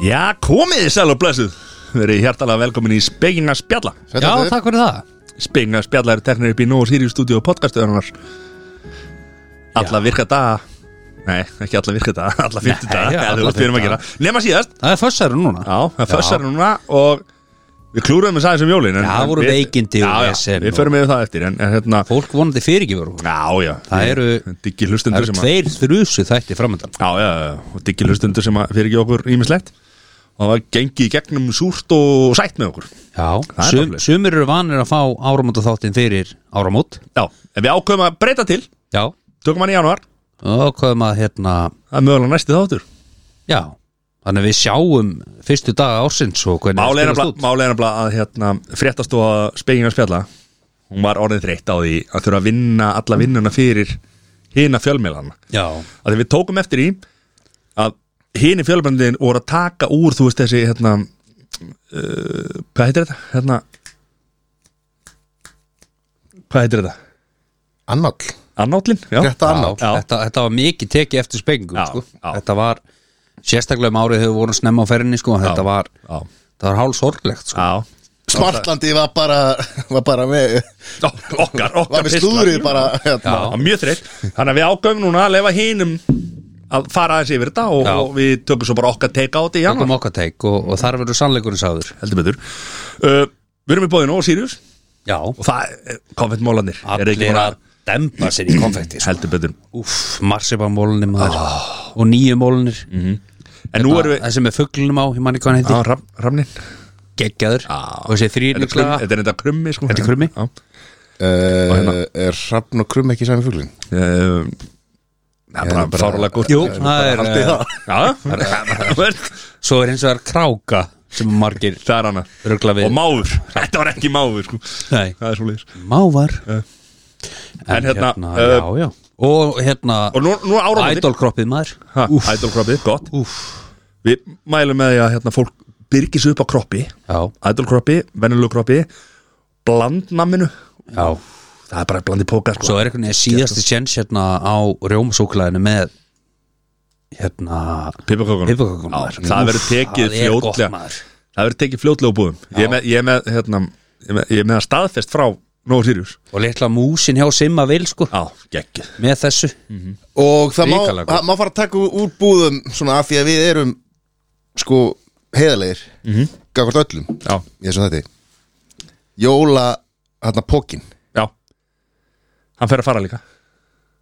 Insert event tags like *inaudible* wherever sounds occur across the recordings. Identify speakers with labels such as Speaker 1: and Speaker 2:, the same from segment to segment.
Speaker 1: Já, komið þið sæl og blessuð Verið hjartalega velkomin í Spegina Spjalla
Speaker 2: Þetta
Speaker 3: Já,
Speaker 2: er þið.
Speaker 3: takk fyrir það
Speaker 1: Spegina Spjalla er teknir upp í Nóa Sirius stúdíu og podcastuðanar Alla virka daga Nei, ekki alla virka daga, *laughs* alla fyrtu daga
Speaker 3: já,
Speaker 1: Nei,
Speaker 3: alla
Speaker 1: þú veist við erum að
Speaker 3: fimmtudaga.
Speaker 1: gera Nefna síðast,
Speaker 3: Það er fössæru núna
Speaker 1: já, það fössar núna og við klúruðum þess aðeins um jólin en-
Speaker 3: Já, það
Speaker 1: en
Speaker 3: voru
Speaker 1: við-
Speaker 3: veikindi og
Speaker 1: Já, já,
Speaker 3: vesen
Speaker 1: við
Speaker 3: og-
Speaker 1: förum yfir það eftir En, en hérna,
Speaker 3: Fólk vonandi fyrirgifur okkur.
Speaker 1: já, já
Speaker 3: Það
Speaker 1: ég-
Speaker 3: eru-
Speaker 1: Diggi
Speaker 3: Það
Speaker 1: hlustundur
Speaker 3: eru
Speaker 1: sem að
Speaker 3: tveir þrjusu þætti framöndan
Speaker 1: Já, já, já, og diggi hlustundur sem að fyrir ekki okkur ímislegt Og það var gengið í gegnum súrt og sætt með okkur
Speaker 3: Já,
Speaker 1: Það er
Speaker 3: Sum,
Speaker 1: nefnilegt.
Speaker 3: sumir eru vanir að fá áramóta þáttin fyrir áramót
Speaker 1: Já, en við ákveðum að breyta til
Speaker 3: Já
Speaker 1: Tökum hann í janúar
Speaker 3: Og komum að hérna
Speaker 1: Það er mögulega næsti þáttur
Speaker 3: Já Þannig að við sjáum fyrstu daga ársins og hvernig það
Speaker 1: Málega
Speaker 3: spilast út.
Speaker 1: nefnilega að hérna, fréttastofa spegin að spjalla Hún var orðin þreytt á því að þurfa að vinna alla vinnuna fyrir hina fjölmiðlana
Speaker 3: Já,
Speaker 1: að því við tókum eftir í að hini fjölbændin voru að taka úr þú veist þessi hérna uh, hvað heitir þetta? hérna hvað heitir þetta?
Speaker 2: Annall
Speaker 1: Annállin? Já,
Speaker 2: Þetta annall
Speaker 3: já. Þetta, þetta var mikið tekið eftir spengum
Speaker 1: Já,
Speaker 3: sko.
Speaker 1: já.
Speaker 3: Þetta var Sérstaklega um árið hefur voru snemma á ferðinni sko. en Þetta var,
Speaker 1: já,
Speaker 3: þetta var hálsorglegt sko.
Speaker 1: já.
Speaker 2: Smartlandi var bara, var bara með
Speaker 1: Ó, okkar,
Speaker 2: Var
Speaker 1: okkar
Speaker 2: með
Speaker 1: pistlar.
Speaker 2: slúðrið bara
Speaker 3: Já.
Speaker 2: hérna.
Speaker 1: Já, mjög þreytt Þannig að við ágöfum núna að lefa hinum að fara aðeins yfir þetta og,
Speaker 3: Já.
Speaker 1: og við tökum svo bara okkar take out í
Speaker 3: Það
Speaker 1: janúar
Speaker 3: kom okkar teik og, og þar verður sannleikurinn sáður
Speaker 1: heldur betur uh, Við erum í bóðinu og Sirius
Speaker 3: Já,
Speaker 1: og það er konfettmólanir er ekki
Speaker 3: allir
Speaker 1: bara
Speaker 3: að dempa *clears throat* sér í konfekti sko.
Speaker 1: heldur betur
Speaker 3: Úff, marsipamólinni maður og nýju mólinir mm.
Speaker 1: En nú erum við Ah.
Speaker 3: þessi með fugglinum á, ég manni hvað hann heiti
Speaker 1: á, ram, Ramnin
Speaker 3: geggjaður
Speaker 1: Já.
Speaker 3: og þessi
Speaker 1: Þetta er
Speaker 3: þrýrnugslaga
Speaker 1: krummi- þetta er þetta krummi sko.
Speaker 3: Þetta er krummi?
Speaker 1: Já.
Speaker 2: Eh,
Speaker 1: hérna.
Speaker 2: Er Hrafn og Krum ekki sami fuglin?
Speaker 1: Eh, Það er bara
Speaker 2: bara-
Speaker 1: fáralega gótt
Speaker 3: Jú, það er
Speaker 2: Haldið
Speaker 3: eh,
Speaker 2: það
Speaker 1: Já, þú veist,
Speaker 3: svo er hins vegar kráka sem margir
Speaker 1: það er hana
Speaker 3: rögla við
Speaker 1: Og máður, þetta var ekki máður sko.
Speaker 3: Nei,
Speaker 1: Það er svo leiðis
Speaker 3: mávar
Speaker 1: Eh.
Speaker 3: en,
Speaker 1: En hérna,
Speaker 3: já, já og hérna,
Speaker 1: Og nú, nú áramóti
Speaker 3: idolkroppið maður úff,
Speaker 1: Ædolkroppið, gott
Speaker 3: úff
Speaker 1: Við mælum með því að hérna, fólk byrgis upp á kroppi
Speaker 3: já,
Speaker 1: Ædolkroppi, venjulegu kroppi Blandnamminu
Speaker 3: já
Speaker 1: Það er bara blandið póka sko.
Speaker 3: svo er einhvern veginn síðasti sjens hérna á rjómasúklaðinu með hérna
Speaker 1: Pipakökunum
Speaker 3: Piparkökunum, maður.
Speaker 1: Já, Það verður tekið
Speaker 3: Það er gott,
Speaker 1: fljótlega
Speaker 3: maður.
Speaker 1: Það verður tekið fljótlega úr búðum Ég er með, ég er með, hérna, ég er með, ég er með að staðfest frá Nóa Sirius
Speaker 3: og litla músin hjá Simma vil sko
Speaker 1: Já, geggjuð
Speaker 3: með þessu
Speaker 2: Og það má,
Speaker 3: Hrikalega gott.
Speaker 2: það má fara að taka úr búðum Svona að því að við erum Sko heiðalegir mm
Speaker 1: Mhm.
Speaker 2: -hmm. Gagvart öllum
Speaker 1: Já,
Speaker 2: Ég er svo þetta Jóla Hérna pókin
Speaker 1: já Hann fer að fara líka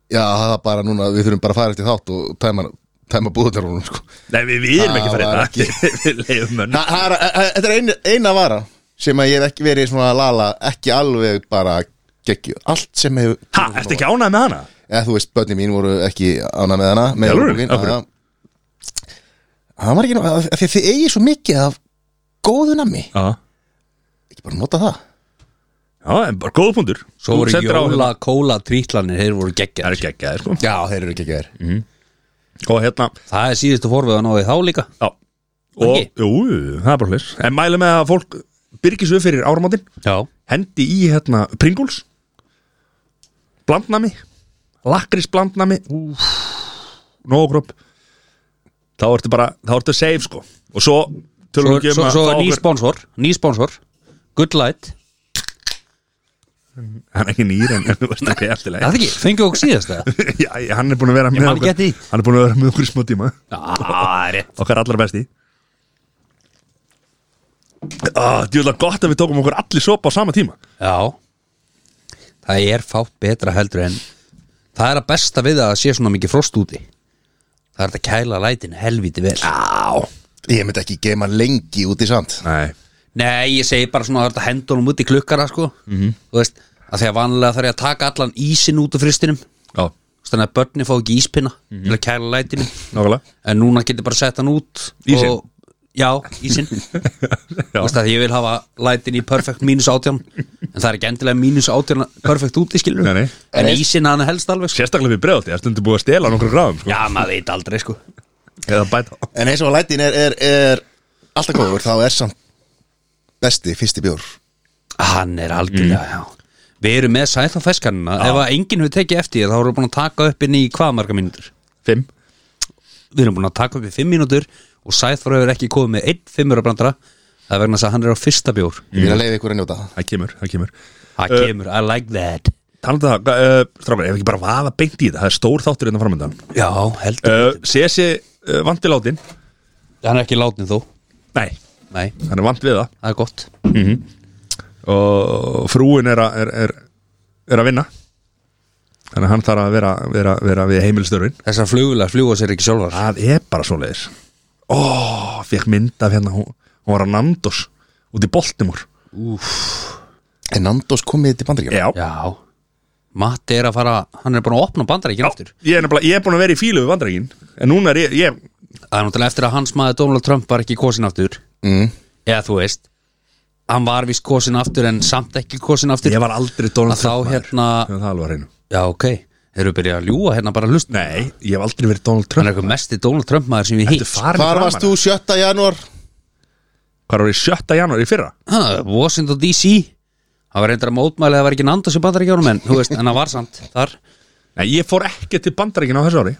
Speaker 2: Já það var bara núna Við þurfum bara að fara eftir þátt Og tæma, tæma búðutarunum sko
Speaker 1: Nei, við, við erum
Speaker 2: Það
Speaker 1: ekki að fara
Speaker 2: var
Speaker 1: þetta *laughs* Við leiðum önn
Speaker 2: Þa- það er- það- það- Þetta er eina, eina vara sem að ég hef ekki verið svona að lala ekki alveg bara geggju allt sem hefur
Speaker 1: Ha, ertu ekki ánægð með hana?
Speaker 2: eða þú veist, börnin mín voru ekki ána með hana með
Speaker 1: Í alvöru?
Speaker 2: jólabókin,
Speaker 1: Af hverju?
Speaker 2: já. það var ekki nú af af því að þið eigi svo mikið af góðu nammi
Speaker 1: Já
Speaker 2: ekki bara nota það
Speaker 1: Já, en bara góða pundur
Speaker 3: svo voru
Speaker 1: hérna.
Speaker 3: jóla kóla trítlanir þeir voru
Speaker 1: Það
Speaker 3: geggjar
Speaker 1: er geggjaði sko
Speaker 2: já, þeir eru ekki að vera
Speaker 1: Og hérna
Speaker 3: það er síðustu forveðan á því þá líka
Speaker 1: Já Og,
Speaker 3: Ekki?
Speaker 1: jú, það er bara hlis En mælum með að fólk byrgis upp fyrir áramáttin
Speaker 3: já,
Speaker 1: Hendi í, hérna, Pringles Blandnami Lakris blandnami Nógróp Þá ertu bara, þá ertu safe, sko Og svo
Speaker 3: svo,
Speaker 1: tölum við ekki um
Speaker 3: svo,
Speaker 1: að
Speaker 3: svo
Speaker 1: fá
Speaker 3: ný
Speaker 1: okkur-
Speaker 3: sponsor ný sponsor, good light
Speaker 1: Hann er ekki nýr en *laughs* þú veist ekki eftirlega
Speaker 3: það er ekki, fengið okkur síðast það
Speaker 1: *laughs* Já, ég- hann er búin að vera með
Speaker 3: man
Speaker 1: okkur
Speaker 3: ekki eftir því.
Speaker 1: Hann er búin að vera með okkur í smá tíma
Speaker 3: er rétt.
Speaker 1: Okkar allra besti ah, Djúlega gott að við tókum okkur allir sopa á sama tíma
Speaker 3: já það er fátt betra heldur en það er að besta við að það sé svona mikið frost úti það er hægt að kæla lætin helviti vel
Speaker 1: Á
Speaker 2: ég myndi ekki geima lengi út í sand
Speaker 1: Nei
Speaker 3: Nei, ég segi bara svona að þetta hendur hún út í klukkara sko. Þú veist, að því að vanlega þarf ég að taka allan ísin út af fristinum
Speaker 1: Já,
Speaker 3: Þannig að börnin fá ekki íspinna til að kæla lætinu
Speaker 1: nákvæmlega
Speaker 3: En núna getur bara sett hann út
Speaker 1: Ísinn?
Speaker 3: og, Já, ísin
Speaker 1: *laughs*
Speaker 3: *laughs*
Speaker 1: Já.
Speaker 3: Þú veist að ég vil hafa lætin í perfect mínus átján En það er ekki endilega mínus átján perfect úti skilur
Speaker 1: Nei, nei.
Speaker 3: En ísin hann helst alveg sko.
Speaker 1: Sérstaklega við bregðaldi, það er stundu búið að stela nokkru gráðum sko.
Speaker 3: Já, maður veit aldrei sko
Speaker 1: Eða bæta
Speaker 2: en eins og að lætin er, er, er alltaf góður þá er samt besti fyrsti bjór
Speaker 3: Hann er algjörlega, já Við erum með sæð á feskanina Ef að enginn hefur tekið eftir því, þá erum við búin að taka upp inn í hvað marga mínútur
Speaker 1: Fimm
Speaker 3: við erum búin að taka upp í fimm mínútur og Sæþór hefur ekki komið með einn fimmur að brandara það er vegna þess að hann er á fyrsta bjór
Speaker 2: Ég vil að leiða ykkur að njóta það.
Speaker 1: það kemur, það kemur
Speaker 3: það
Speaker 1: Eh.
Speaker 3: kemur, I like that
Speaker 1: Talandi um það, uh, strákar, ef ekki bara vaða beint í það Það er stór þáttur hérna innan framöndan
Speaker 3: já, heldur,
Speaker 1: uh, Sesi uh, vandi látin Eh.
Speaker 3: hann er ekki látin þó
Speaker 1: Nei,
Speaker 3: nei,
Speaker 1: hann er vant við það
Speaker 3: það er gott
Speaker 1: Og frúin er, að- er, er, er að vinna Þannig að hann þarf að vera, vera, vera við heimilstörfin
Speaker 3: þessar flugulega fljúa sér ekki sjálfar
Speaker 1: Það er bara svoleiðis Ó, fekk mynd af hérna Hún, hún var að Nandos út í Baltimore
Speaker 2: Er Nandos komið til bandaríkjum?
Speaker 1: Já,
Speaker 3: já, Matti er að fara hann er bara að opna bandara ekki aftur
Speaker 1: Ég, er nefnilega- ég er búin að vera í fílu við vandrækin En núna er ég, ég
Speaker 3: það er náttúrulega eftir að hans maður Donald Trump var ekki kosin aftur
Speaker 2: Mm.
Speaker 3: eða þú veist hann var vist kosin aftur en samt ekki kosin aftur
Speaker 1: Ég var aldrei Donald
Speaker 3: Að þá
Speaker 1: Trump
Speaker 3: hérna-
Speaker 1: maður, Það er alveg að reynu
Speaker 3: já ok, þeir eru byrjað að ljúa hérna bara hlust
Speaker 1: Nei, ég hef aldrei verið Donald
Speaker 3: hann er
Speaker 1: Trump
Speaker 3: eitthvað mesti Donald Trump maður sem ég
Speaker 1: Ertu
Speaker 3: hitt
Speaker 1: farin
Speaker 2: Hvar
Speaker 1: framan
Speaker 2: varst
Speaker 1: af?
Speaker 2: þú 7. janúar?
Speaker 1: Hvar var ég 7. janúar í fyrra?
Speaker 3: Ha, Washington DC hann var reyndar að mótmæli að það var ekki nandas í bandaríkjónum en þú veist, en hann var samt þar
Speaker 1: Nei, ég fór ekki til bandaríkina á þessu ári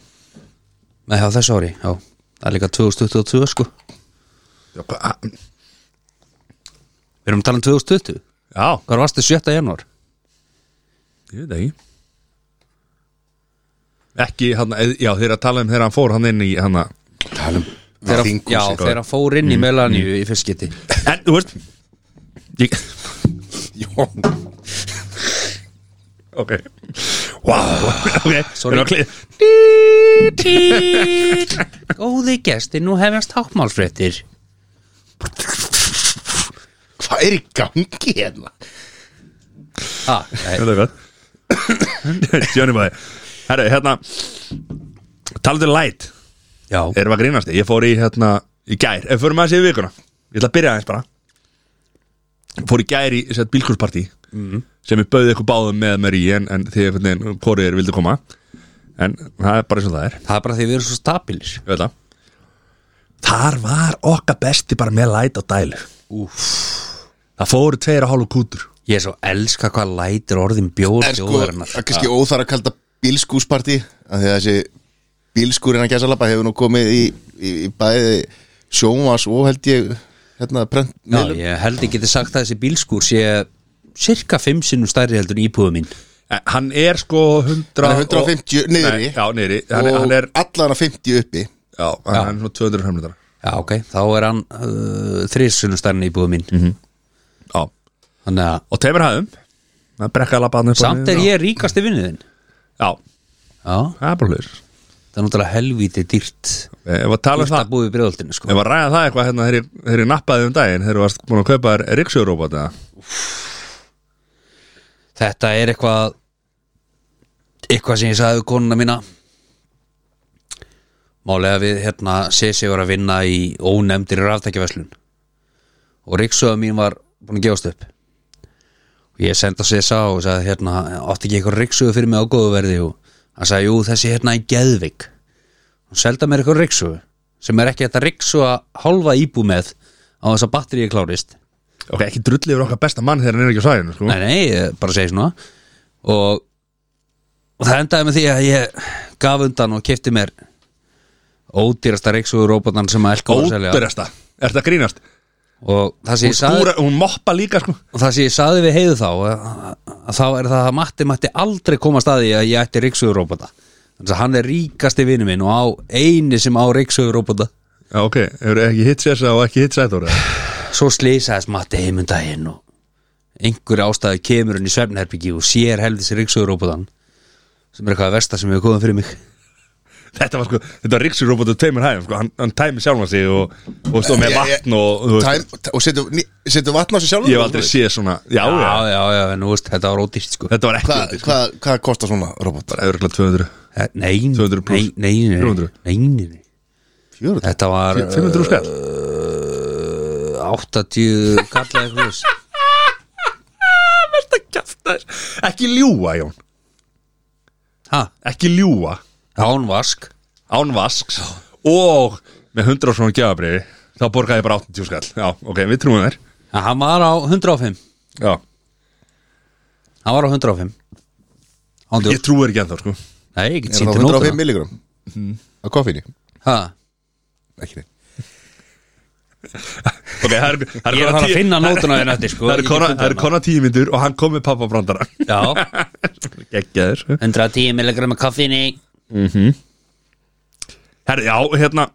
Speaker 3: með hjá þessu ári, já, það er líka 2022 sko,
Speaker 1: Já, hva- ah, mm.
Speaker 3: við erum að tala um 2020
Speaker 1: Já,
Speaker 3: hvar varstu 7. janúar?
Speaker 1: ég veit ekki Ekki, hann, já, þeir að tala um þegar hann fór hann inn í hann
Speaker 2: Talum
Speaker 3: Þegar-
Speaker 2: um Þinghúsið.
Speaker 3: já, þegar hann fór inn í Melaníu í fyrstskiti
Speaker 1: En, þú veist ég,
Speaker 2: Jón
Speaker 1: Ok Wow, ok Þeir
Speaker 3: Sorry.
Speaker 1: að kli-
Speaker 3: góði gesti, nú hefjast tákmálsfréttir
Speaker 2: Hvað er í gangi hérna?
Speaker 3: ah, nei,
Speaker 1: Þetta er gott *coughs* Johnny Boy Herru, hérna Talandi um light
Speaker 3: já,
Speaker 1: Erum við að grínast Ég fór í hérna Í gær Ef við förum aðeins yfir vikuna Ég ætla að byrja aðeins bara Fór í gær í sett bílkurspartí Sem ég bauði ykkur báðum með mér í En, en þið einhvern veginn Hvorið er vildi koma En það er bara eins og það er
Speaker 3: það er bara því við erum svo stabilir
Speaker 1: Ég veit það Þar var okkar besti bara með light á dælu
Speaker 3: Úf.
Speaker 1: Það fóru tveir og hálfu kútur
Speaker 3: ég er svo elska hvað lætir orðin bjór
Speaker 2: Er sko,
Speaker 3: þjóðarinnar.
Speaker 2: það er kannski óþar að kalda bílskúsparti að því að þessi bílskúrin að gæsalappa hefur nú komið í, í, í bæði sjónvas og held ég hérna prent
Speaker 3: Já, ég held ekki getið sagt að þessi bílskúr sé cirka fimm sinnum stærri heldur en íbúðu mín
Speaker 1: Eh, Hann er sko 100
Speaker 2: Hann er 150
Speaker 1: og-
Speaker 2: niðri.
Speaker 1: Nei, Já, niðri Hann,
Speaker 2: og
Speaker 1: hann er,
Speaker 2: allan að 50 uppi
Speaker 1: já, hann er svona 200 hömlindar
Speaker 3: Já, ok, þá er hann uh, þrís sinnum stærri en íbúðu mín
Speaker 1: Já
Speaker 3: Þannig að
Speaker 1: Og teimur hafðum Það brekkaði lappa hann upp á
Speaker 3: samt er
Speaker 1: niður,
Speaker 3: ég ríkasti vinnuðinn
Speaker 1: Já,
Speaker 3: Já,
Speaker 1: það er bara hlur
Speaker 3: það er náttúrulega helvítið dýrt
Speaker 1: Ef að tala um
Speaker 3: Dýrt að
Speaker 1: það
Speaker 3: búið í brjóðaldinu sko
Speaker 1: Ef að ræða það eitthvað hérna þegar ég- þegar ég nappaði um daginn Þegar þú varst búin að kaupa þér ríksjórobot eða
Speaker 3: Þetta er eitthvað eitthvað sem ég sagði við konuna mína Málega við hérna Sessi var að vinna í ónefndir ráftækjaverslun og ríksöðu mín var búin að gefast upp og ég senda Sessa og sagði hérna átti ekki eitthvað ríksöðu fyrir mig á góðu verði og hann sagði jú þessi hérna í Geðvik og selda mér eitthvað ríksöðu sem er ekki þetta ríksöða hálfa íbú með á þess að batteríi klárist
Speaker 1: Ok, ekki drulli yfir okkar besta mann þegar hann er ekki á svæðinu sko.
Speaker 3: Nei, nei, ég bara segi svona og, og það endaði með því að ég gaf undan og kefti mér ódýrasta reyksugur robotan sem að elka var að selja
Speaker 1: Ódurasta, er þetta að grínast
Speaker 3: og það sem
Speaker 1: Hún
Speaker 3: ég sagði
Speaker 1: skúra, hún moppa líka sko
Speaker 3: og það sem ég sagði við heiðu þá að, að þá er það að Matti mætti aldrei koma staði að ég ætti reyksugur robota þannig að hann er ríkasti vinnu minn og á eini sem á reyksugur robota
Speaker 1: Já, ok, hefur ekki hitt sessa og ekki hitt sættur
Speaker 3: svo slýsaðist Matti heimundaginn og einhverju ástæðu kemur hann í svefnherbyggi og sér helvis reyksugur robotan sem er eitthvað að versta sem hefur komið fyrir mig
Speaker 1: Þetta var sko, þetta var ríksjórobot og teimur hæðum sko. hann, hann tæmi sjálfan sig og, og stóð með
Speaker 2: Ég- ég-
Speaker 1: vatn og, þú veist,
Speaker 2: Tæm, og setur setu vatn á sig sjálfur
Speaker 1: Ég hef aldrei séð svona Já, já,
Speaker 3: já, já, já, en þú veist, þetta var ódýrt sko
Speaker 1: þetta var ekki
Speaker 2: Hvað
Speaker 1: ódýrt, sko.
Speaker 2: hva, hva kostar svona robot?
Speaker 1: Bara öðruglega 200
Speaker 3: Eh, Nei,
Speaker 1: 200 plús.
Speaker 3: nei, nei, nei,
Speaker 1: 300.
Speaker 3: nei, nei, nei.
Speaker 2: 400
Speaker 3: Þetta var uh,
Speaker 1: 500 skall
Speaker 3: 80 kallaði hlús
Speaker 1: Þetta kjaftar Ekki ljúa, Jón
Speaker 3: Ha,
Speaker 1: Ekki ljúa
Speaker 3: hánvask
Speaker 1: Án vasks Og með 100 svona gjafabriði Þá borgaði ég bara 80 skall Já, ok, við trúum þér
Speaker 3: ja, Hann var á 105
Speaker 1: Já,
Speaker 3: Hann var á 105 Hándu,
Speaker 1: ég trúi þér ekki ennþá, sko
Speaker 3: nei, ég get
Speaker 2: Er
Speaker 3: sýnt
Speaker 2: það
Speaker 3: til
Speaker 2: 105
Speaker 1: Mhm.
Speaker 3: nótuna
Speaker 2: milligram? Á koffinu?
Speaker 3: Ha,
Speaker 2: Ekki neitt
Speaker 1: Ok, það er, það er
Speaker 3: Ég var
Speaker 1: konar
Speaker 3: að
Speaker 1: tíu-
Speaker 3: finna nótuna þinn eftir, sko,
Speaker 1: Það *laughs* er kona,
Speaker 3: ég get fundið
Speaker 1: það er
Speaker 3: hana.
Speaker 1: kona tíu myndur og hann kom með pappabrandara
Speaker 3: Já,
Speaker 1: Geggjaður
Speaker 3: 110 milligram af kaffinni
Speaker 1: Herri, já, hérna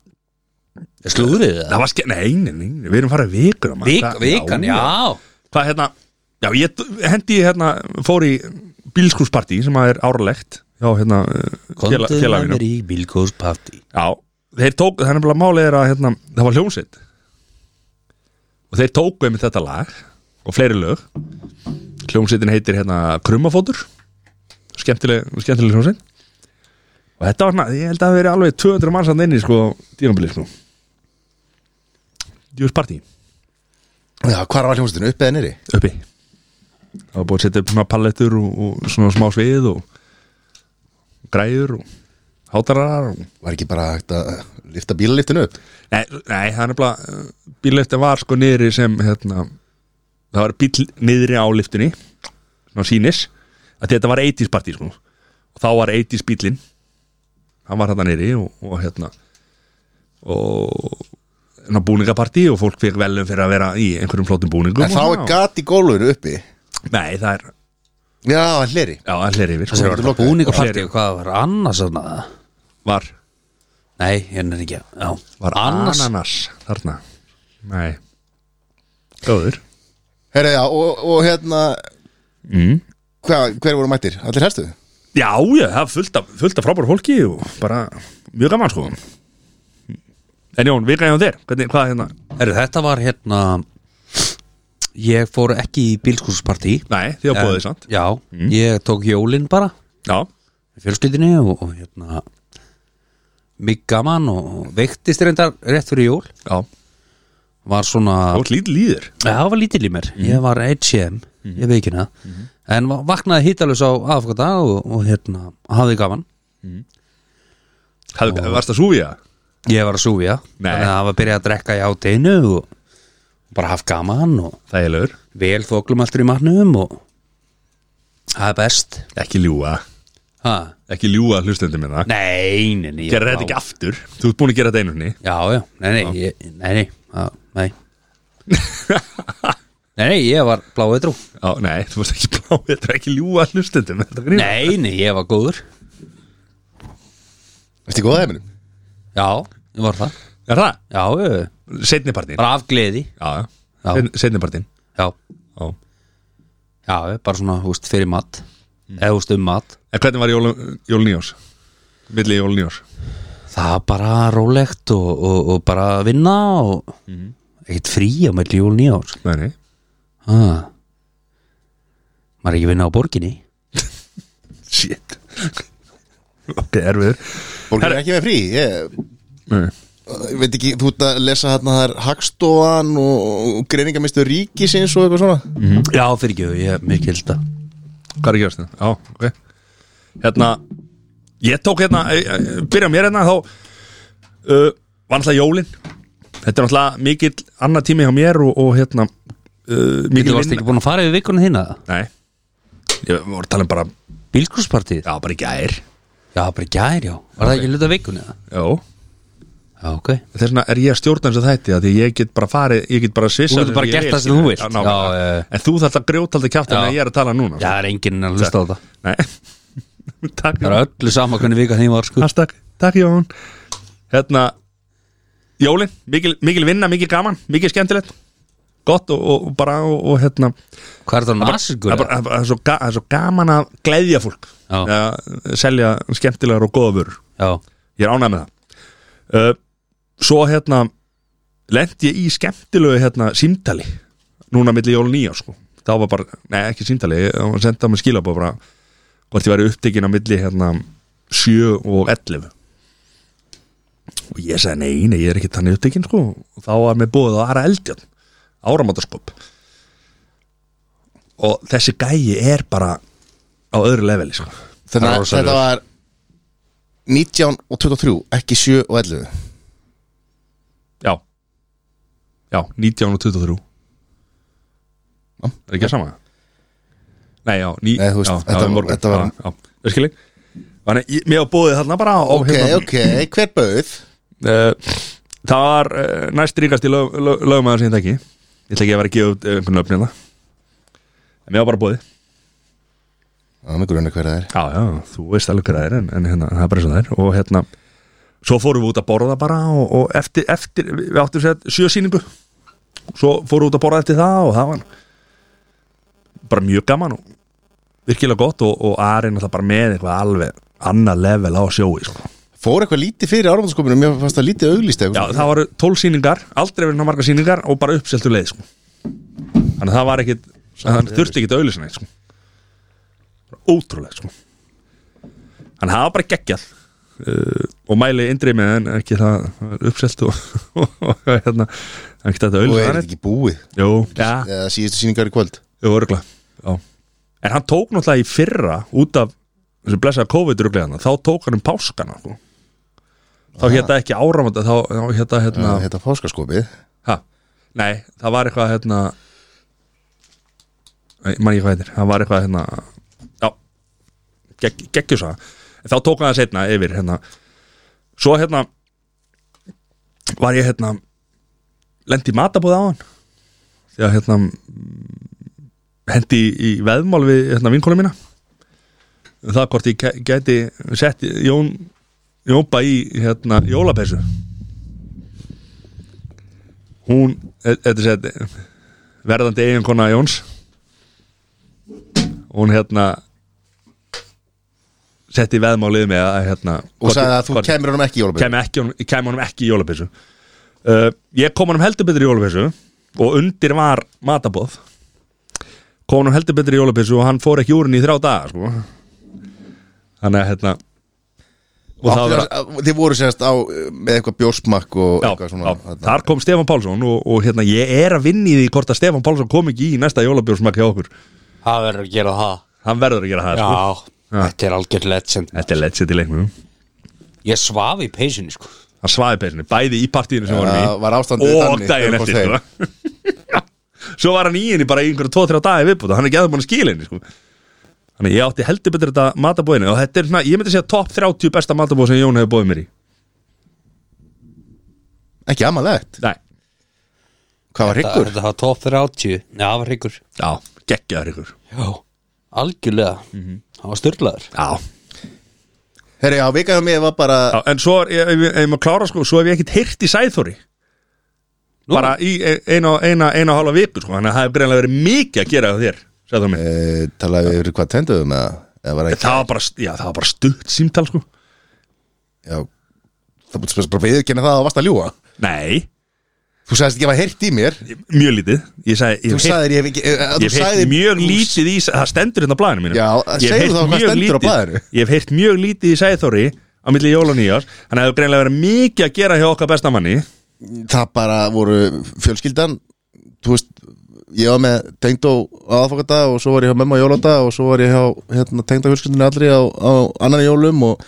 Speaker 3: Slúðrið það?
Speaker 1: Það var skemmt, nei, nei, nei, nei, við erum farað vikuna maður.
Speaker 3: Vik,
Speaker 1: Það-
Speaker 3: Vikan, já
Speaker 1: Hvað, hérna, já, ég hendi, hérna, fór í bílskúspartí sem að er árlegt Já, hérna, eh, féla-
Speaker 3: Kondur
Speaker 1: félagi mínum.
Speaker 3: maður í bílgóðsparti
Speaker 1: Já, þeir tók, það er nefnilega málið er að hérna, það var hljómsveit og þeir tóku einmitt þetta lag og fleiri lög hljómsveitin heitir hérna Krummafótur skemmtileg, skemmtileg hljómsveit og þetta var svona, ég held að það hafi verið alveg 200 manns hann inni sko, dýrambili sko Djús partí,
Speaker 2: Já, hvar var hljómsveitinu? Upp eða nýri?
Speaker 1: uppi það var búið að setja upp svona pallettur og, og svona smá svið og græður og hátararar og
Speaker 2: Var ekki bara hægt að lifta bílaliftinu upp?
Speaker 1: Nei, nei það er nefnilega uh, bílliftin var sko niðri sem hérna, það var bíll niðri á liftinni svona sínis að þetta var 80s partí sko og þá var 80s bíllinn hann var hérna niðri og, og hérna og hérna, búningapartí og fólk fekk velum fyrir að vera í einhverjum flottum búningum
Speaker 2: En þá
Speaker 1: og
Speaker 2: er
Speaker 1: svona.
Speaker 2: gat í gólfinu uppi
Speaker 1: Nei, það er,
Speaker 2: Já, hann hleri
Speaker 1: já, það er yfir
Speaker 3: Það
Speaker 1: sko,
Speaker 3: var
Speaker 2: Lokaði.
Speaker 3: það búningaparti
Speaker 1: Fleiri.
Speaker 3: og hvað var annars þarna?
Speaker 1: var,
Speaker 3: Nei, hérna er ekki já.
Speaker 1: var
Speaker 3: annars
Speaker 1: ananas þarna Nei Góður
Speaker 2: Herra, já, og, og hérna
Speaker 1: mm.
Speaker 2: hva, Hver voru mættir? Allir herstu?
Speaker 1: Já, já, það er fullt af, fullt af frábæru fólki og bara mjög gaman sko En Jón, við gæðum þér, hvernig, hvað hérna?
Speaker 3: Heru, Þetta var hérna Ég fór ekki í bílgóðsparti
Speaker 1: Nei, þið á bóðið samt Mm.
Speaker 3: Já, ég tók jólin bara
Speaker 1: Já,
Speaker 3: með fjölskyldinni og, og hérna mig gaman og veiktist reyndar rétt fyrir jól
Speaker 1: já,
Speaker 3: var svona
Speaker 1: þú ert lítið líður
Speaker 3: Já, það var lítill í mér,
Speaker 1: Mhm.
Speaker 3: ég var HM ég veikina, en va- vaknaði hítalus á aðfokkata og, og hérna hafði gaman,
Speaker 1: Hafðu- Varst að súfja?
Speaker 3: ég var að súfja
Speaker 1: Nei.
Speaker 3: þannig að það var að byrja að drekka í átinu og bara haft gaman og
Speaker 1: Þægilegur
Speaker 3: vel þoklum alltaf í matnum og það er best
Speaker 1: Ekki ljúga,
Speaker 3: ha.
Speaker 1: ekki ljúga hlustendur minna
Speaker 3: Nei, nei, nei ég
Speaker 1: Gerðu
Speaker 3: var
Speaker 1: þetta
Speaker 3: á-
Speaker 1: ekki aftur, þú ert búin að gera þetta einu henni
Speaker 3: Já, já, nei, nei, ég, nei, nei, að, nei. *laughs* nei, nei, ég var bláið trú
Speaker 1: Já, nei, þú varst ekki blá, þetta er ekki ljúga hlustendur Nei
Speaker 3: Nei, nei, ég var góður
Speaker 2: Ertu í góða heiminum?
Speaker 3: Já, ég var það
Speaker 1: Er það?
Speaker 3: Já, ég
Speaker 1: Seinnipartin Já,
Speaker 3: bara af gleði
Speaker 1: já,
Speaker 3: Já.
Speaker 1: Sein- seinni partinn.
Speaker 3: Já,
Speaker 1: já
Speaker 3: já, ég bara svona, þú veist, fyrir mat Eða, þú veist, um mat
Speaker 1: En hvernig var jólun jól nýjós? Milli jólun nýjós?
Speaker 3: Það var bara rólegt og, og, og bara vinna og ekkert frí á melli jól nýjárs
Speaker 1: Nei, nei
Speaker 3: ah. Maður er ekki að vinna á borginni
Speaker 1: Shit Ok, erfiður
Speaker 2: Borgir er ekki með frí Ég
Speaker 1: Nei.
Speaker 2: ég veit ekki, þú ert að lesa hérna þar Hagstofan og, og greiningarmistu ríkisins og eitthvað svona
Speaker 3: Já, fyrir ekki, Mhm. ég er mikil þetta
Speaker 1: Hvað er að gerast þetta? Já, ok Hérna Ég tók hérna eh, eh, Byrja mér hérna þá uh, Var náttúrulega jólin Þetta er náttúrulega mikill annar tími hjá mér og, og hérna uh,
Speaker 3: Þú
Speaker 1: Mikill
Speaker 3: varst ekki búin að fara yfir vikunum þína
Speaker 1: Nei Ég voru að tala um bara Já,
Speaker 3: Bílkurspartið?
Speaker 1: bara í gær
Speaker 3: Já, bara í gær, já Var það ekki hluta vikunni? eða?
Speaker 1: Já
Speaker 3: Já, ok
Speaker 1: Þess vegna er ég að stjórna þessu þætti að Því ég get bara farið Ég get bara svissað
Speaker 3: Þú getur bara
Speaker 1: eins og ég
Speaker 3: gert
Speaker 1: vil,
Speaker 3: það sem þú
Speaker 1: skilur.
Speaker 3: vilt.
Speaker 1: Já, nákvæmlega.
Speaker 3: Já, já, já.
Speaker 1: En þú þarft að grjóta alltaf kjátt En
Speaker 3: Já.
Speaker 1: ég er að tala núna
Speaker 3: Já, það er enginn að hlusta á þetta
Speaker 1: Nei *laughs* Takk
Speaker 3: Það er öllu sama hvernig vika þeim var sko
Speaker 1: Hashtag, takk Jón Hérna Jólin, mikil, mikil vinna, mikil gaman Mikil skemmtilegt Gott og, og, og bara og, og hérna
Speaker 3: Hvað er það
Speaker 1: Það
Speaker 3: nasiskur?
Speaker 1: er bara- það er bara- það er svo ga- það er svo gaman að gleðja fólk
Speaker 3: Já.
Speaker 1: Að Selja skemmtilegar og góða vörur
Speaker 3: Já,
Speaker 1: Ég er ánægð með það uh, Svo hérna Lendi ég í skemmtilegu hérna símtali Núna milli jólin nýja sko Það var bara, nei ekki símtali Það var sendað með skilabóð bara Hvort ég væri upptekinn á milli hérna 7 og 11 Og ég sagði nei, nei, ég er ekki þannig upptekinn sko Og þá var mér búið að aðra eldjón Áramótaskop Og þessi gæi er bara Á öðru leveli sko
Speaker 2: þannig að
Speaker 3: Rosalegur.
Speaker 2: þetta var 19 og 23, ekki 7 og 11
Speaker 1: Já Já, 19 og 23 Er ekki að sama? Nei, já, ní,
Speaker 2: Nei, þú veist,
Speaker 1: já,
Speaker 2: þetta
Speaker 1: já,
Speaker 2: var-
Speaker 1: morgun,
Speaker 2: þetta var-
Speaker 1: já, já, Það skilji hérna. Þannig, ég- mér á bóðið þarna bara á,
Speaker 2: ok, ok, hver bauð?
Speaker 1: Uh, það var uh, næst ríkast í lög, lög, lögmaður sem ég þekki ég ætla ekki að vera að gefa út eh, einhvern nöfn hérna en mér var bara bóði
Speaker 2: Það er mjög grunni hver það er
Speaker 1: já, já, þú veist alveg hvað það er en, en hérna, það er bara svo það er og hérna, svo fórum við út að borða bara og, og eftir, eftir, við við áttum sér sjö sýningu svo fórum við út að borða eftir það og það var bara mjög gaman og virkilega gott og, og Ari náttúrulega bara með eitthvað alveg annað level á sjói sko.
Speaker 2: Fór eitthvað lítið fyrir áramöndaskopinu Mér fannst það lítið auglýst
Speaker 1: Já,
Speaker 2: eitthvað
Speaker 1: það voru tól sýningar, aldrei verið ná margar sýningar og bara uppseltu leið sko. Þannig að það var ekkit Þannig að þurfti ekkit auðlýsina sko. Ótrúlega sko. Þannig að það var bara geggjall uh, og mæli indrið með en ekki það uppselt og, og, og hérna það er ekki þetta
Speaker 2: Og er
Speaker 1: auðlýsina
Speaker 2: þetta ekki búið
Speaker 1: Jú, ja,
Speaker 2: Eða síðustu síningar í kvöld
Speaker 1: jú, örgulega Já. En hann tók náttúrulega í fyrra út af þessu blessaða COVID-ruglega þá tók hann um páskana sko. þá hérna ekki áramönda þá hérna hérna
Speaker 2: Þetta páskaskopið
Speaker 1: Ha? Nei, það var eitthvað hérna Nei, mann ég hvað heitir Það var eitthvað hérna Já, gegg, geggjur svo Þá tók hann það setna yfir hérna Svo hérna Var ég hérna Lendi matabúð á hann Því að hérna mm, Hendi í, í veðmál við hérna vinkóla mína Um Það hvort ég gæ- gæti Sett Jón Jómba í hérna jólapessu hún, e- þetta er sett verðandi eiginkona Jóns hún hérna setti veðmálið með að hérna
Speaker 2: Og sagði að þú
Speaker 1: hvort-
Speaker 2: kemur honum ekki í jólabjörn
Speaker 1: kem ekki, honum- kem honum ekki í jólapeysu uh, ég kom honum heldur betur í jólapeysu og undir var matabóð kom honum heldur betur í jólapeysu og hann fór ekki úr henni í þrjá daga sko. þannig að hérna og það var
Speaker 2: Þið voru semst á eh, með eitthvað bjórsmakk og
Speaker 1: Já,
Speaker 2: eitthvað svona
Speaker 1: já,
Speaker 2: þarna.
Speaker 1: þar kom Stefán Pálsson og, og hérna ég er að vinni því hvort að Stefán Pálsson kom ekki í næsta jólabjórsmakk hjá okkur
Speaker 3: Það verður að gera það
Speaker 1: hann verður að gera það sko.
Speaker 3: Já, þetta er algjör legend
Speaker 1: þetta er legend í leiknum
Speaker 3: Ég svaf í peysunni sko
Speaker 1: hann svaði peysinu, bæði í partíinu sem
Speaker 2: Já,
Speaker 1: hann
Speaker 2: var ástandið
Speaker 1: í og
Speaker 2: þannig
Speaker 1: daginn
Speaker 2: þegar
Speaker 1: eftir
Speaker 2: hann
Speaker 1: sko. *laughs* svo var hann í henni bara í einhverja 2-3 dagi viðbúta, hann er ekki aðeins búin að skila henni sko. þannig ég átti heldur betur þetta matabóðinu og þetta er svona, ég myndi segja top 30 besta matabóð sem Jón hefur bóðið mér í
Speaker 2: Ekki amalegt
Speaker 1: Nei.
Speaker 2: Hvað var
Speaker 3: Þetta
Speaker 2: hryggur?
Speaker 3: þetta var top 30 Já, það var hryggur
Speaker 1: já, geggjaður ykkur
Speaker 3: Já, Mhm. algjörlega Það var styrlaður
Speaker 1: já,
Speaker 2: Herri, já, vikaðum ég var bara
Speaker 1: Já, en svo, er- ef ef- ef ég maður klára sko, svo hef ég ekkert heyrt í Sæþóri
Speaker 3: Nú.
Speaker 1: Bara í e- eina, eina, eina og hálfa viku sko, þannig að það hef greinlega verið mikið að gera hjá þér, Sæþóri minn
Speaker 2: Eh, talaði við yfir hvað tenduðum eða eða var ekki
Speaker 1: Það var bara, já, það var bara stutt símtal sko
Speaker 2: já, það búið spes bara viðurkenna það að þú varst að ljúa
Speaker 1: Nei,
Speaker 2: þú sagðist ekki að hafa heyrt í mér
Speaker 1: mjög lítið Ég sagði, ég
Speaker 2: þú
Speaker 1: hef heyrt-
Speaker 2: sagðir ég hef ekki eh,
Speaker 1: ég
Speaker 2: að þú
Speaker 1: hef heyrt
Speaker 2: sagðir-
Speaker 1: mjög
Speaker 2: þú-
Speaker 1: lítið í Það stendur hérna á blaðinu mínu
Speaker 2: Já,
Speaker 1: Ég hef
Speaker 2: segðu
Speaker 1: heyrt
Speaker 2: þá hvað
Speaker 1: mjög
Speaker 2: stendur á
Speaker 1: lítið-
Speaker 2: blaðinu.
Speaker 1: Ég hef heyrt mjög lítið í Sæþóri á milli jól og nýjás Þannig að það hef greinlega verið mikið að gera hjá okkar bestamanni
Speaker 2: það bara voru fjölskyldan þú veist ég var með tengd á aðfokata og svo var ég hjá memma á jólóta og svo var ég hjá hérna, tengd á fjölskyldinu allri á, á annan jólum og,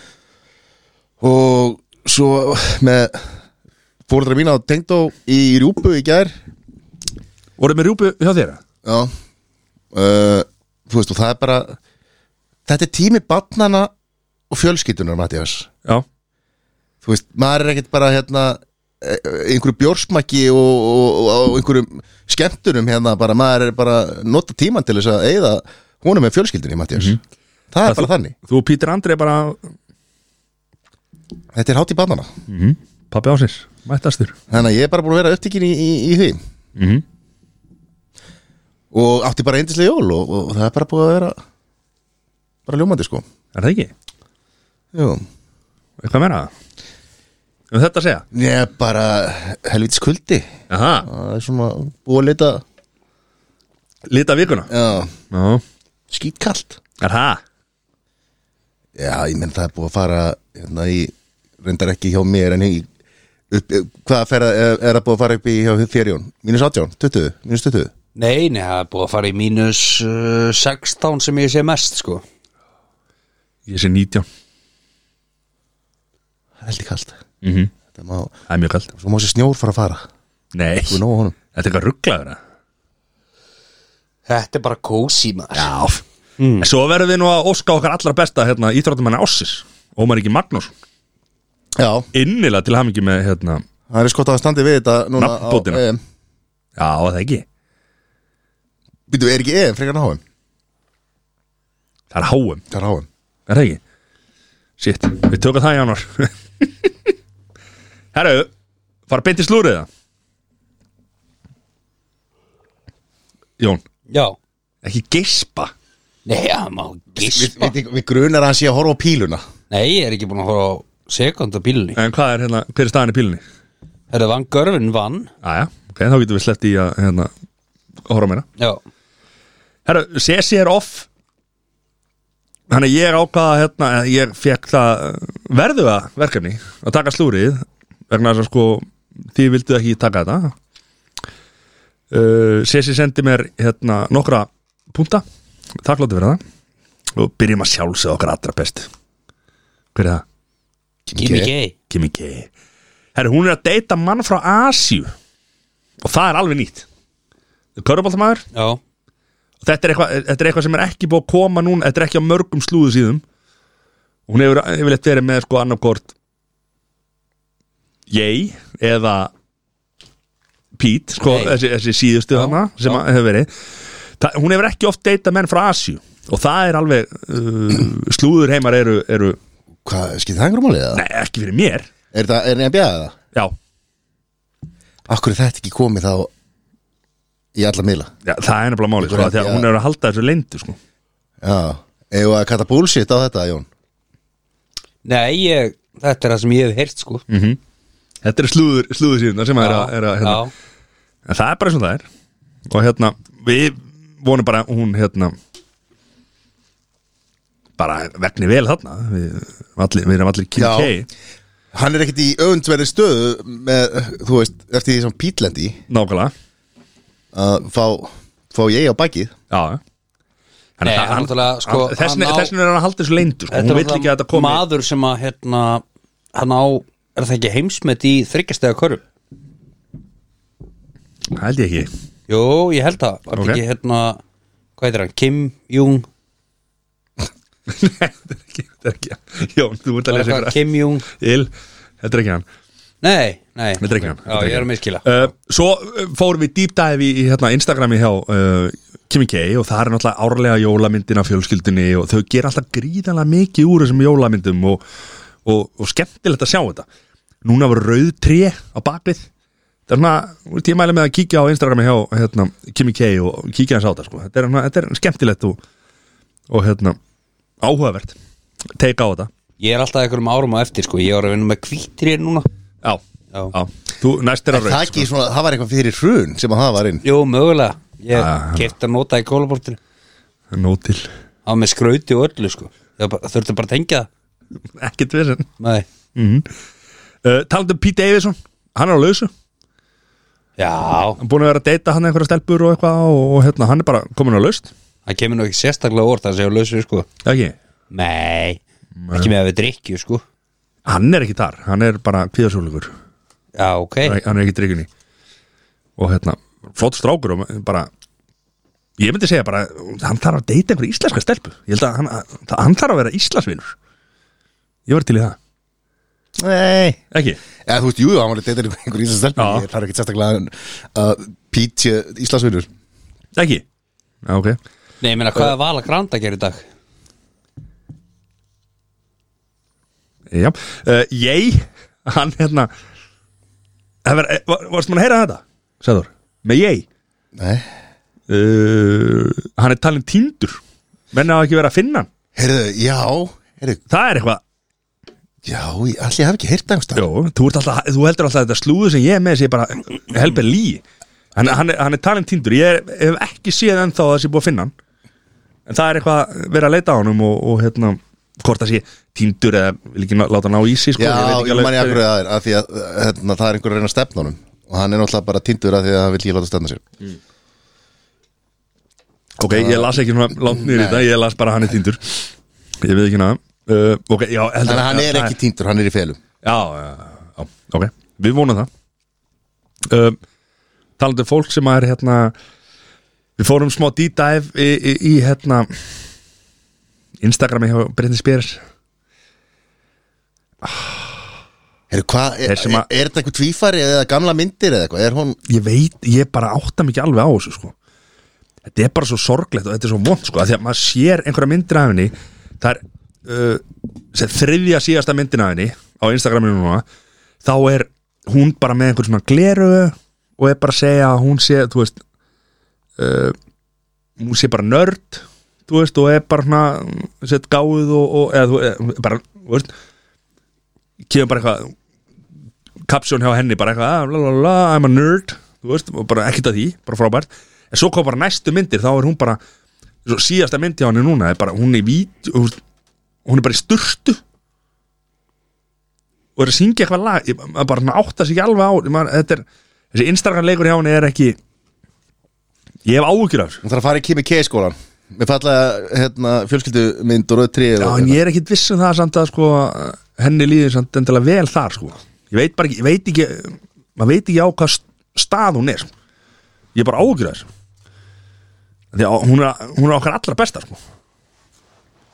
Speaker 2: og svo með fórhaldra mína á tengd á í rjúpu í gær
Speaker 1: Voruð með rjúpu hjá þér?
Speaker 2: Já uh, Þú veist, og það er bara Þetta er tími barnana og fjölskyldunar, Mattias
Speaker 1: Já,
Speaker 2: Þú veist, maður er ekkert bara hérna eh, einhverju bjórsmakki og, og, og, og einhverjum skemmtunum hérna bara, maður er bara að nota tíman til þess að eigða honum með fjölskyldunni, Mattias Það er bara þannig,
Speaker 1: þú og Pítur Andri bara
Speaker 2: þetta er hátt í barnana
Speaker 1: Pappi ásins, Mhm. mættastur
Speaker 2: Þannig að ég er bara búin að vera upptíkin í, í, í því
Speaker 1: mm -hmm.
Speaker 2: og átti bara eindislega jól og, og það er bara búin að vera bara ljómandi sko
Speaker 1: Er það ekki?
Speaker 2: Jú.
Speaker 1: Eitthvað meira? Um þetta að segja?
Speaker 2: Ég er bara helvitis kuldi
Speaker 1: Aha,
Speaker 2: Það er svona búið að lita
Speaker 1: lita vikuna
Speaker 2: Já,
Speaker 1: Já,
Speaker 2: skítkallt
Speaker 1: er það?
Speaker 2: Já, ég menn það er búið að fara hérna í, reyndar ekki hjá mér en í, upp, hvað ferða, er, er það búið að fara upp í hjá þér Jón? Mínus 18, 20, mínus 20
Speaker 3: Nei, nei, það er búið að fara í mínus uh, 16 sem ég sé mest sko
Speaker 1: Ég sé 19
Speaker 2: Það er heldur kallt
Speaker 1: mm
Speaker 2: Þetta má,
Speaker 1: Það er mjög kald
Speaker 2: svo má sér snjór fara að fara
Speaker 1: Nei,
Speaker 2: Þú er
Speaker 1: þetta
Speaker 2: nóg á honum
Speaker 1: er eitthvað rugglaður
Speaker 3: Þetta er bara kósi maður
Speaker 1: Já mm. Svo verðum við nú að óska okkar allra besta hérna, íþróttumanna ásins Ómar Ríki Magnús
Speaker 2: Já,
Speaker 1: Innilega til hamingi með hérna,
Speaker 2: Það er skott að það standi við þetta núna á E
Speaker 1: Nafnbótina.
Speaker 2: EM.
Speaker 1: Já, það ekki
Speaker 2: Býtu, er ekki EM frekar en HM?
Speaker 1: Það er háum,
Speaker 2: Það er HM
Speaker 1: það er ekki Shit, við tökum það í januar *laughs* Herru, fara beint í slúrið það Jón,
Speaker 3: Já
Speaker 1: ekki geispa
Speaker 3: Nei, já, má
Speaker 2: Við,
Speaker 3: gispa
Speaker 2: við, við, við grunar að hann sé að horfa á píluna
Speaker 3: Nei, ég er ekki búin að horfa á sekund á bílunni
Speaker 1: En hvað er hérna, hver er staðan í pílunni?
Speaker 3: Herra, vann Görfin vann
Speaker 1: Æja, ok, þá getum við sleppt í að hérna, horfa meira
Speaker 3: Já,
Speaker 1: Herra, Sesi er off Þannig að ég ákvaða hérna, eða ég fekk það eh, verðuga verkefni að taka slúrið vegna þess að sko þið vildu ekki taka þetta uh, Sesi sendi mér hérna nokkra punta þakkláttu fyrir það og byrjum að sjálfsög okkar allra best Hver er það?
Speaker 3: Kimi Gay
Speaker 1: Kimi K Herra, hún er að deyta mann frá Asíu og það er alveg nýtt Köruboltamaður
Speaker 3: Já,
Speaker 1: og þetta er eitthvað þetta er eitthvað sem er ekki búið að koma núna þetta er ekki á mörgum slúðu síðum hún hefur yfirleitt verið með sko annarkort ég eða Pete sko,
Speaker 3: Nei.
Speaker 1: þessi, þessi síðustu þarna sem að hefur verið Þa, hún hefur ekki oft deyta menn frá Asju og það er alveg uh, slúður heimar eru, eru
Speaker 2: Hvað, skiptir það einhverjum málið það?
Speaker 1: nei, ekki fyrir mér
Speaker 2: Er það, er NBA eða?
Speaker 1: já,
Speaker 2: Akkur er þetta ekki komið þá í alla miðla?
Speaker 1: já það er nefnilega máli sko,
Speaker 2: Einhver
Speaker 1: af því að
Speaker 2: NBA.
Speaker 1: hún er að halda þessu leyndu sko.
Speaker 2: Já Eða að kalla bullshit á þetta, Jón
Speaker 3: nei, ég, þetta er það sem ég hef heyrt sko
Speaker 1: Mm. þetta er slúður, slúður síðan sem er að, er að hérna,
Speaker 3: já.
Speaker 1: En það er bara eins og það er Og hérna, við vonum bara að hún hérna bara vegni vel þarna Við, allir, við erum allir Kim
Speaker 2: Já.
Speaker 1: K
Speaker 2: Hann er ekkit í öfundsverði stöðu með, þú veist, eftir því sem pítlendi
Speaker 1: Nákvæmlega
Speaker 2: að fá, fá ég á bakið
Speaker 1: Já Þannig
Speaker 3: Nei,
Speaker 1: að
Speaker 3: hann náttúrulega, sko,
Speaker 1: hann- þess
Speaker 3: hann
Speaker 1: vegna-
Speaker 3: á-
Speaker 1: Þess vegna er hann að halda þessu leyndu sko.
Speaker 3: Þetta
Speaker 1: Hún
Speaker 3: er
Speaker 1: vill ekki að þetta komi
Speaker 3: maður sem að hérna, hann á, er það ekki heimsmet í þryggjastega körfum?
Speaker 1: Það held ég ekki *laughs*
Speaker 3: Jú, ég held það,
Speaker 1: Ok.
Speaker 3: var okay. ekki hérna hvað heitir hann, Kim Jung
Speaker 1: Nei, þetta er ekki, þetta er ekki Jón, þú ert að
Speaker 3: Var
Speaker 1: lesa
Speaker 3: eitthvað
Speaker 1: ykkur
Speaker 3: Kim Jung,
Speaker 1: Il, þetta er ekki hann
Speaker 3: nei, nei
Speaker 1: Þetta er ekki hann þetta
Speaker 3: Já, ég
Speaker 1: ekki
Speaker 3: er að
Speaker 1: hann.
Speaker 3: miskila
Speaker 1: Uh, Svo uh, fórum við deep dive í, í hérna, Instagrami hjá uh, Kimi K og það er náttúrulega árlega jólamyndin af fjölskyldinni og þau gera alltaf gríðanlega mikið úr þessum jólamyndum og, og, og skemmtilegt að sjá þetta Núna var rauð tré á bakvið Það er svona, ég mæli með að kíkja á Instagrami hjá hérna, Kimi K og kíkja hans á þetta sko. þetta, er, hérna- þetta er skemmtilegt og, og hérna, áhugavert teika á þetta
Speaker 3: Ég er alltaf einhverjum árum á eftir, sko, ég var að vinna með kvítri núna
Speaker 1: Já,
Speaker 3: Já.
Speaker 1: já. þú næst er að
Speaker 2: Það,
Speaker 1: rauð sko.
Speaker 2: ekki, svona, það var eitthvað fyrir hrun sem að það var inn
Speaker 3: Jú, mögulega, ég
Speaker 1: Ah.
Speaker 3: kefti að nota í kólabortinu
Speaker 1: sko. Nó til,
Speaker 3: á með skrauti og öllu, sko Ég var bara- þurfti bara að tengja það
Speaker 1: ekkert við sem
Speaker 3: Nei,
Speaker 1: Uh, talandi um Pete Davidson, hann er á lausu hann
Speaker 3: já,
Speaker 1: er búin að vera að deyta hann einhverja stelpur og eitthvað og, og hérna, hann er bara komin á laust
Speaker 3: það kemur nú ekki sérstaklega orð það séu lausur, sko
Speaker 1: ekki,
Speaker 3: Nei, ekki með að við drikkju, sko
Speaker 1: hann er ekki þar hann er bara kvíðasjólugur
Speaker 3: Já, ok,
Speaker 1: hann er ekki drikjunni og hérna, flott strákur og bara ég myndi segja bara hann þarf að deyta einhverja íslenska stelpu ég held að hann, að, hann þarf að vera íslensvinur ég var til í það
Speaker 2: Nei
Speaker 1: ekki,
Speaker 2: Já, þú veist, jú, hann var leitt eitthvað einhver íslensk stelpun
Speaker 1: Já.
Speaker 2: Ég þarf ekki sérstaklega að- að Pete sé Íslandsvinnur
Speaker 1: ekki já, ok,
Speaker 3: nei, ég meina, hvað er Vala Granda að gera í dag?
Speaker 1: já uh, ég, hann hérna það eh, var, var, varst maður að heyra þetta? Sæður, með ég
Speaker 2: Nei
Speaker 1: uh, hann er talin týndur menn hafa ekki verið að finna hann
Speaker 2: Heyrðu, já, heyrðu,
Speaker 1: það er eitthvað,
Speaker 2: já, ég- allir ég hef ekki heyrt það einhvers staðar.
Speaker 1: Jó, þú, ert alltaf, þú heldur alltaf að þetta slúðu sem ég er með sé bara helber lí hann, hann, er- hann er talin týndur, ég er, hef ekki séð ennþá að þessi búið að finna hann en það er eitthvað verið að leita á honum og, og hérna, hvort það sé týndur eða vil ekki ná- láta hann á ísi sko,
Speaker 2: Já,
Speaker 1: veit
Speaker 2: ég,
Speaker 1: ekki
Speaker 2: ég
Speaker 1: alveg
Speaker 2: manni akkur
Speaker 1: hverju-
Speaker 2: það er af því að hérna, það er einhver að reyna að stefna honum og hann er náttúrulega bara tindur af því að hann vil ekki láta stefna sér
Speaker 1: Ok, ég las ekki svona langt niður í þetta, ég las bara að hann er týndur ég veit ekki naða uh, okay, já, heldur-
Speaker 2: Þannig að hann
Speaker 1: já,
Speaker 2: er
Speaker 1: það-
Speaker 2: ekki tindur, hann er í felum
Speaker 1: Já, já, já, ok Við vonum það um, Talandi um fólk sem er hérna Við fórum smá deep dive í, í, í hérna Instagrami hjá Bryndi Spyrir
Speaker 2: Heru, hvað, er,
Speaker 1: Þeir sem að-
Speaker 2: er, er þetta eitthvað tvífari eða gamla myndir eða eitthvað? Er hún,
Speaker 1: ég veit, ég bara átta mikið alveg á þessu sko. þetta er bara svo sorglegt og þetta er svo vond sko, af því að maður sér einhverja myndir af henni það er uh, sem þriðja síðasta myndin af henni á Instagraminu núna þá er hún bara með einhvern svona gleru og er bara að segja að hún sé þú veist uh, hún sé bara nörd þú veist, og er bara svona sett gáð og, og eða, þú- eða, bara, þú veist kemur bara eitthvað kapsjón hjá henni bara eitthvað ah, la, la, la, I'm a nerd þú veist, og bara ekkert að því, bara frábært en svo kom bara næstu myndir, þá er hún bara svo síðasta myndi á henni núna er bara, hún er vít hún hún er bara í sturtu og er að syngja eitthvað lag ég, maður bara svona áttar sig ekki alveg á ég maður, þetta er, þessi Instagram leikur hjá henni er ekki ég hef áhyggjur af þessu
Speaker 2: hún þarf að fara í Kimi K sko, skólan Mér falla hérna, fjölskyldumynd og rauð trið
Speaker 1: Já, en ég er ekkit viss um það samt að sko, henni líður samt endilega vel þar sko. ég veit bara ekki, ég veit ekki maður veit ekki á hvað st- stað hún er sko. ég er bara ágjur þess því að hún er, hún er okkar allra besta sko.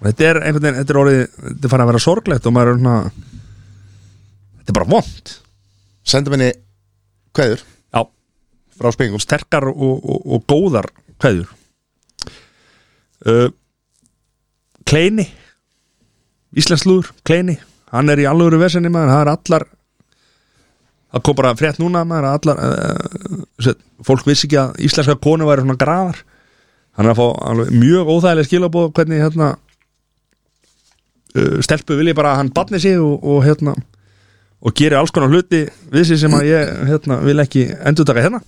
Speaker 1: Og þetta er einhvern veginn, þetta er orðið þetta er farið að vera sorglegt og maður er svona þetta er bara vond
Speaker 2: Sendum henni kveður
Speaker 1: já,
Speaker 2: frá spengum
Speaker 1: sterkar og, og, og góðar kveðjur uh, Kleini Íslandslúður, Kleini hann er í alvöru vesenni maður, það er allar það kom bara frétt núna maður, að allar uh, set, fólk vissi ekki að íslenska konu væri svona grafar hann er að fá alveg, mjög óþægileg skilabóð hvernig hérna uh, stelpu vilji bara að hann barni sig og, og hérna og gerir alls konar hluti við sig sem að ég hérna, vil ekki endurtaka hérna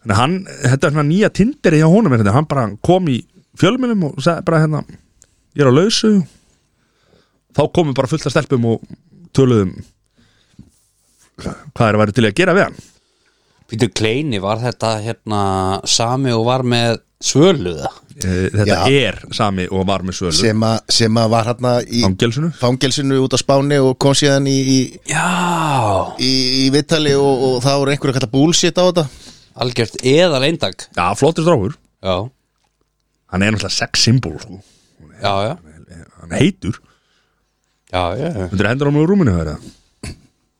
Speaker 1: Þannig að hann, þetta er svona nýja tinderi hjá honum einhvern veginn. hann bara kom í fjölmjölum og sagði bara hérna ég er á lausu þá komum bara fullt af stelpum og töluðum hvað er að vera til í að gera við hann
Speaker 3: Pítur Kleini, var þetta hérna sami og var með svöluða?
Speaker 1: Eh, þetta
Speaker 2: Já.
Speaker 1: er sami og var með sölu
Speaker 2: sem, að- sem að var hérna í
Speaker 1: angelsinu
Speaker 2: fangelsinu út á Spáni og kom síðan í, í,
Speaker 3: Já,
Speaker 2: í, í Vittali og, og það voru einhverju að kalla bullshit á þetta
Speaker 3: algjört eða leindag
Speaker 1: já, flottur strákur,
Speaker 3: Já,
Speaker 1: hann er náttúrulega sex symbol sko. Eh,
Speaker 3: já, já,
Speaker 1: hann er heitur,
Speaker 3: já, já.
Speaker 1: hundur hendur á mjög rúminu verið það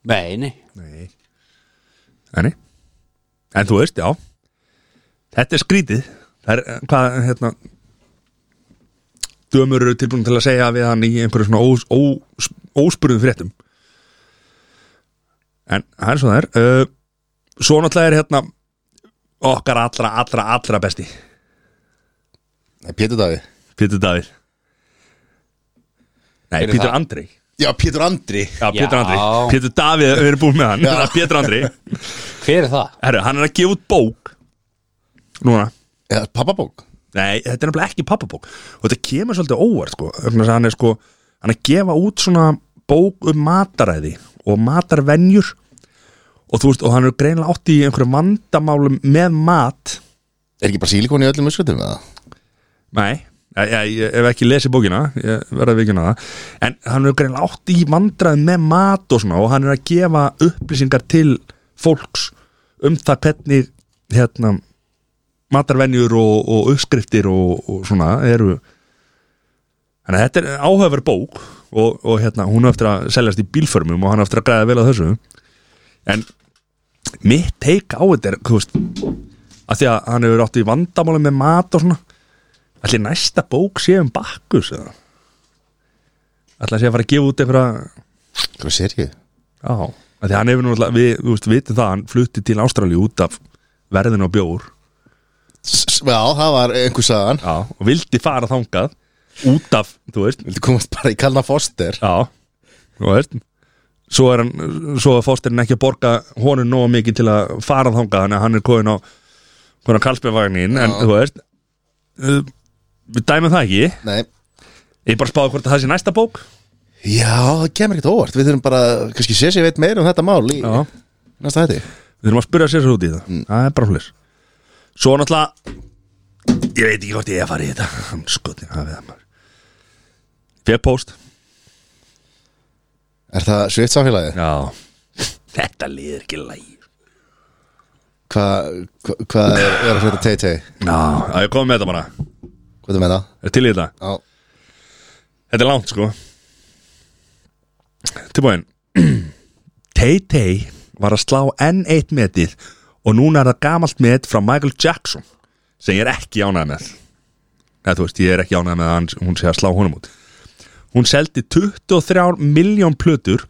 Speaker 3: Nei, nei,
Speaker 1: Nei Nei En þú veist, já Þetta er skrítið Það er, eh, hvað, hérna Dömur eru tilbúin til að segja við hann í einhverju svona ós, ós, óspurðum fréttum En það er svo það er uh, Svo náttúrulega er hérna okkar allra, allra, allra besti
Speaker 2: Nei, Pétur Davi
Speaker 1: Pétur Davíð Nei,
Speaker 3: Hver er
Speaker 1: Pétur
Speaker 3: það?
Speaker 1: Andri
Speaker 2: Já, Pétur Andri
Speaker 1: Já, Pétur
Speaker 3: Já.
Speaker 1: Andri Pétur Davíð, við erum búin með hann
Speaker 2: Já.
Speaker 1: Pétur Andri
Speaker 3: hver er það?
Speaker 1: Herru, hann er að gefa út bók Núna
Speaker 2: Já, pappabók
Speaker 1: Nei, þetta er nefnilega ekki pappabók Og þetta kemur svolítið óvart sko Þannig að hann er sko Hann er að gefa út svona bók um mataræði Og matarvenjur Og þú veist, og hann er greinilega átt í einhverjum vandamálum með mat
Speaker 2: Er ekki bara sílikon í öllum muskvöldum eða?
Speaker 1: Nei, ég, ég, ég hef ekki lesið bókina Ég verða að vikina það En hann er greinilega átt í vandræði með mat og svona Og hann er að gefa upplýsingar til fólks Um það hvernig hérna matarvenjur og, og uppskriftir og, og svona eru Þannig að þetta er áhefur bók og, og hérna, hún er eftir að seljast í bílförmum og hann er eftir að græða vel á þessu en mitt teik á þetta er, þú veist að því að hann hefur átt í vandamáli með mat og svona Allir næsta bók sé um Bakkus eða Allir sé að fara að gefa út einhverja
Speaker 2: Hvað sér ég?
Speaker 1: Já, af því hann hefur nú alltaf við, við vitum það, hann flutti til Ástralíu út af verðin og bjór
Speaker 2: Já, það var einhver sagan
Speaker 1: Já, og vildi fara þangað út af, þú veist
Speaker 2: Vildu komast bara í Kalna Foster
Speaker 1: Já, þú veist Svo er hann, svo er fósterinn ekki að borga honum nóg mikið til að fara þangað þannig að hann er komin á komin á Karlsbjörnvagnin, en þú veist uh, við dæmum það ekki
Speaker 2: Nei
Speaker 1: ég bara spáði hvort að það sé næsta bók
Speaker 2: Já, það kemur ekkert á óvart Við þurfum bara, kannski sér sér veit meira um þetta mál í
Speaker 1: Já
Speaker 2: næsta hætti
Speaker 1: Við þurfum að spyrja sér svo út í það Það er bara hlis Mm. Svo náttúrulega Ég veit ekki hvort ég er að fara í þetta *laughs* Hann skoði að við það maður Fér post
Speaker 2: Er það svitt samfélagið?
Speaker 1: Já Þetta liður ekki lægi
Speaker 2: Hvað hva, hva er, er að frétta TT?
Speaker 1: Já, já ég kom með þetta bara
Speaker 2: Hvað er með það?
Speaker 1: Er til í þetta
Speaker 2: Já,
Speaker 1: Þetta er langt sko Tilbúin *clears throat* Tay-Tay var að slá enn eitt metið og núna er það gamalt met frá Michael Jackson sem ég er ekki ánægð með eða þú veist, ég er ekki ánægð með að hann, hún sé að slá honum út hún seldi 23 miljón plötur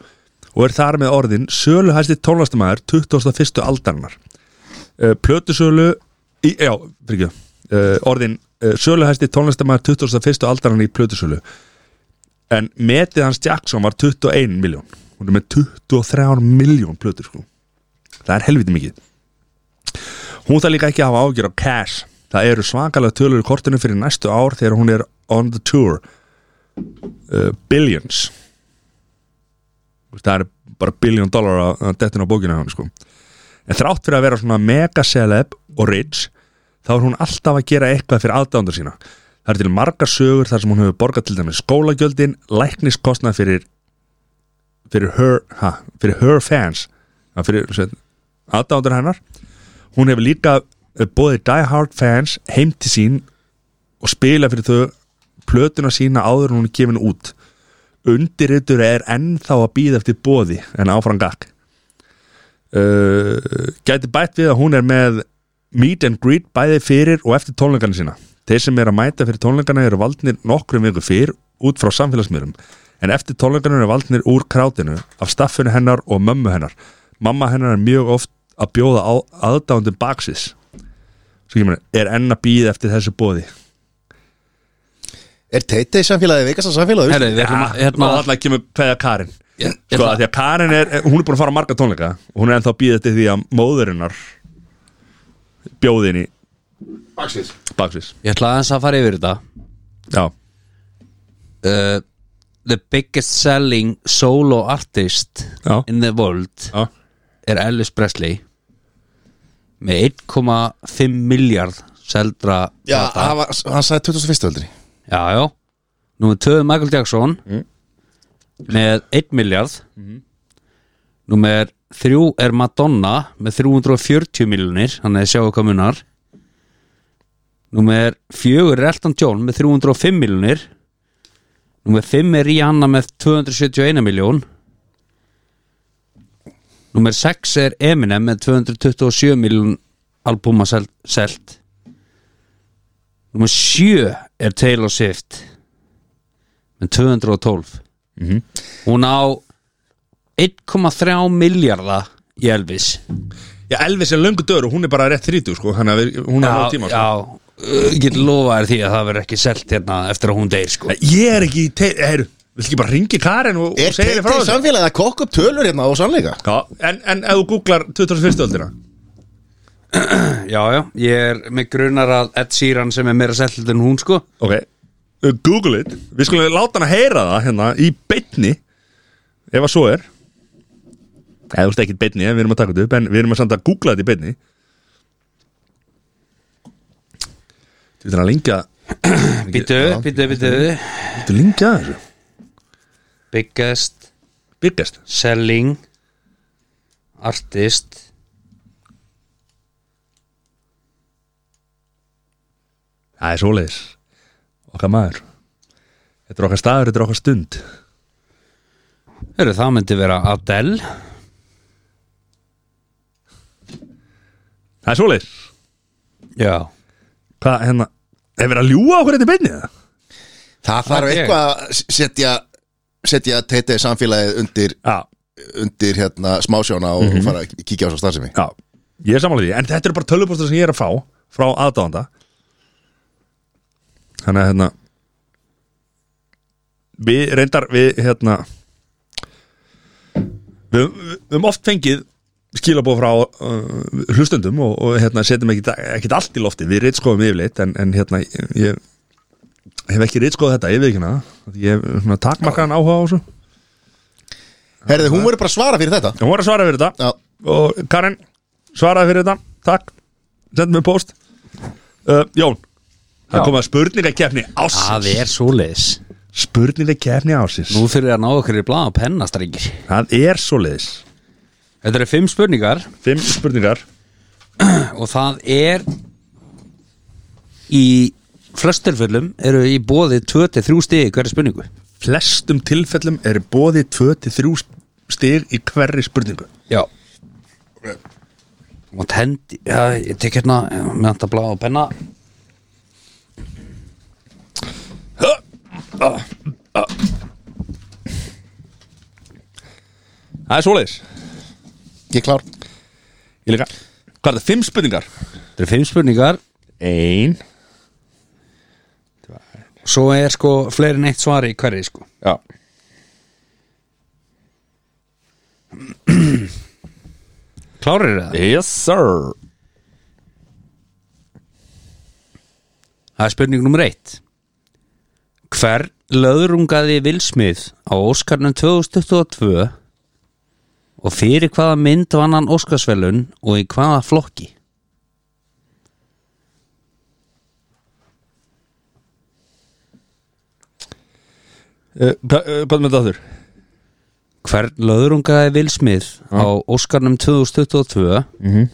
Speaker 1: og er þar með orðin söluhæsti tónlastamæður 21. aldarinnar Eh, plötusölu í, já, fyrir uh, orðin uh, söluhæsti tónlistamæður 21. aldarinnar í plötusölu en metið hans Jackson var 21 miljón hún er með 23 miljón plötur sko. það er helviti mikið hún þarf líka ekki að hafa ágjör á cash það eru svakalega tölur í kortinu fyrir næstu ár þegar hún er on the tour uh, billions Þú veist, það er bara billion dollar að- að dettin á bókinu hann sko En þrátt fyrir að vera svona mega celeb og rich þá er hún alltaf að gera eitthvað fyrir aðdándur sína. Það er til margar sögur þar sem hún hefur borgað til dæmis skólagjöldin, lækniskostnað fyrir fyrir her, ha, fyrir her fans að fyrir aðdándur hennar hún hefur líka bóðið diehard fans heim til sín og spila fyrir þau plötuna sína áður en hún er gefin út undirritur er ennþá að býða eftir bóði en áfram gakk uh, gæti bætt við að hún er með meet and greet bæði fyrir og eftir tónleikana sína þeir sem er að mæta fyrir tónleikana eru valdnir nokkrum viku fyrr út frá samfélagsmiðlum en eftir tónleikana eru valdnir úr krátinu af staffinu hennar og mömmu hennar mamma hennar er mjög oft að bjóða á, aðdándum baksis svo kemur er enn að býða eftir þessu bóði
Speaker 2: Er Teitei samfélagið veikast að samfélagið?
Speaker 3: Herri, við ætlum
Speaker 1: ja,
Speaker 3: að hérna,
Speaker 1: og alltaf kemur kveða Karin
Speaker 3: ég, ég
Speaker 1: sko
Speaker 3: ætla-
Speaker 1: að því að Karin er, hún er búin að fara á marga tónleika og hún er ennþá að býða eftir því að móðurinnar bjóðin í
Speaker 2: Axis
Speaker 1: baksvís
Speaker 3: ég ætla aðeins að fara yfir þetta
Speaker 1: Já,
Speaker 3: uh, The biggest selling solo artist
Speaker 1: já,
Speaker 3: in the world
Speaker 1: já,
Speaker 3: er Elvis Presley með 1,5 miljard seldra
Speaker 2: Já,
Speaker 3: plata.
Speaker 2: hann, var, hann sagði 2001. öldri
Speaker 3: Já, já Númer 2 Michael Jackson með 1 miljard Númer 3 er Madonna með 340 miljonir þannig að sjáu hvað munar Númer 4 er Elton John með 305 miljonir Númer 5 er Rihanna með 271 miljón Númer 6 er Eminem með 227 miljón albúma selt, selt. Númer 7 er Taylor Swift með 212
Speaker 1: Mhm.
Speaker 3: Hún á 1,3 miljarda í Elvis
Speaker 1: já Elvis er löngu dör og hún er bara rétt 30 sko, þannig að við- hún er á tíma sko.
Speaker 3: já uh, Ég get lofa þér því að það verður ekki selt hérna eftir að hún deyr sko
Speaker 1: Ég er ekki, te- heyru, vil ekki bara ringi Karin og, og
Speaker 2: Er
Speaker 1: segja henni frá
Speaker 2: Teitei
Speaker 1: þessu
Speaker 2: samfélagið að kokka upp tölur hérna á sannleika?
Speaker 1: Já, en, en ef þú googlar 2001. öldina
Speaker 3: Já, já, ég er með grunar að Ed Sheeran sem er meira selt en hún sko
Speaker 1: Ok, uh, google it Við skulum láta hann að heyra það hérna í beinni Ef að svo er Eða þú veist ekki beinni, en við erum að taka þetta upp En við erum að samt að googla þetta í beinni Þú veit að lengja
Speaker 3: Býtu, býtu, býtu
Speaker 1: Þú lengja þessu
Speaker 3: Biggest
Speaker 1: Byrgast
Speaker 3: selling artist
Speaker 1: Það er svoleiðis Okkar maður Þetta er okkar staður, þetta er okkar stund
Speaker 3: Hörru, það myndi vera Adele
Speaker 1: Það er svoleiðis
Speaker 3: Já
Speaker 1: Hvað, hérna Er verið að ljúga okkur þetta í beinni það?
Speaker 2: Það þarf
Speaker 3: ég.
Speaker 2: eitthvað að setja setja Teitei samfélagið undir
Speaker 1: Já,
Speaker 2: undir hérna smásjóna og fara að kíkja á svo starfsemi
Speaker 1: já Ég er samanlega því En þetta eru bara tölvupostur sem ég er að fá Frá aðdáðanda Þannig að hérna Við reyndar Við hérna Við við- við höfum oft fengið skilabóð frá uh, hlustendum og, og hérna setjum ekkit, ekkit allt í lofti við reytskóðum yfirleitt en, en hérna ég, ég hef ekki reytskóð þetta yfir ekki hana ég hef svona takmarkaðan áhuga á þessu
Speaker 2: Herði, hún verður bara að svara fyrir þetta
Speaker 1: Hún var að svara fyrir þetta
Speaker 2: Já,
Speaker 1: og Karin svaraði fyrir þetta, takk sendum við post uh, Jón, það
Speaker 3: Já.
Speaker 1: kom að spurningakefni
Speaker 3: Það
Speaker 1: ásins
Speaker 3: er svoleiðis
Speaker 1: spurningakefni ásins
Speaker 3: Nú fyrir að ná okkur í blaða pennastrengir
Speaker 1: það er svoleiðis,
Speaker 3: Þetta eru fimm spurningar
Speaker 1: fimm spurningar
Speaker 3: og það er í flösturföllum eru í bóði 2-3 stigi hverja spurningu
Speaker 1: flestum tilfellum er bóði 2-3 stig í hverri spurningu
Speaker 3: Já Og tendi, já, ég tek hérna með þetta blá og penna
Speaker 1: Það er svoleiðis,
Speaker 2: Ég er klár
Speaker 1: ég líka Hvað er það, fimm spurningar?
Speaker 3: Þetta er fimm spurningar
Speaker 1: Ein
Speaker 3: Svo er sko fleiri en eitt svari í hverri sko
Speaker 1: Já
Speaker 3: Klárir það?
Speaker 1: Yes sir
Speaker 3: Það er spurning nummer eitt Hver löðrungaði Vilsmið á Óskarnum 2022 og fyrir hvaða mynd vann hann Óskarsvelun og í hvaða flokki?
Speaker 1: uh, hva- uh, Hvað með þetta þurr?
Speaker 3: Hver löðrungaði Vilsmið á Óskarnum 2022
Speaker 1: Mhm.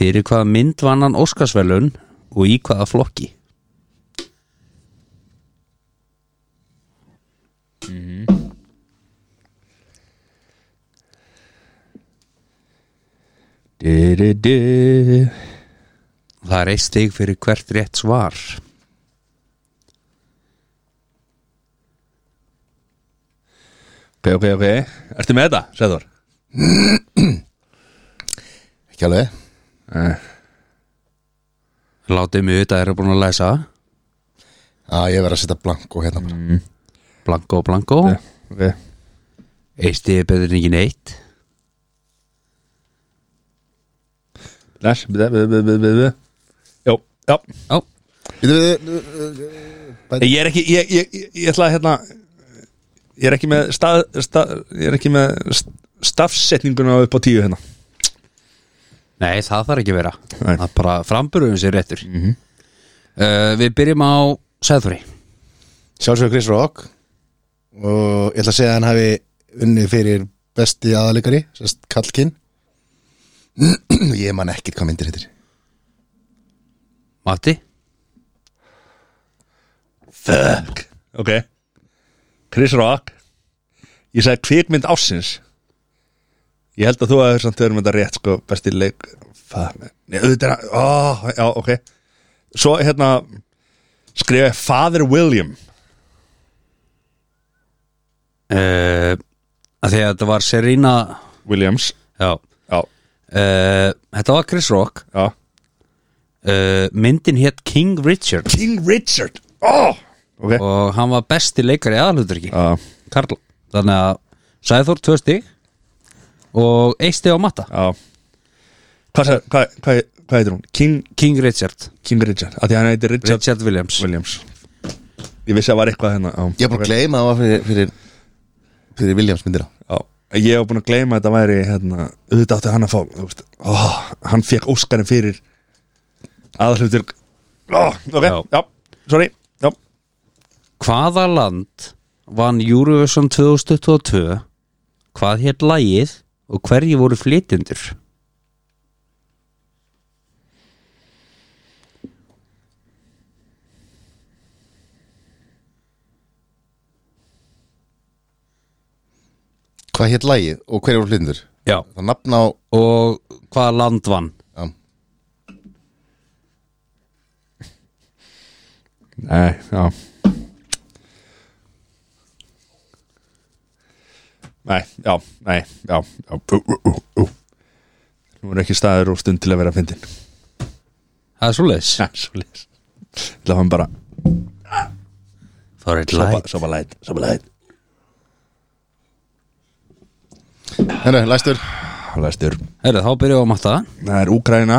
Speaker 3: fyrir hvaða mynd vann hann Óskarsvelun og í hvaða flokki?
Speaker 1: Mhm. Du-du-du
Speaker 3: Það er eitt stig fyrir hvert rétt svar
Speaker 1: Ok, ok, ok Ertu með þetta, Sæður?
Speaker 2: Ekki alveg
Speaker 3: Látið mig auðvitað eru búin að læsa
Speaker 2: Já, ég verð að setja blanko hérna bara
Speaker 3: Blanko, blanko
Speaker 1: Eh, Okay.
Speaker 3: Eitt stig er betur en ekki neitt
Speaker 1: Læs, bæ, bæ, bæ, bæ, bæ, bæ. Jó, já
Speaker 3: Já,
Speaker 2: Býtum við
Speaker 1: Ég er ekki, ég, ég, ég, ég ætla að hérna Ég er ekki með stað, stað Ég er ekki með st- stafsetninguna upp á tíu hérna
Speaker 3: Nei, það þarf ekki að vera
Speaker 1: Nei.
Speaker 3: Það er bara framburðum sér réttur uh, Við byrjum á Sæðþóri
Speaker 2: Sjálfsögur Chris Rock og ég ætla að segja að hann hafi unni fyrir besti aðalegari sérst Kallkinn *clears throat* ég man ekkert hvað myndir hittir
Speaker 3: Matti
Speaker 1: Fuck Ok Chris Rock Ég sagði kvikmynd ásins Ég held að þú að samt verðum þetta rétt sko besti leik Fuck Nei, auðvitað er að oh, Já, ok Svo hérna skrifa ég Father William
Speaker 3: uh, að Því að þetta var Serena
Speaker 1: Williams
Speaker 3: Já
Speaker 1: Já,
Speaker 3: uh, Þetta var Chris Rock
Speaker 1: já
Speaker 3: uh, Myndin hétt King Richard
Speaker 1: King Richard oh! Ok Ah.
Speaker 3: Og hann var besti leikari aðalutur ekki
Speaker 1: Já,
Speaker 3: Karl Þannig að Sæðþór tvö stig Og eitt stig á Matta
Speaker 1: já Hvað, sagði- hvað, hvað, hvað heitir hún? King,
Speaker 3: King Richard
Speaker 1: King Richard Af því hann heitir Richard,
Speaker 3: Richard Williams
Speaker 1: Williams Ég vissi að það var eitthvað hérna á,
Speaker 2: ég er bara að gleyma að það var fyrir, fyrir, fyrir Williams myndir á
Speaker 1: Já, ég hef búin að gleyma að þetta væri hérna, auðvitað átti hann að fá þú veist, ó, hann fekk Óskarinn fyrir aðhlutur ó, ok, já,
Speaker 3: Já.
Speaker 1: sorry já,
Speaker 3: Hvaða land vann Eurovision 2022 hvað hétt lagið og hverji voru flytjendur
Speaker 2: hvað hétt lagið og hverju voru hlindur
Speaker 3: Já.
Speaker 2: það nafn á
Speaker 3: og hvaða land vann
Speaker 2: já,
Speaker 1: nei, já nei, já, nei, já, já. Ú, ú, ú, ú. nú er ekki staður og stund til að vera að fyndin
Speaker 3: Það er svoleiðis
Speaker 1: já, svo leys það var hann bara
Speaker 3: Það er eitt
Speaker 1: sopa,
Speaker 3: lag
Speaker 1: sopa light, sopa light
Speaker 2: henni, læstur
Speaker 1: Læstur.
Speaker 3: Herra, þá byrjum við að matta
Speaker 1: það er Úkraina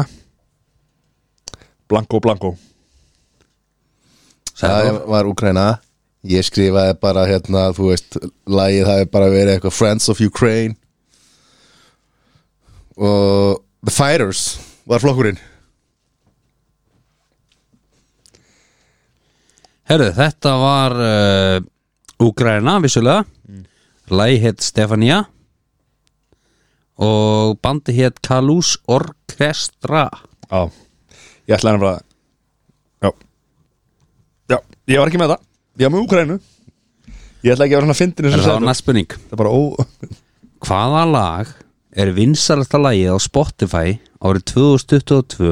Speaker 1: Blanko, Blanko
Speaker 2: það var Ukraina ég skrifaði bara hérna þú veist, lagið hafi bara verið eitthvað Friends of Ukraine og The Fighters var flokkurinn
Speaker 3: Herra, þetta var uh, Úgræna, vissulega mm. Lagi hétt Stefania og bandi hétt Kalús Orkestra
Speaker 1: Já, ég ætlaði hann bara Já Já, ég var ekki með það Ég var með Úkrænu Ég ætla ekki að vera hann að fyndin
Speaker 3: Er
Speaker 1: eins og
Speaker 3: það var
Speaker 1: sagði
Speaker 3: næst spurning
Speaker 1: Það er bara ó
Speaker 3: Hvaða lag er vinsalasta lagið á Spotify árið 2022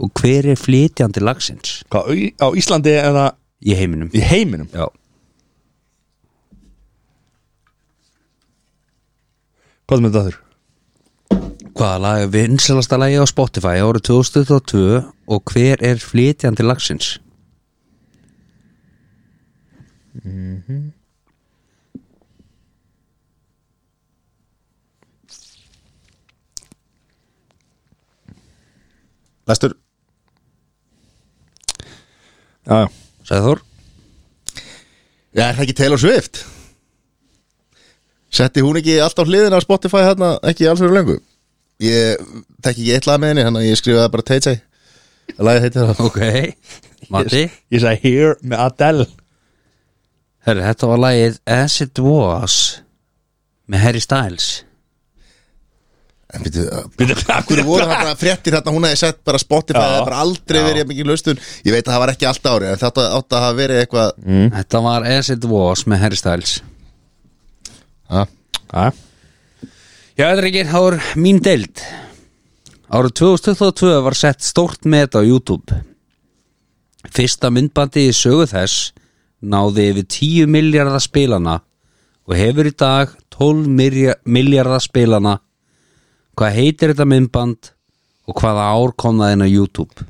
Speaker 3: og hver er flytjandi lagsins
Speaker 1: Hvað, í- á Íslandi er það
Speaker 3: í heiminum?
Speaker 1: í heiminum
Speaker 3: Já,
Speaker 1: Hvað er með þetta þurr?
Speaker 3: hvaða lag er vinsalasta lagið á Spotify árið 2022 og hver er flytjandi lagsins?
Speaker 2: Læstur
Speaker 1: Já, já
Speaker 3: Sæði Þór?
Speaker 2: Já, er það ekki Taylor Swift? Setti hún ekki allt á hliðina á Spotify hérna ekki alls fyrir lengu? Ég tekki ekki eitt lag með henni, þannig að ég skrifaði bara TJ Lagið heitir það
Speaker 3: Ok, Matti
Speaker 1: Ég sagði Here með Adele
Speaker 3: Herri, þetta var lagið As It Was með Harry Styles
Speaker 2: En býttu,
Speaker 1: Býttu, hvað-
Speaker 2: hverju voru það *laughs* bara fréttir hérna hún hefði sett bara Spotify,
Speaker 1: Já.
Speaker 2: það hefði bara aldrei verið jafn mikið laustun Ég veit að það var ekki allt árið, en þetta átti að hafa verið eitthvað
Speaker 3: Þetta var As It Was með Harry Styles
Speaker 2: Ha?
Speaker 1: Já,
Speaker 3: Já, þetta er ekki, það var mín deild Árið 2022 var sett stórt met á YouTube Fyrsta myndbandi í sögu þess náði yfir 10 miljardar spilana og hefur í dag 12 milja- miljardar spilana Hvað heitir þetta myndband og hvaða ár kom það inn á YouTube?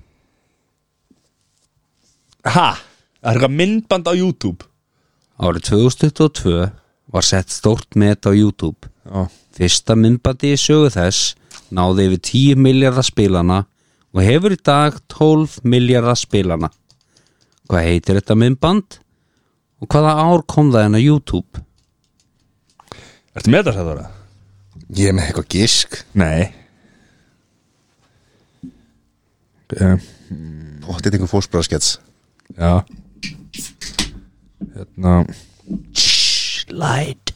Speaker 1: ha Það er eitthvað myndband á YouTube
Speaker 3: Árið 2022 var sett stórt met á YouTube.
Speaker 1: Já,
Speaker 3: Fyrsta myndbandi í sögu þess náði yfir 10 miljardar spilana og hefur í dag 12 miljardar spilana. Hvað heitir þetta myndband? Og hvaða ár kom það hennar YouTube?
Speaker 1: ertu með þetta sagði það?
Speaker 2: Ég er með eitthvað gisk
Speaker 1: Nei um,
Speaker 2: Óttið einhver fórsbráðskets
Speaker 1: Já Hérna
Speaker 3: Slide.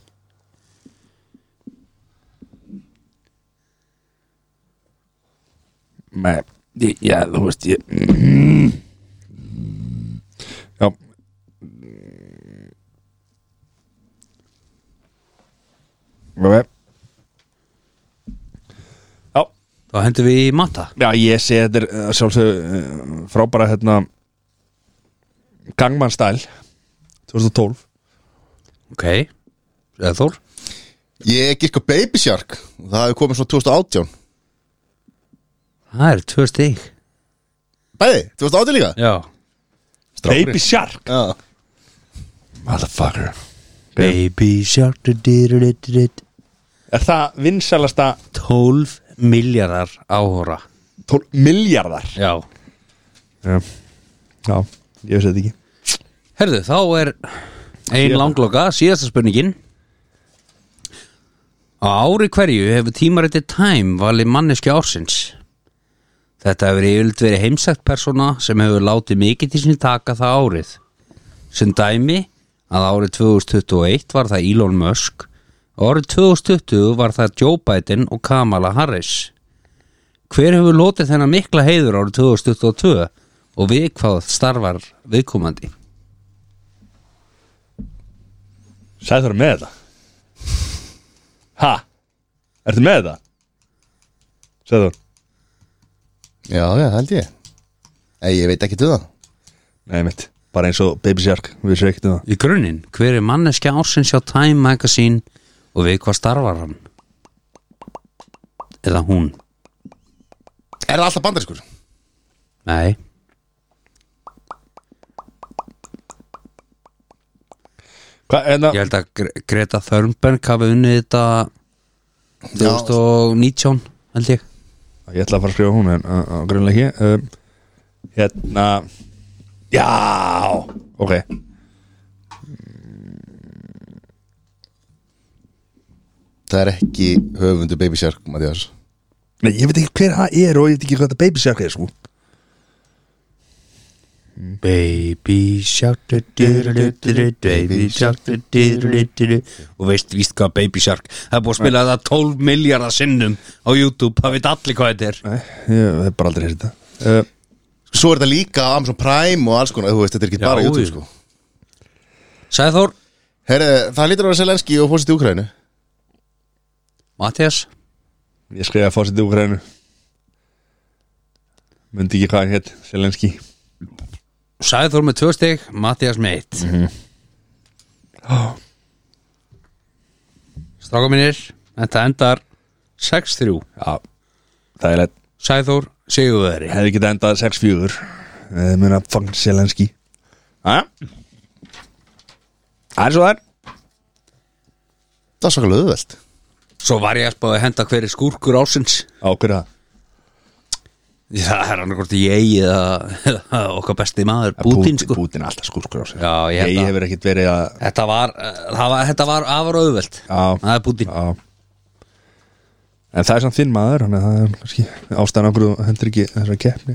Speaker 1: Nei, ég- já, þú veist ég Já Ok. Já,
Speaker 3: Þá hendur við í matta.
Speaker 1: já, ég sé þetta er uh, sjálfsög uh, frábæra hérna Gangman Style 2012
Speaker 3: Ok. Eða Þór?
Speaker 2: Ég gisk á Baby Shark, það hefði komið svona 2018
Speaker 3: Það er tvö stig.
Speaker 2: Bæði, 2018 líka?
Speaker 3: Já.
Speaker 1: Baby Shark
Speaker 2: Já
Speaker 1: Motherfucker
Speaker 3: Baby shark du- du- du- du- du- du.
Speaker 1: Er það vinsalasta
Speaker 3: 12 miljardar áhóra.
Speaker 1: 12 miljardar
Speaker 3: Já.
Speaker 1: Já, já ég veist þetta ekki
Speaker 3: Herðu, þá er ein
Speaker 1: Síðasta.
Speaker 3: langloka, síðasta spurningin Á ári hverju hefur tímariti Time valið manneski ársins Þetta hefur yfirleitt verið heimsækt persóna sem hefur látið mikið til sinni taka það árið sem dæmi að árið 2021 var það Elon Musk og árið 2020 var það Joe Biden og Kamala Harris Hver hefur lotið þennan mikla heiður árið 2022 og við hvað starfar viðkomandi?
Speaker 1: Sæður með þetta Ha? Ertu með þetta? Sæður
Speaker 2: Já, já, held ég Ei, ég veit ekki til það
Speaker 1: Nei mitt, bara eins og Baby Shark Við séum ekkert um það
Speaker 3: Í grunninn, hver er manneskja ársins hjá Time Magazine og við hvað starfar hann? Eða hún?
Speaker 2: Er það alltaf bandariskur?
Speaker 3: Nei,
Speaker 1: Hvað, hérna, en
Speaker 3: ég held að Gre- Greta Thunberg hafi unnið þetta 2019 held ég
Speaker 1: Ég ætla að fara að skrifa hún en uh, uh, grunlega ekki um, Hérna Já Ok
Speaker 2: Það er ekki höfundu Baby Shark, Mathias
Speaker 1: Nei, ég veit ekki hver það er og ég veit ekki hvað þetta Baby Shark er sko
Speaker 3: Baby shark du- du- du- du- du- du- Baby shark du- du- du- du- du- Og veist víst hvað Baby shark Það er búið að spila þetta 12 miljardar sinnum á YouTube, það veit allir hvað þetta er
Speaker 1: Nei, ég hef bara aldrei hérta uh,
Speaker 2: Svo er þetta líka á Amazon Prime og alls konar Þú veist, þetta er ekki
Speaker 3: Já,
Speaker 2: bara YouTube,
Speaker 3: jú.
Speaker 2: sko
Speaker 3: Sæður Þór
Speaker 2: Herre, það lítur að vera Selenski og fórseti Úkrænu
Speaker 3: Mattias
Speaker 1: Ég skrifaði að fórseti Úkrænu Mundi ekki hvað hann hétt Selenski
Speaker 3: Sæður með tvö stig, Mattias með eitt mm
Speaker 1: Já.
Speaker 3: Stráka mínir, þetta endar 6-3
Speaker 1: Já, það er lett
Speaker 3: Sæður, Sigurveri
Speaker 1: Hefði getað endað Ehm, 6-4 Það mun að fang Selenski Jæja Það er svo þar
Speaker 2: Það er svakalega auðvelt
Speaker 3: Svo var ég að spáði að henda hverju skúrkur ásins
Speaker 1: Á hverju það?
Speaker 3: Já, það er hann hvort ég eða eða okkar besti maður, Bútin sko
Speaker 1: Bútin alltaf skúrkur á sig
Speaker 3: Já, ég held
Speaker 1: Ég
Speaker 3: að-
Speaker 1: hefur ekkit verið að
Speaker 3: Þetta var, eh, það var, þetta var afar auðvelt
Speaker 1: Já.
Speaker 3: Það er Bútin
Speaker 1: Já En það er samt þinn maður Þannig að það er kannski ástæðan okkur og hendur ekki þessar keppni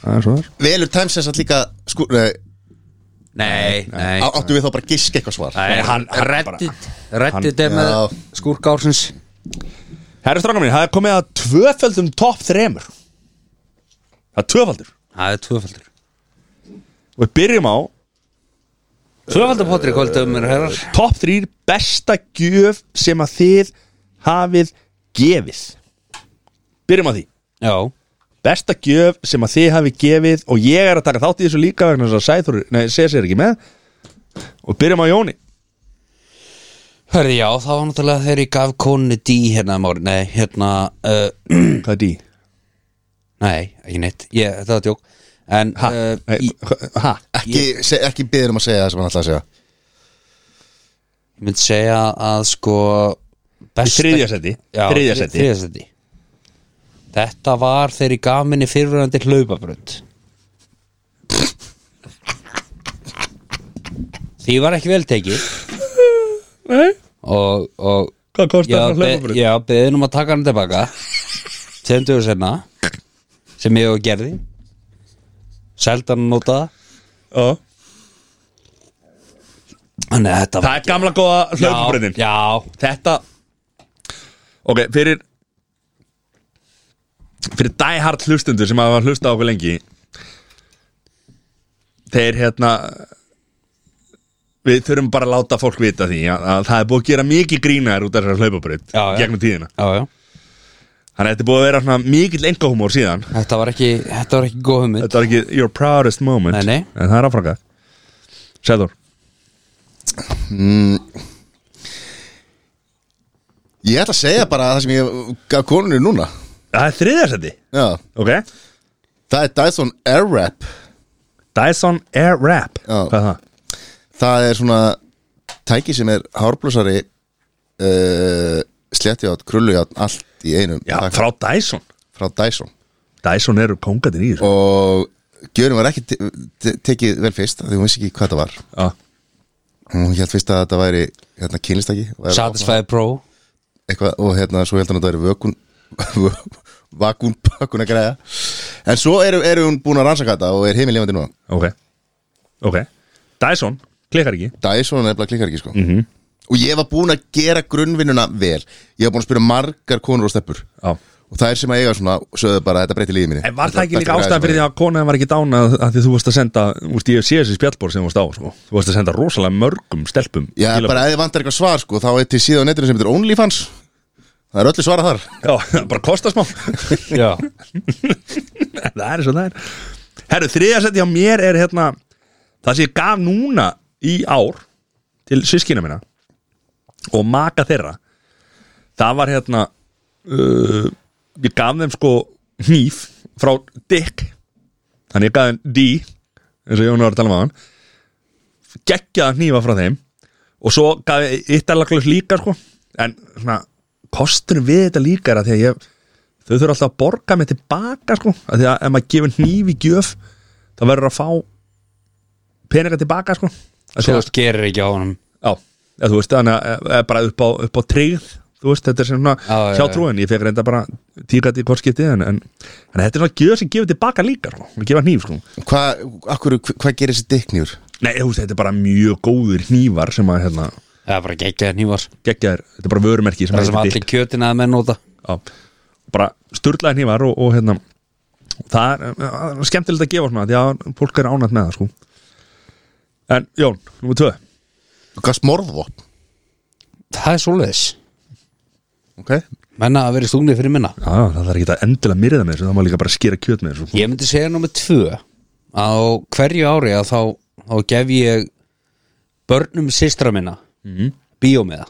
Speaker 1: Það er svo þar
Speaker 2: Velur Timesens að líka skur, nei,
Speaker 3: Nei, nei
Speaker 2: á, Áttu við þá bara að giska eitthvað svar
Speaker 3: Nei, hann, Reddit, Reddit er með
Speaker 2: Já.
Speaker 3: skúrk ársins
Speaker 1: Herra strákar mín, það er komið að tvöföldum topp þremur Það er tvöfaldur
Speaker 3: Það er tvöfaldur
Speaker 1: Og við byrjum á
Speaker 3: Tvöfaldur potri kvöldum er herrar
Speaker 1: topp þrýr besta gjöf sem að þið hafið gefið Byrjum á því
Speaker 3: Já,
Speaker 1: Besta gjöf sem að þið hafið gefið Og ég er að taka þátt í þessu líka vegna þess að Sæþur, nei, segja sér ekki með Og byrjum á Jóni
Speaker 3: hörðu já, það var náttúrulega þegar ég gaf konni dí hérna um árið Nei, hérna, uh,
Speaker 1: Hvað er því?
Speaker 3: nei, ekki neitt ég, Þetta var djók En,
Speaker 1: Ha?
Speaker 3: uh,
Speaker 1: Nei,
Speaker 3: ég
Speaker 1: hva- ha?
Speaker 2: Ekki, se, ekki byggðum að segja það sem hann ætlaði að segja
Speaker 3: myndi segja að sko
Speaker 1: Í þriðja seti
Speaker 3: Já,
Speaker 1: Þriðja seti
Speaker 3: þriðja sæti. Þetta var þegar ég gaf minni fyrirvörandi hlaupabrönd Því var ekki vel tekið
Speaker 1: Nei,
Speaker 3: og, og
Speaker 1: Hvað *laughs* kostar
Speaker 3: ég
Speaker 1: það
Speaker 3: var be-
Speaker 1: hlaupabröð?
Speaker 3: Ég var beðin um að taka hann tilbaka Tvendugur senna sem ég og gerði Seldan að nota
Speaker 1: Já.
Speaker 3: Þannig að þetta
Speaker 1: Það er gamla góða hlaupabröðin
Speaker 3: Já, já,
Speaker 1: Þetta Ok, fyrir Fyrir dæhart hlustundur sem hafa hlusta á okkur lengi Þeir hérna Við þurfum bara að láta fólk vita því að, að það er búið að gera mikið grínar út af þessar hlaupabraut
Speaker 3: Já, já.
Speaker 1: gegnum tíðina
Speaker 3: já, já.
Speaker 1: Þannig að þetta er búið að vera svona mikill engahúmór síðan
Speaker 3: Þetta var ekki, þetta var ekki góð hugmynd
Speaker 1: Þetta var ekki your proudest moment
Speaker 3: Nei, nei.
Speaker 1: En það er áfranga Sæður
Speaker 2: Ég ætla að segja bara það sem ég gaf konunni núna
Speaker 1: Það er þriðarsætti
Speaker 2: Já,
Speaker 1: Ok
Speaker 2: það er Dyson Airwrap
Speaker 1: Dyson Airwrap
Speaker 2: Já.
Speaker 1: Hvað er það?
Speaker 2: Það er svona tæki sem er hárblósari uh, Slettjátt, krullujátt, allt í einum
Speaker 1: Já,
Speaker 2: pakka
Speaker 1: frá Dyson
Speaker 2: frá Dyson
Speaker 1: Dyson eru kongatinn í þessu
Speaker 2: Og gjörum var ekki te te tekið vel fyrst af Því hún vissi ekki hvað það var
Speaker 1: Já.
Speaker 2: Hún held fyrst að þetta væri hérna, kynlistaki
Speaker 3: Satisfy Pro
Speaker 2: eitthvað og hérna svo heldur hann að það eru vökun *laughs* vakunpökun að greiða en svo eru, eru hún búin að rannsaka þetta og er heimil lifandi núna
Speaker 1: Ok, ok Dyson, klikkar ekki
Speaker 2: Dyson nefnilega klikkar ekki sko
Speaker 1: Mhm.
Speaker 2: -hmm. og ég var búin að gera grunnvinnuna vel ég var búin að spyrja margar konur og steppur
Speaker 1: Já.
Speaker 2: og það er sem að eiga svona sögðu bara þetta breytti lífið minni
Speaker 1: En var
Speaker 2: Þetta
Speaker 1: það ekki
Speaker 2: er
Speaker 1: líka
Speaker 2: besta
Speaker 1: ástæðan
Speaker 2: græja
Speaker 1: fyrir því
Speaker 2: sem
Speaker 1: að konaðan var ekki dána að því þú varst að senda, úst, ég sé þessi spjallbór sem þú varst á sko. þú varst að senda rosalega mörgum stelpum
Speaker 2: ég- Já,
Speaker 1: skilaboð.
Speaker 2: bara ef þið vantar eitthvað svar sko þá er til síðan á netinu sem heitir OnlyFans það er öllu svara þar
Speaker 1: Já, *laughs* bara kosta smá
Speaker 3: Já
Speaker 1: Það er svo það er Herru, þriðja seti hjá mér er hérna það sem ég gaf núna í ár til sískina minna og maka þeirra það var hérna uh, ég gaf þeim sko hníf frá Dick þannig ég gaf þeim D eins og Jón var að tala um hann geggjaða hnífa frá þeim og svo gaf ég yttarlaklaus líka sko en svona kostur við þetta líka er að því að ég þau þurfa alltaf að borga mig tilbaka sko af því að ef maður gefur hníf í gjöf þá verður að fá peninga tilbaka sko Af því
Speaker 3: Svo
Speaker 1: að-
Speaker 3: gerir ekki á honum
Speaker 1: Já, eða, þú veist, þannig að eða bara upp á, upp á tryggð þú veist, þetta er svona
Speaker 3: Já, já, já.
Speaker 1: hjá trúin ég fekk reynda bara tíkat í hvort skiptið en, en, en þetta er svona gjöð sem gefur tilbaka líka sko, að gefa hníf, sko.
Speaker 2: hvað hva, hva gerir þessi dikknýr?
Speaker 1: Nei, þú veist, þetta er bara mjög góður hnífar sem að, hérna,
Speaker 3: Það er bara geggjaðar nývar
Speaker 1: geggjaðir, þetta er bara vörumerki sem
Speaker 3: Það sem
Speaker 1: heitir
Speaker 3: allir kjötina að menn nota
Speaker 1: Já, bara sturlaði hnífar og, og hérna það er eh, skemmtilegt að gefa svona því að fólk er ánætt með það sko en Jón, nummer tvö
Speaker 2: hvað smorðvopn?
Speaker 3: Það er svoleiðis
Speaker 2: ok Eh,
Speaker 3: menna að vera stúgnir fyrir minna
Speaker 1: Já, það þarf ekki að endilega myrða með þessu Það má líka bara skera kjöt með þessu sko.
Speaker 3: Ég myndi segja nummer tvö að á hverju ári að þá, þá gef ég börnum systra minna
Speaker 1: Mhm.
Speaker 3: bíó með það,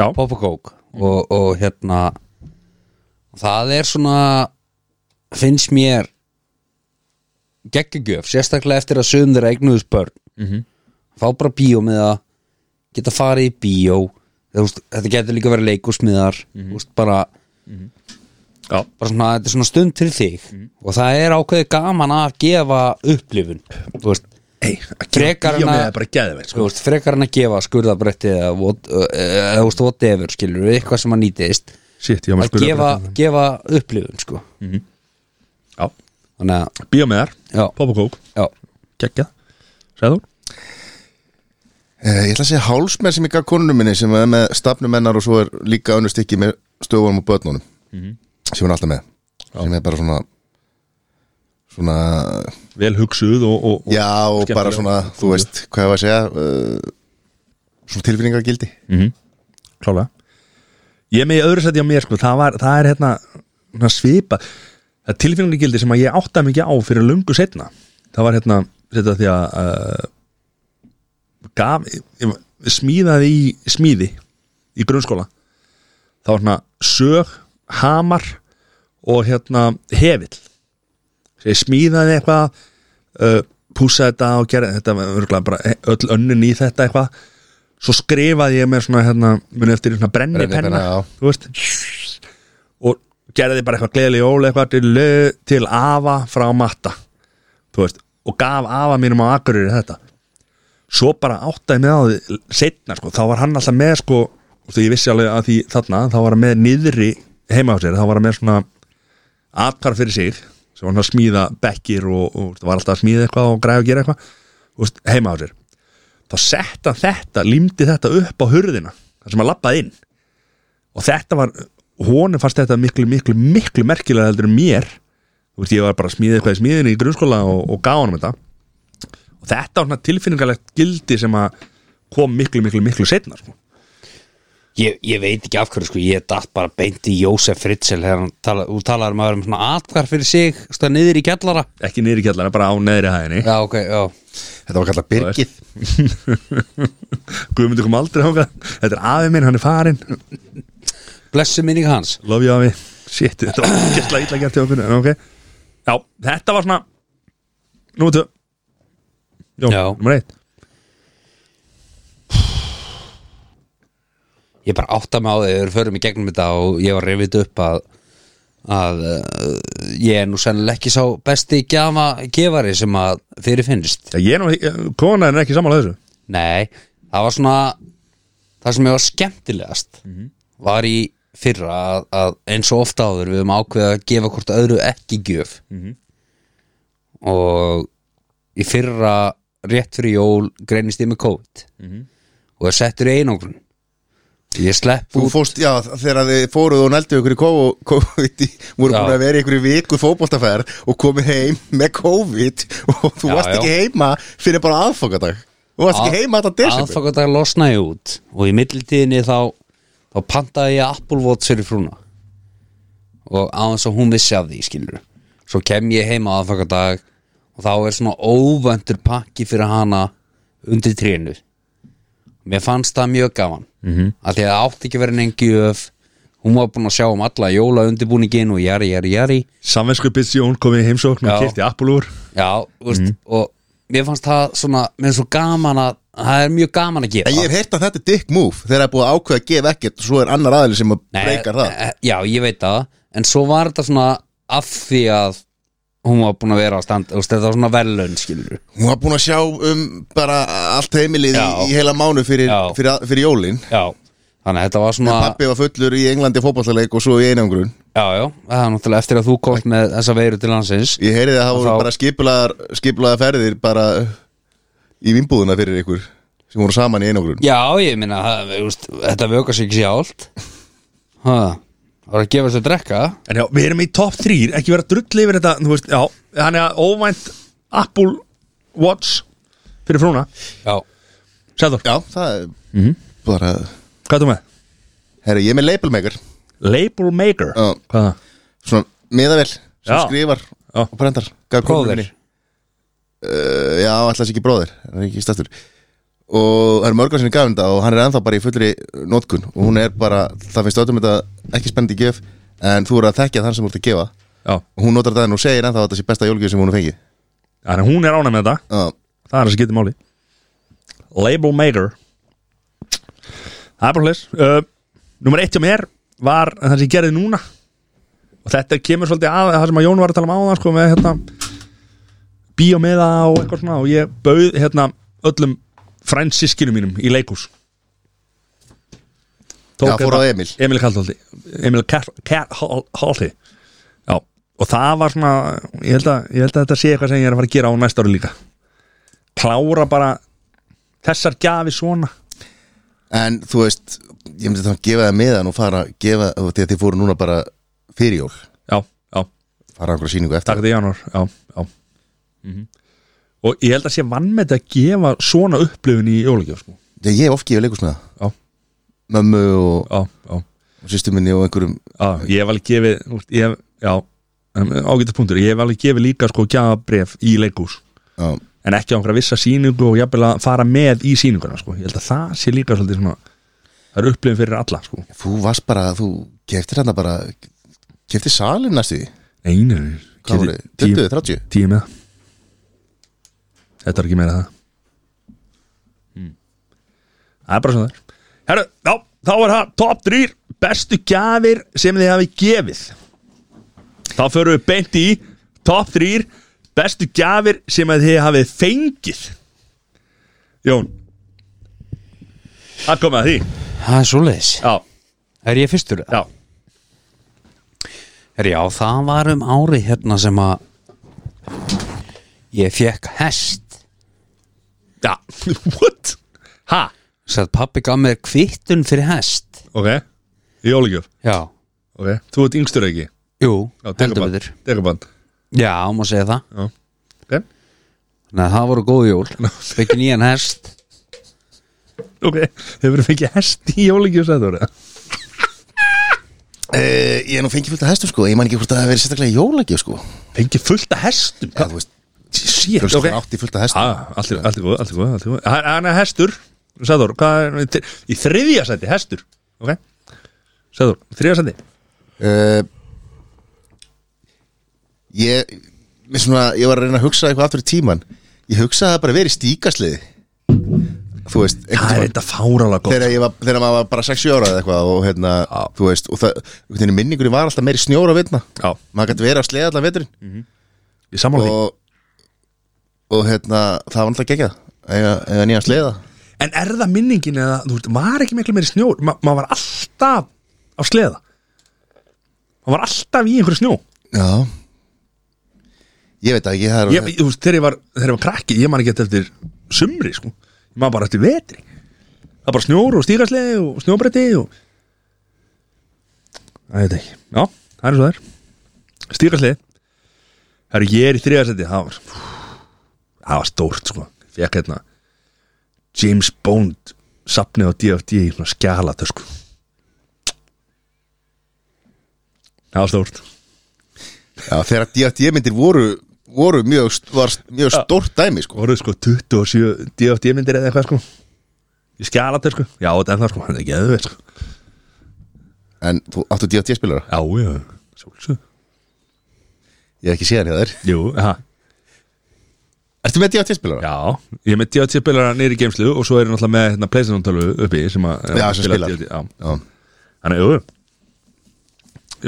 Speaker 1: Já,
Speaker 3: pop og kók
Speaker 1: Mhm.
Speaker 3: og, og hérna það er svona finnst mér geggjögjöf, sérstaklega eftir að sögum þeirra eignuðus börn
Speaker 1: Mhm.
Speaker 3: fá bara bíó með það geta farið í bíó Þú veist, þetta getur líka verið leikusmiðar
Speaker 1: Mhm.
Speaker 3: mm -hmm. bara
Speaker 1: já,
Speaker 3: bara svona, þetta er svona stund til þig og það er ákveðið gaman að gefa upplifun þú veist,
Speaker 1: ei, að
Speaker 3: Frekar
Speaker 1: gera
Speaker 3: en
Speaker 1: bíó með
Speaker 3: að-
Speaker 1: er bara geðveikt
Speaker 3: þú
Speaker 1: sko.
Speaker 3: veist, frekar en að gefa skurðabretti eða what- eh, eða, þú veist, whatever, skilur við eitthvað sem að nýtist
Speaker 1: Shit, já, maður
Speaker 3: að
Speaker 1: spurði
Speaker 3: gefa, gefa upplifun, sko
Speaker 1: Já,
Speaker 3: þannig að,
Speaker 1: bíó með þar,
Speaker 3: já,
Speaker 1: pop og kók,
Speaker 3: já
Speaker 1: geggja Sæður þú?
Speaker 2: Eh, Ég ætla að segja hálsmer sem ég gaf konunum minni sem er með stafnum mennar og svo er líka önnur stykki með stöfunum og börnunum sem hún er alltaf með sem er bara svona svona
Speaker 1: Vel hugsuð og, og, og
Speaker 2: já og bara
Speaker 1: skemmtileg.
Speaker 2: svona þú veist hvað ég var að segja uh, svona tilfinningagildi
Speaker 1: klálega Mhm. Ég er með í öðru sæti á mér sko, það, var, það er hérna svona svipa það er tilfinningagildi sem að ég átta mikið á fyrir lungu setna það var hérna setna því að uh, gaf ég, ég, smíðaði í smíði í grunnskóla það var svona sög, hamar og hérna hefill Svo ég smíðaði eitthvað uh, pússaði þetta og gerði þetta var örugglega bara öll önnun í þetta eitthvað svo skrifaði ég með svona hérna, muni eftir í svona brennipenna
Speaker 2: Brennipenna, já.
Speaker 1: þú veist og gerði bara eitthvað gleðileg jól eitthvað til, til afa frá matta þú veist, og gaf afa mínum á Akureyri þetta svo bara áttaði með á því setna sko, þá var hann alltaf með sko þú veist, ég vissi alveg að því þarna þá var hann með niðri heima á sér þá var hann með svona atkar fyrir sig sem var hann að smíða bekkir og, og, og var alltaf að smíða eitthvað og græða að gera eitthvað þú veist, heima á sér þá sett hann þetta, límdi þetta upp á hurðina þar sem hann lappaði inn og þetta var, honum fannst þetta miklu, miklu, miklu merkilega heldur en mér þú veist, ég var bara að smíða eitthvað í smíðinni í grunnskóla og, og gá honum þetta og þetta var svona tilfinningalegt gildi sem að kom miklu, miklu, miklu setna sko.
Speaker 3: Ég, ég veit ekki af hverju sko, ég datt bara beint í Jósef Fritzl þegar hann tala, þú talar um að vera með svona atvar fyrir sig, stað niður í kjallara
Speaker 1: ekki niður í kjallara, bara á neðri hæðinni
Speaker 3: Já, ok, já
Speaker 2: þetta var kallað Birgið
Speaker 1: Guðmundur kom aldrei ákvað þetta er afi minn, hann er farinn
Speaker 3: Blessu minning hans
Speaker 1: love you afi, shit, þetta var gæstlega illa gert hjá okkur en ok, já, þetta var svona númer 2 Jó,
Speaker 3: Já.
Speaker 1: númer 1
Speaker 3: ég bara átta mig á því þegar við förum í gegnum þetta og ég var reyfið upp að að uh, ég er nú sennilega ekki sá besti gjafa gefari sem að fyrir finnst
Speaker 1: Já, ég er nú, kona er ekki sammála þessu
Speaker 3: nei, það var svona það sem ég var skemmtilegast var í fyrra að, að eins og ofta áður við höfum ákveða að gefa hvort öðru ekki gjöf og í fyrra rétt fyrir jól greinist ég með COVID og er settur í einangrun ég slepp
Speaker 2: þú
Speaker 3: út
Speaker 2: fórst, já þegar þið fóruð og nældu ykkur í COVID, COVID í- *laughs* voru
Speaker 3: Já.
Speaker 2: búin að vera í ykkur í viku fótboltaferð og komið heim með COVID og þú
Speaker 3: Já,
Speaker 2: varst
Speaker 3: já.
Speaker 2: ekki heima fyrir bara aðfokadag þú varst ekki heima þetta desember
Speaker 3: aðfangadag losna ég út og í millitíðinni þá þá pantaði ég Apple Watch fyrir frúna og á þess að hún vissi af því skilur svo kem ég heima aðfangadag og þá er svona óvöndur pakki fyrir hana undir trénu mér fannst það mjög gaman mm
Speaker 2: Mhm.
Speaker 3: -hmm. að því að það átti ekki verið neinn gjöf hún var búin að sjá um alla jóla undirbúningin og jari, jari, jari
Speaker 1: Samvensku bitsi Jón kom í heimsókn og
Speaker 3: Já.
Speaker 1: kipti appulúr
Speaker 3: já, þú
Speaker 2: Mhm.
Speaker 3: veist, og mér fannst það svona, mér er svo gaman að það er mjög gaman að gefa
Speaker 2: En ég hef heyrt að þetta er dick move þegar það er búið að ákveða að gefa ekkert og svo er annar aðeins sem að breykar það
Speaker 3: e- e- Já, ég veit það En svo var þetta svona af því að hún var búin að vera á stand þú veist, Þetta var svona velun, skilur
Speaker 2: Hún var búin að sjá um bara allt heimilið í,
Speaker 3: Já.
Speaker 2: í heila mánu fyrir,
Speaker 3: Já.
Speaker 2: fyrir, fyrir jólin
Speaker 3: Já Þannig að þetta var svona
Speaker 2: Pappi var fullur í Englandi fótballaleik og svo í einangrun
Speaker 3: Já, já, það er náttúrulega eftir að þú komst með þessa veiru til landsins
Speaker 2: Ég heyriði að það
Speaker 3: Og
Speaker 2: voru
Speaker 3: þá-
Speaker 2: bara skipulaðar, skipulaðar ferðir bara í vinnbúðuna fyrir ykkur sem voru saman í einangrun
Speaker 3: Já, ég minna, veist, þetta vöka sig ekki sjálft Ha, það var að gefa sér að drekka
Speaker 1: En já, við erum í topp 3, ekki vera drull yfir þetta Þú veist, já, hann er óvænt Apple Watch fyrir frúna
Speaker 3: Já,
Speaker 1: Sæður,
Speaker 3: Mhm.
Speaker 2: Já, það er bara
Speaker 1: hvað er þú með?
Speaker 2: Herra, ég er með label maker
Speaker 1: Label maker
Speaker 2: Já.
Speaker 1: Hvað það?
Speaker 2: Svona miðavel sem
Speaker 1: Já.
Speaker 2: skrifar
Speaker 1: Já.
Speaker 2: og brendar Gaf
Speaker 3: Bróðir.
Speaker 2: konunni. uh, Já, alltaf þessi ekki bróðir Hann er ekki stættur Og það er mörgar sinni gafin þetta og hann er ennþá bara í fullri notkun og hún er bara, það finnst öllum þetta ekki spennandi gef en þú eru að þekkja þann sem þú ert að gefa
Speaker 1: Já,
Speaker 2: og hún notar það en hún segir ennþá að þetta sé besta jólgjöf sem hún er fengið
Speaker 1: þannig að hún er ánæg með þetta
Speaker 2: Já,
Speaker 1: Það er það sem getur máli Label maker Það er bara hlis uh, Númer eitt hjá mér var það sem ég gerði núna og þetta kemur svolítið að það sem að Jón var að tala um áðan sko, með hérna bíómiða og eitthvað svona og ég bauð hérna öllum frænsískinu mínum í leikús
Speaker 2: Já, fór á Emil.
Speaker 1: hérna Emil Kallholti Emil Kallholti Já, og það var svona ég held, að, ég held að þetta sé eitthvað sem ég er að fara að gera á næsta ári líka klára bara þessar gjafi svona
Speaker 2: En þú veist, ég myndi þá að gefa það meðan og fara að gefa, þú veist, því að þið fóru núna bara fyrir jól,
Speaker 1: Já, já,
Speaker 2: fara að einhverja sýningu eftir
Speaker 1: takk því januar Já, já Mhm. Og ég held að sé vann með þetta að gefa svona upplifun í jólugjöf sko.
Speaker 2: Já, ég hef oft gefið leikus með það
Speaker 1: Já,
Speaker 2: Mömmu og,
Speaker 1: já, já,
Speaker 2: og sýstu minni og einhverjum
Speaker 1: já Ég hef alveg gefið þú veist, ég, hef- Já, ágætið punktur Ég hef alveg gefið líka sko gjafabref í leikús
Speaker 2: Já,
Speaker 1: en ekki á einhverja vissa síningu og jafnvel að fara með í síninguna sko. ég held að það sé líka svolítið svona það er upplifin fyrir alla sko.
Speaker 2: þú varst bara, þú keftir hérna bara Keftir salin næstu því
Speaker 1: einu,
Speaker 2: Hvað voru, 20, 30?
Speaker 1: tíu með þetta er ekki meira en það
Speaker 3: Hmm.
Speaker 1: það er bara svona það er. herru, já, þá er það top 3 bestu gjafir sem þið hafi gefið þá förum við beint í top 3 bestu gjafir sem að þið hafið fengið Jón það komið að því
Speaker 3: Það er svoleiðis
Speaker 1: já,
Speaker 3: Er ég fyrstur?
Speaker 1: já,
Speaker 3: Er já, það var um ári hérna sem að Ég fekk hest
Speaker 1: já *laughs* what? ha,
Speaker 3: Sætt pappi gaf mér kvittun fyrir hest
Speaker 1: ok Jólugjöf,
Speaker 3: Já,
Speaker 1: ok, þú ert yngstur ekki
Speaker 3: jú,
Speaker 1: Já,
Speaker 3: heldur
Speaker 1: Degaband
Speaker 3: betur
Speaker 1: Degaband
Speaker 3: Já, má segja það
Speaker 1: Já, ok,
Speaker 3: Nei, það voru góð jól Fekki nýjan hest
Speaker 1: ok Þau verður fengið hest í jólíkjus þetta voru
Speaker 2: Uh, ég er nú fengið fullt að hestum sko, ég man ekki hvort að það hafi verið sérstaklega jólagjöf sko
Speaker 1: Fengið fullt af hestum
Speaker 2: Já, þú veist,
Speaker 1: Shit,
Speaker 2: fjölskyldan
Speaker 1: ok
Speaker 2: okay. átti fullt að hestum
Speaker 1: ah, Allt er allt er góð, allt er góð, allt er góð Hann- Hann er hestur, Sæður Hvað er, í þri- í þriðja sæti, hestur Ok, Sæður, þriðja sæti
Speaker 2: uh, Ég, mér svona, ég var að reyna að hugsa eitthvað aftur í tíman Ég hugsaði að það bara verið stíkasliði Þú veist, einhvern
Speaker 1: Það er
Speaker 2: tímann.
Speaker 1: þetta fárálega góð
Speaker 2: þegar, ég var, þegar maður var bara 6 ára eða eitthvað og hérna, þú veist og það, einhvern veginn minningur var alltaf meiri snjóra veitna
Speaker 1: Já,
Speaker 2: maður gæti verið að sleða allan veturinn
Speaker 1: ég sammála því
Speaker 2: og, og hérna, það var alltaf geggjað eða, eða nýja sleða
Speaker 1: En er það minningin eða, þú veist, var ekki miklu meiri snjór Ma, Maður var alltaf á sleða Maður var alltaf í einhverju snjó
Speaker 2: já ég veit það ekki, það er
Speaker 1: ég, ég, þú veist, þegar ég var, þegar ég var krakki ég man ekki eftir sumri sko. ég man bara eftir vetri það er bara snjór og stíkaslegi og snjóbretti og það veit ekki, já, það er svo það er stíkaslegi það eru ég er í þriðarsæti það var, það var stórt sko. fekk hérna James Bond sapnið á DFD í svona skjala sko. það var stórt
Speaker 2: já, þegar D.A.T. E myndir voru voru mjög, st- var st- mjög stórt dæmi sko.
Speaker 1: voru sko 27 DFD myndir eða eitthvað sko ég skjala þetta sko, já þetta er það sko hann er ekki eða sko,
Speaker 2: en þú áttu D.A.T. spilara
Speaker 1: já já svolsög,
Speaker 2: ég hef ekki séð hann hjá þér
Speaker 1: jú, ha,
Speaker 2: ertu með D.A.T. spilara?
Speaker 1: já ég er með DFD spilara neyri í geimslu og svo er ég náttúrulega með hérna playstation tölvu uppi sem að
Speaker 2: Já,
Speaker 1: að
Speaker 2: sem
Speaker 1: spila
Speaker 2: spilar.
Speaker 1: DFD, já,
Speaker 2: Já.
Speaker 1: þannig jú jú.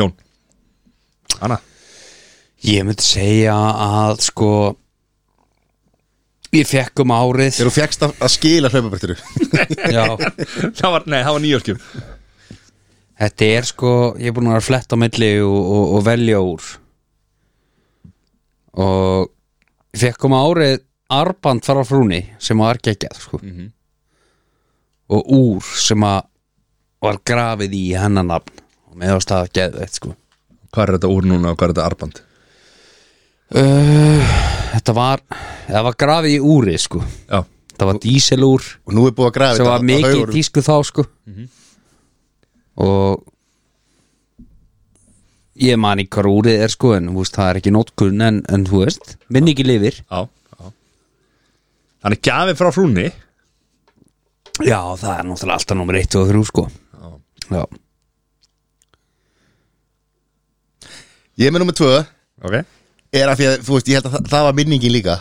Speaker 1: Jón Anna,
Speaker 3: Ég myndi segja að sko Ég fekk um árið
Speaker 2: þegar þú fegst að, að skila hlaupabretturu
Speaker 3: Já,
Speaker 1: *laughs* það var, nei það var nýjórskjöf
Speaker 3: þetta er sko Ég er búin að vera að fletta á milli og, og, og velja úr Og Ég fekk um árið Arband fara frúni sem var geggjað sko. Og úr sem að Var grafið í hennar nafn Og meðast að geðveikt sko
Speaker 1: hvað er þetta úr núna og hvað er þetta arband
Speaker 3: Uh, þetta var það var grafið í úri sko
Speaker 1: já,
Speaker 3: það var díselúr
Speaker 2: og nú er búið að grafa
Speaker 3: sem var
Speaker 2: þetta á
Speaker 3: mikið í
Speaker 2: haugunum.
Speaker 3: tísku þá sko og ég man í hvar úrið er sko en þú veist, það er ekki nótkunn en, en þú veist, minni ekki lifir
Speaker 1: Já, já. Þannig gjafið frá frúnni
Speaker 3: já, það er náttúrulega alltaf nummer 1 og 3 sko já,
Speaker 2: Ég er með nummer tvö
Speaker 1: Ok
Speaker 2: Er af því að, þú veist, ég held að það, það var minningin líka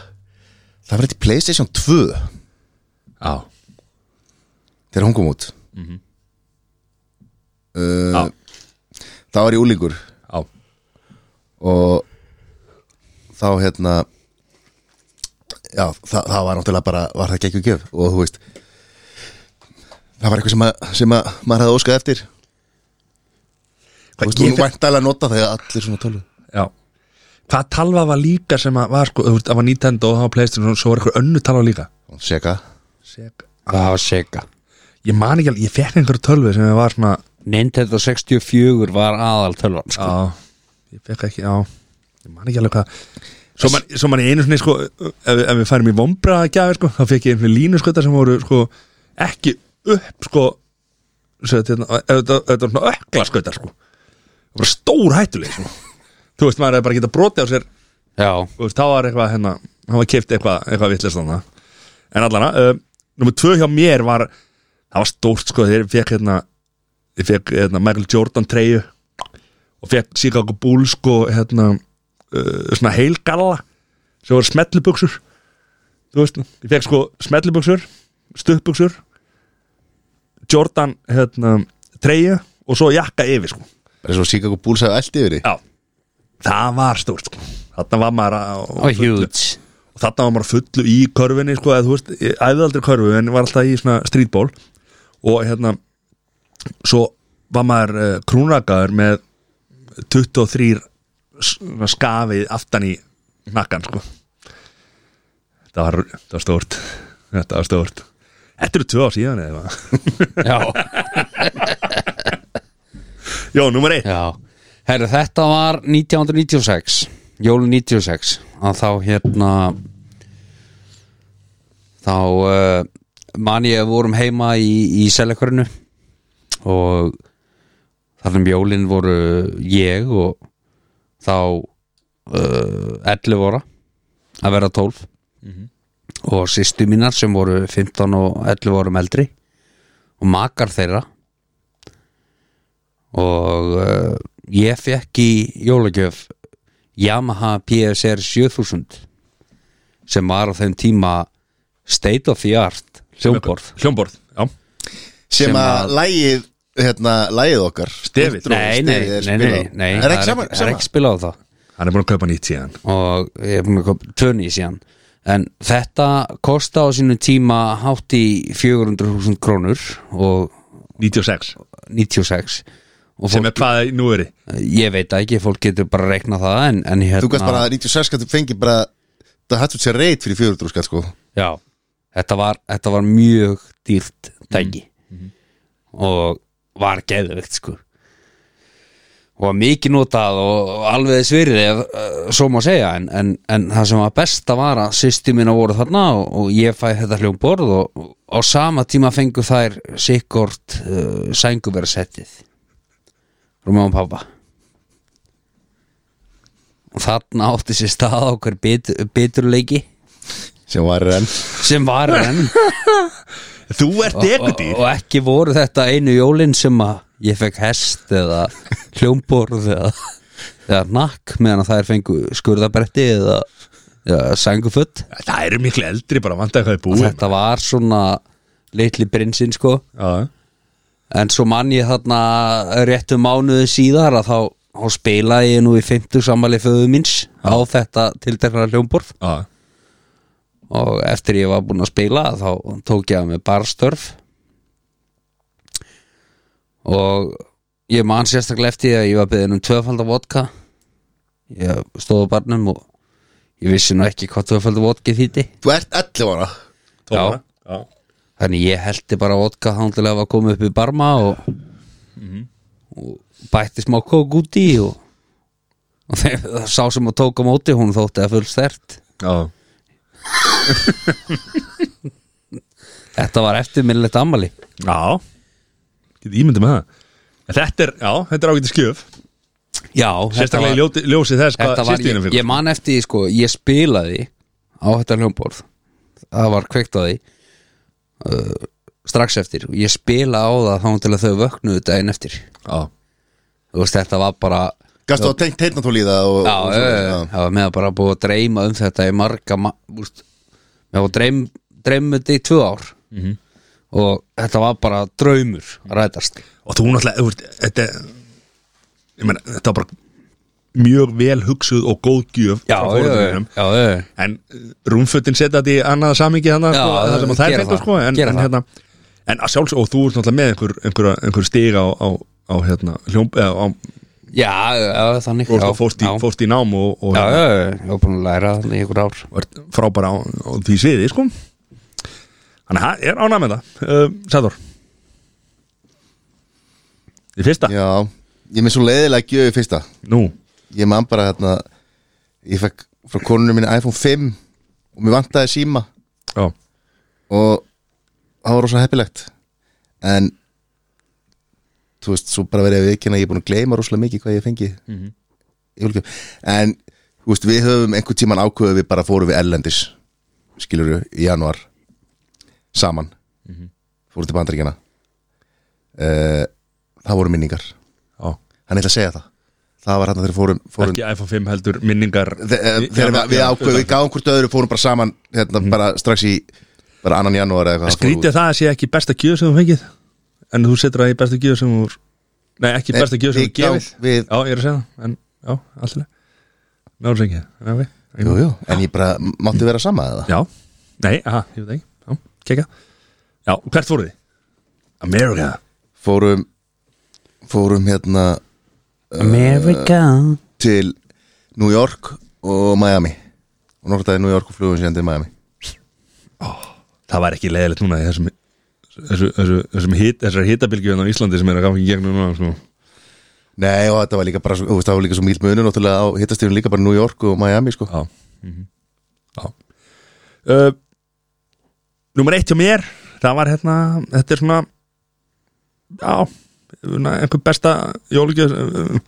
Speaker 2: Það var eitt Playstation 2
Speaker 1: Já,
Speaker 2: Þegar hún kom út
Speaker 1: já,
Speaker 2: Það var ég úlingur
Speaker 1: já
Speaker 2: og þá hérna já, það, það var náttúrulega bara var það geggjum gjöf og þú veist það var eitthvað sem, að, sem að maður hefði óskað eftir þú
Speaker 1: Hvað
Speaker 2: veist, hún
Speaker 1: getur
Speaker 2: væntalega nota þegar allir svona tölvu
Speaker 1: Já Hvað talva var líka sem að var sko þú veist, Það var Nintendo og það var Playstation og svo var eitthvað önnu talva líka
Speaker 2: Sega,
Speaker 1: Sega
Speaker 3: það var seka
Speaker 1: Ég man ekki alveg, ég fekk einhverju tölvi sem var svona
Speaker 3: Nintendo 64 var aðal tölvan sko.
Speaker 1: Já, ég fekk ekki, já Ég man ekki alveg hvað Svo man, svo man ég einu svona sko ef, ef við færum í vombra gjafir sko þá fekk ég einhverju línu sko sem voru sko ekki upp sko svo þetta hérna, ef þetta- ef þetta var svona ökla sko sko bara stór hættuleg sko. þú veist maður er bara að geta brotið á sér
Speaker 3: já,
Speaker 1: Þú veist, þá var eitthvað hérna hann var keift eitthvað, eitthvað vittlist þarna en allana, uh, nummer tvö hjá mér var það var stórt sko, þegar ég fekk hérna ég fekk hérna Michael Jordan treyju og fekk Chicago Bulls sko, hérna uh, svona heilgalla sem voru smetlubuxur þú veist, ég fekk sko smetlubuxur stuðbuxur Jordan hérna treyju og svo jakka yfir sko
Speaker 2: bara svo Chicago Bulls hefði allt yfir því
Speaker 1: já, það var stórt sko þarna var maður að-
Speaker 3: það var huge
Speaker 1: og þarna var maður fullu í körfinni sko, eða þú veist, ég æfði aldrei körfu en var alltaf í svona streetball og hérna svo var maður uh, krúnrakaður með 23 svona skafið aftan í nakkan sko þetta var, þetta var stórt þetta var stórt Þetta eru tvö ár síðan eða eitthvað.
Speaker 3: já
Speaker 1: Jó, nummer eitt
Speaker 3: Já, herru þetta var 1996 Jólun 96 að þá hérna þá uh, man ég að við vorum heima í, í selekörinu og þar um jólin voru ég og þá uh, 11 ára að vera 12 og sýstu mínar sem voru 15 og 11 árum eldri og makar þeirra og uh, ég fekk í jólagjöf Yamaha PSR 7000 sem var á þeim tíma state of the art hljómborð
Speaker 1: Hljómborð, já
Speaker 2: sem,
Speaker 3: Sem
Speaker 2: að
Speaker 3: að-
Speaker 2: lægið hérna, lægið okkar
Speaker 1: Stefið.
Speaker 2: Intro-
Speaker 3: Nei, nei,
Speaker 2: stefið er
Speaker 3: nei,
Speaker 2: spilað.
Speaker 3: nei, nei
Speaker 2: er ekki
Speaker 3: það
Speaker 2: sama,
Speaker 3: er
Speaker 2: sama.
Speaker 3: ekki spilað á það
Speaker 1: Hann er búin að kaupa nýtt síðan
Speaker 3: og ég er búin að koma tvöni í síðan en þetta kosta á sínum tíma hátt í 400.000 krónur og
Speaker 1: 96,
Speaker 3: 96 og
Speaker 1: sem
Speaker 3: fólk,
Speaker 1: er hvað nú er
Speaker 3: ég veit það ekki, fólk getur bara að rekna það en, en hérna
Speaker 2: þú gæst bara 96 skatt fengi bara það hættu sér reyt fyrir 400 skatt sko
Speaker 3: Já, þetta var, þetta var mjög dýrt tæki og var geðvegt sko og var mikið notað og alveg svirði ef, eh, svo má segja en, en, en það sem var besta var að sýsti mína voru þarna og, og ég fæ þetta hljómborð og, og á sama tíma fengu þær sikkort uh, sænguberasettið Rúma og pappa og þarna átti sér stað okkur bit, biturleiki
Speaker 2: sem var enn
Speaker 3: sem var enn
Speaker 1: Þú ert dekudýr
Speaker 3: og, og ekki voru þetta einu jólin sem að ég fekk hest eða hljómborð eða, eða nakk meðan að þær fengu skurðabretti eða, eða sængufutt
Speaker 1: Það eru miklu eldri bara vant að hvað er
Speaker 3: og
Speaker 1: búið
Speaker 3: þetta var svona litli prinsinn sko
Speaker 1: Já,
Speaker 3: en svo mann ég þarna réttu mánuði síðar að þá, þá spilaði ég nú í 50 sammali föðu míns á þetta tiltekna hljómborð
Speaker 1: já,
Speaker 3: og eftir ég var búinn að spila þá tók ég að mig barstörf og ég man sérstaklega eftir að ég var beðin um tvöfaldar vodka ég stóð á barnum og ég vissi nú ekki hvað tvöfaldar vodka þýtti
Speaker 2: þú ert 11 ára
Speaker 1: tóra
Speaker 3: Já.
Speaker 1: já.
Speaker 3: þannig ég heldi bara vodka þándilega að koma upp í barma og,
Speaker 1: Mhm.
Speaker 3: og bætti smá kók út í og, og þegar sá sem að tók á móti hún þótti að full stert
Speaker 1: Já.
Speaker 3: þetta var eftirminnilegt ammali
Speaker 1: já Get ímyndið með það En þetta er, já, þetta er ágætið skjöf
Speaker 3: Já, þetta
Speaker 1: Sérstaklega
Speaker 3: var-
Speaker 1: í ljóti, ljósi þess hvað
Speaker 3: þetta var,
Speaker 1: sýstinum
Speaker 3: ég,
Speaker 1: fyrir
Speaker 3: ég man eftir, því, sko, ég spilaði á þetta hljómborð það var kveikt á því uh, strax eftir og ég spilaði á það þá til að þau vöknuðu daginn eftir
Speaker 1: Já,
Speaker 3: þú veist, þetta var bara
Speaker 2: Gastu að tengt heitna tól í það og,
Speaker 3: já,
Speaker 2: og
Speaker 3: já,
Speaker 2: svona,
Speaker 3: já, það var með að bara búið að dreyma um þetta í marga, ma- úst, ég var dreym, dreymandi í tvö ár Mhm. og þetta var bara draumur að rætast
Speaker 1: og þú náttúrulega, þú veist, þetta Ég meina, þetta var bara mjög vel hugsuð og góð gjöf
Speaker 3: já,
Speaker 1: frá
Speaker 3: já, já,
Speaker 1: foreldrum þínum.
Speaker 3: já, já,
Speaker 1: En uh, rúmfötin setja þetta í annað samingi þannig
Speaker 3: Já,
Speaker 1: sko, að það sem að þær
Speaker 3: gera
Speaker 1: fengur
Speaker 3: það,
Speaker 1: sko en,
Speaker 3: gera
Speaker 1: en,
Speaker 3: það.
Speaker 1: hérna, en að sjálfs og þú ert náttúrulega með einhver, einhver, einhver stig á, á, á hérna, hljóm, eða, á,
Speaker 3: já, já, þannig
Speaker 1: og
Speaker 3: já,
Speaker 1: fórst, í,
Speaker 3: já.
Speaker 1: fórst í nám og, og hérna-
Speaker 3: já, já, já, ég var búin að læra þannig í ykkur ár
Speaker 1: var frábæra á, á því sviði sko þannig að hann er ánæg með það uh, Sæður Í fyrsta?
Speaker 2: já, ég er með svo leiðilega gjöf í fyrsta
Speaker 1: Nú,
Speaker 2: Ég man bara hérna Ég fekk frá konunum minni iPhone 5 og mér vantaði síma
Speaker 1: já,
Speaker 2: og það var rosa heppilegt en þú veist, svo bara verið að viðkynna að ég er búin að gleyma rosalega mikið hvað ég fengi mm -hmm. en þú veist, við höfum einhvern tíman ákveðu við bara fórum við erlendis skilur við, í januar saman fórum til bandaríkjana uh, það voru minningar
Speaker 1: já
Speaker 2: hann ætla að segja það það var hann þegar við fórum, fórum
Speaker 1: ekki iPhone 5 heldur minningar
Speaker 2: Þe- eh, þegar við, við ákveðum, við gáum hvort öðru fórum bara saman, hérna, bara strax í bara annan janúar eða eitthvað
Speaker 1: Skrítið að það sé ekki besta gjöð sem þú fengið en þú setur það í besta gjöð sem þú Nei, ekki
Speaker 2: Nei,
Speaker 1: besta gjöð sem
Speaker 2: við
Speaker 1: þú gefið
Speaker 2: gáum- við-
Speaker 1: Já, ég er að segja það en, Já, alltaf Náður sengið Já, við-
Speaker 2: Jú, jú, en ég bara mátti vera sama eða
Speaker 1: já, nei, aha, ég veit ekki Já, kekja Já, hvert fóruð þið? America
Speaker 2: Fórum Fórum hérna
Speaker 3: America
Speaker 2: til New York og Miami Og nortaði New York og flugum síðan til Miami
Speaker 1: það var ekki leiðilegt núna í þessum þessu, þessu, þessum hit, þessar hitabilgjöðan á Íslandi sem er að ganga í gegnum núna sko.
Speaker 2: Nei, og þetta var líka bara, svo- þú veist, það var líka svo mýl munur Náttúrulega á hittastíðun líka bara New York og Miami, sko
Speaker 1: já, já. Uh, Númer eitt hjá mér það var hérna, þetta er svona já svona einhver besta jólugjöð uh,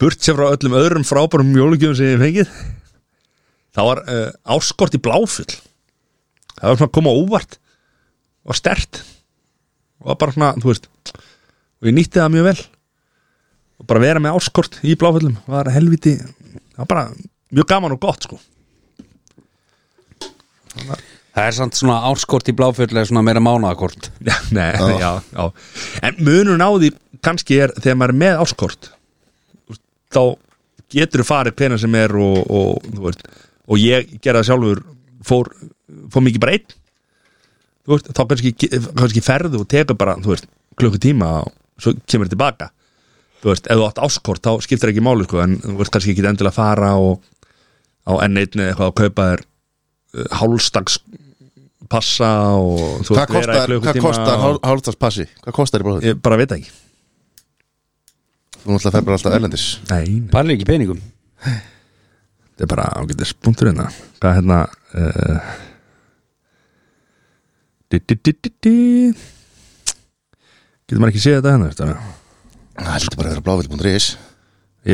Speaker 1: burt sér frá öllum öðrum frábærum jólugjöðum sem ég hef fengið það var uh, áskort í bláfull það var svona að koma á óvart og stert og var bara svona, þú veist og ég nýtti það mjög vel og bara vera með áskort í bláfullum var helviti, það var bara mjög gaman og gott sko
Speaker 3: Það er samt svona árskort í bláfjörlega svona meira mánaðakort
Speaker 1: Já, *laughs* nei, já, já En munur náði kannski er þegar maður er með áskort þá getur þú farið hvena sem er og, og, þú veist, og ég gera það sjálfur fór, fór mikið bara einn þú veist, þá kannski, kannski ferðu og tekur bara þú veist, klukku tíma og svo kemur tilbaka þú veist, ef þú átt áskort þá skiptir ekki máli sko, en þú veist kannski ekki endilega fara og á N1 eða eitthvað að kaupa þér uh, hálfstags passa og þú veist,
Speaker 2: Hvað
Speaker 1: vera í
Speaker 2: kostar, hvað
Speaker 1: klukkutíma
Speaker 2: kostar
Speaker 1: og-
Speaker 2: hál, hálftarspassi? Hvað kostar í bróður?
Speaker 1: Ég bara veit það ekki
Speaker 2: Þú náttúrulega fer bara alltaf erlendis
Speaker 1: Nei,
Speaker 3: Parlir ekki peningum
Speaker 1: þetta er bara ágættis punktur hérna Hvað er hérna uh, di, di, di, di, di. Getur maður ekki séð þetta hérna þetta?
Speaker 2: Það heldur bara að vera blávill.is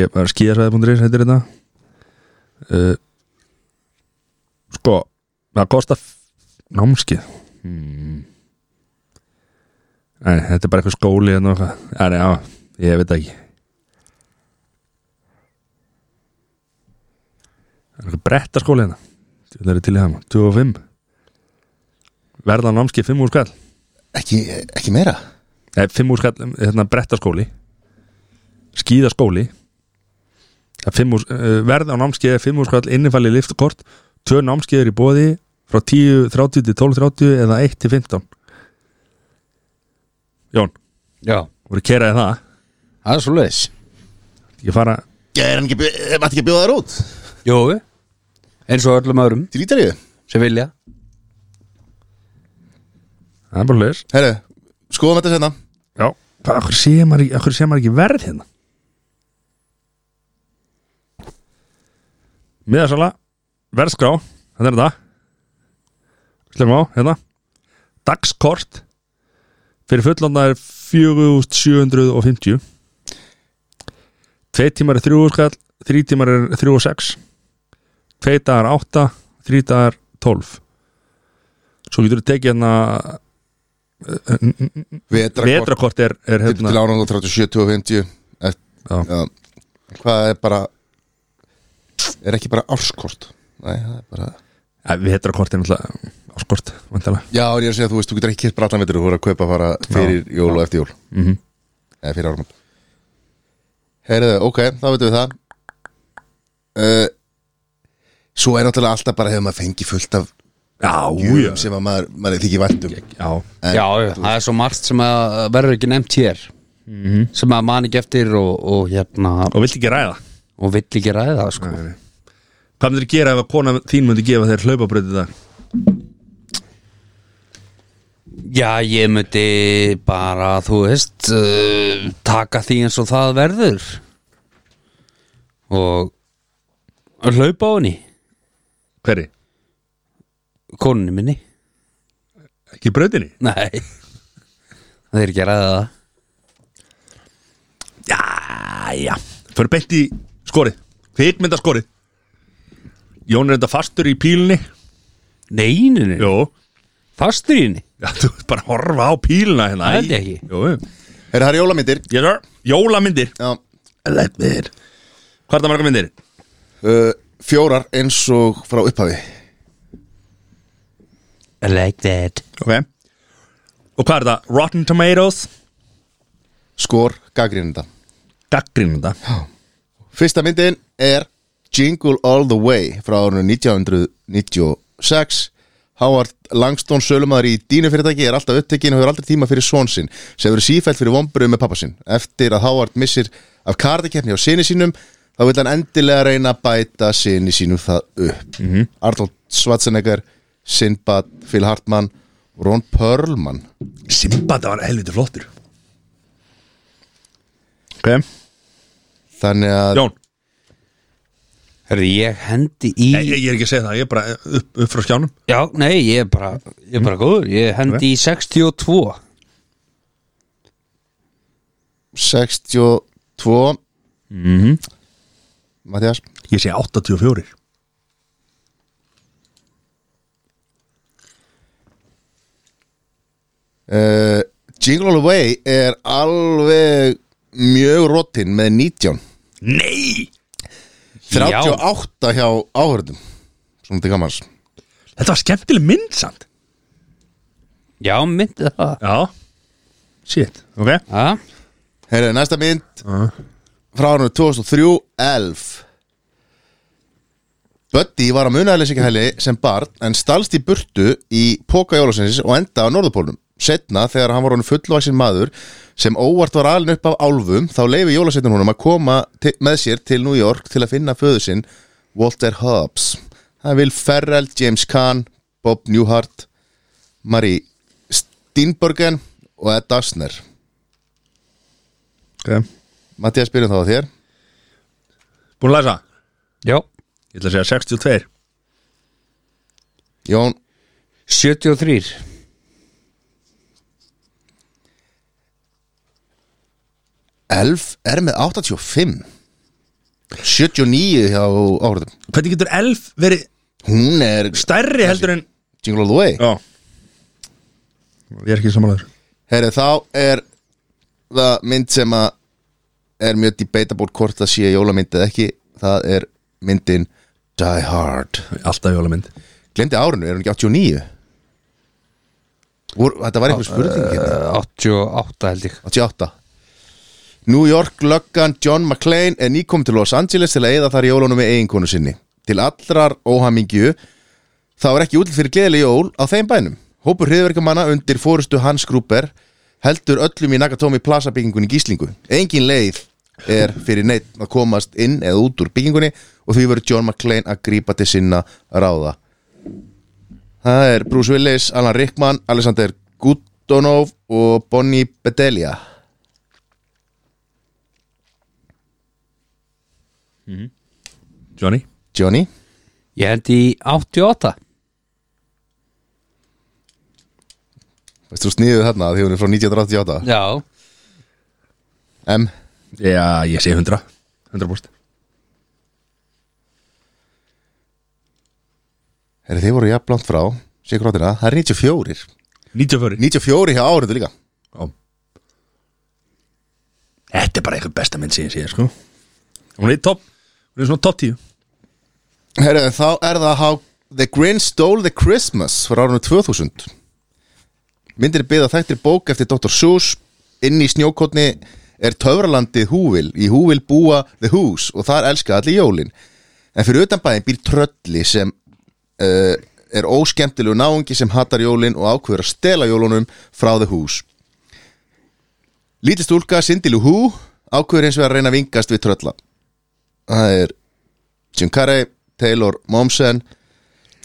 Speaker 1: Ég bara skíðasvæði.is heitir þetta uh, Sko Það kostar námskið hmm. Nei, þetta er bara eitthvað skóli hérna og eitthvað. Nei, nei, já, ég veit það ekki Það er eitthvað bretta skóli hérna Það er til í það maður, 25 Verða námskið 5 úr skall
Speaker 2: Ekki, ekki meira?
Speaker 1: Nei, fimm úr skall, hérna brettaskóli skíðaskóli Það er fimm úr, uh, verð á námskeið er fimm úr skall innifæli liftkort, tvö námskeiður í bóði frá 10.30 til 12.30 eða 1 til 15 Jón,
Speaker 3: Já
Speaker 1: voru keraði það
Speaker 3: Það er svo leiðis
Speaker 1: ég fara,
Speaker 2: Er hann ekki, maður ekki að bjóða þær út?
Speaker 3: Jó Eins og öllum öðrum
Speaker 2: Til Ítalíu?
Speaker 3: sem vilja
Speaker 1: það er bara leis
Speaker 2: Herru, skoðum þetta senna
Speaker 1: Já, hvað, okkur sé maður ekki, okkur sé maður ekki verð hérna Miðasala Verðskrá, þetta er þetta Slefum á, hérna Dagskort Fyrir fullanda er 4750 Tvei tímar er 3 skall Þrí tímar er 3 og 6 Tvei dagar 8 Þrí dagar 12 Svo getur þú tekið hérna
Speaker 2: Vetrakort
Speaker 1: Vetrakort er, er
Speaker 2: Til
Speaker 1: hérna
Speaker 2: ánum 37, 50
Speaker 1: Já.
Speaker 2: Já. Hvað er bara Er ekki bara árskort Nei, það er bara
Speaker 1: Ja, Vetrakort er náttúrulega áskort Vandalega
Speaker 2: Já, en ég er að segja þú veist, þú getur ekki kert bratan vetur Þú voru að kaupa bara fyrir jól og eftir jól
Speaker 1: mm -hmm.
Speaker 2: Eða fyrir árum Herðu, ok, þá veitum við það uh, Svo er náttúrulega alltaf bara Hefur maður fengið fullt af
Speaker 1: Já,
Speaker 2: gjöfum sem að maður, maður þykir vænt um
Speaker 1: já
Speaker 2: En-
Speaker 3: Já, já, það er svo margt sem að verður ekki nefnt hér sem að man ekki eftir og, og hérna
Speaker 1: Og vilt ekki ræða
Speaker 3: og vill ekki ræða það, sko
Speaker 1: Hvað myndir gera ef að kona þín myndi gefa þér hlaupabröð í dag?
Speaker 3: Já, ég myndi bara, þú veist uh, taka því eins og það verður og hlaupa á henni
Speaker 1: Hverri?
Speaker 3: konunni minni
Speaker 1: Ekki bröðinni?
Speaker 3: Nei, það er ekki að ræða það
Speaker 1: Já, já Fyrir beint í skorið Kvikmynda skorið Jón er þetta fastur í pílunni
Speaker 3: Nei, nei, nei,
Speaker 1: Jó
Speaker 3: fastur í henni
Speaker 1: Já, þú ert bara að horfa á píluna hérna
Speaker 3: Það held ég ekki.
Speaker 1: Jó, jú.
Speaker 2: Er það jólamyndir?
Speaker 1: yes sir Jólamyndir
Speaker 2: Já
Speaker 1: Leppir Hvað er það marga myndir?
Speaker 2: uh, Fjórar eins og frá upphafi
Speaker 3: I like that
Speaker 1: Ok Og hvað er það? Rotten Tomatoes
Speaker 2: Skor, gaggrinda
Speaker 1: Gaggrinda
Speaker 2: Fyrsta myndin er Jingle All The Way frá árunum 1996 Howard Langston sölumæður í dínu fyrirtæki er alltaf upptekinn og hefur aldrei tíma fyrir són sinn sem verður sífælt fyrir vombröðu með pappa sinn eftir að Howard missir af kardikeppni á sinni sínum þá vil hann endilega reyna að bæta sinni sínum það upp mm -hmm. Arnold Schwarzenegger Sinbad, Phil Hartman og Ron Perlman
Speaker 1: Simbad var helviti flottur Ok
Speaker 2: þannig að
Speaker 1: Jón
Speaker 3: Herðu, ég hendi í
Speaker 1: Ég, ég er ekki að segja það, ég er bara upp, upp frá skjánum
Speaker 3: Já, nei, ég er bara, ég er bara góður Ég hendi í 62
Speaker 2: 62 mm -hmm. Mathias
Speaker 1: Ég segi 84
Speaker 2: uh, Jingle All The Way er alveg mjög rotinn með 19
Speaker 1: Nei,
Speaker 2: 38 hjá áhörðum svona til gammans
Speaker 1: þetta var skemmtileg mynd samt
Speaker 3: Já, myndi það
Speaker 1: Já Shit, ok
Speaker 3: Já,
Speaker 2: Herðu, næsta mynd frá árunum 2003 11 Buddy var á munaðlýsingahæli sem barn en stalst í burtu í Póka Jólasensins og enda á Norðupólnum. Setna, þegar hann var honum fullvaxin maður sem óvart var alin upp af álfum, þá leifi Jólasensinn honum að koma til, með sér til New York til að finna föðu sinn Walter Hobbs. Það vil Ferrell, James Caan, Bob Newhart, Marie Steinbergen og Ed Asner.
Speaker 1: okay.
Speaker 2: Mattias, byrjum þá að þér.
Speaker 1: Búin að læsa
Speaker 3: já
Speaker 1: Ég ætla að segja 62
Speaker 2: Jón,
Speaker 3: 73
Speaker 2: Elf er með 85 79 hjá áhörðum
Speaker 1: Hvernig getur 11 verið
Speaker 2: Hún er
Speaker 1: stærri heldur en
Speaker 2: Jingle All The Way
Speaker 1: Já Ég er ekki samanlegur
Speaker 2: Herri, þá er það mynd sem að er mjög debatable hvort það sé jólamynd eða ekki það er myndin Die Hard
Speaker 1: Alltaf jólamynd
Speaker 2: Glemdi árinu, er hún ekki 89? Úr, þetta var einhver spurning hérna.
Speaker 3: uh, 88 held ég
Speaker 2: 88 New York löggan John McClane er nýkom til Los Angeles til að eyða þar jólunum með eiginkonu sinni til allrar óhamingju þá er ekki útlið fyrir gleðileg jól á þeim bænum hópur hriðverkamanna undir fórustu Hans Gruber heldur öllum í Nakatomi Plaza byggingunni gíslingu engin leið er fyrir neitt að komast inn eða út úr byggingunni og því verður John McClane að grípa til sinna ráða það er Bruce Willis, Alan Rickman Alexander Gudonov og Bonnie Bedelia
Speaker 1: Johnny
Speaker 2: Johnny
Speaker 3: Ég hendi í 88
Speaker 2: Veistu þú sniðið þarna því hún er frá 1988
Speaker 3: Já,
Speaker 2: M
Speaker 1: Já, ég sé 100 100%
Speaker 2: Herri, þið voru jafn langt frá Sigur áttina, það er 94
Speaker 1: 94
Speaker 2: 94 hjá áhrindu líka
Speaker 1: Já. Þetta er bara eitthvað besta mynd síðan síðan sko Hún er í topp Hún er svona topp 10
Speaker 2: Herri, þá er það How the Grinch Stole the Christmas frá árunum 2000 Myndir er byggða þættir bók eftir Dr. Seuss Inn í snjókotni er töfralandið Húvil Í Húvil búa The Who's og þar elska allir jólin En fyrir utan bæðin býr trölli sem uh, er óskemmtilegu náungi sem hattar jólin og ákveður að stela jólunum frá The Who's Lítið stúlka Cindy Lou Who ákveður eins og að reyna að vingast við trölla Það er Jim Carrey, Taylor Momsen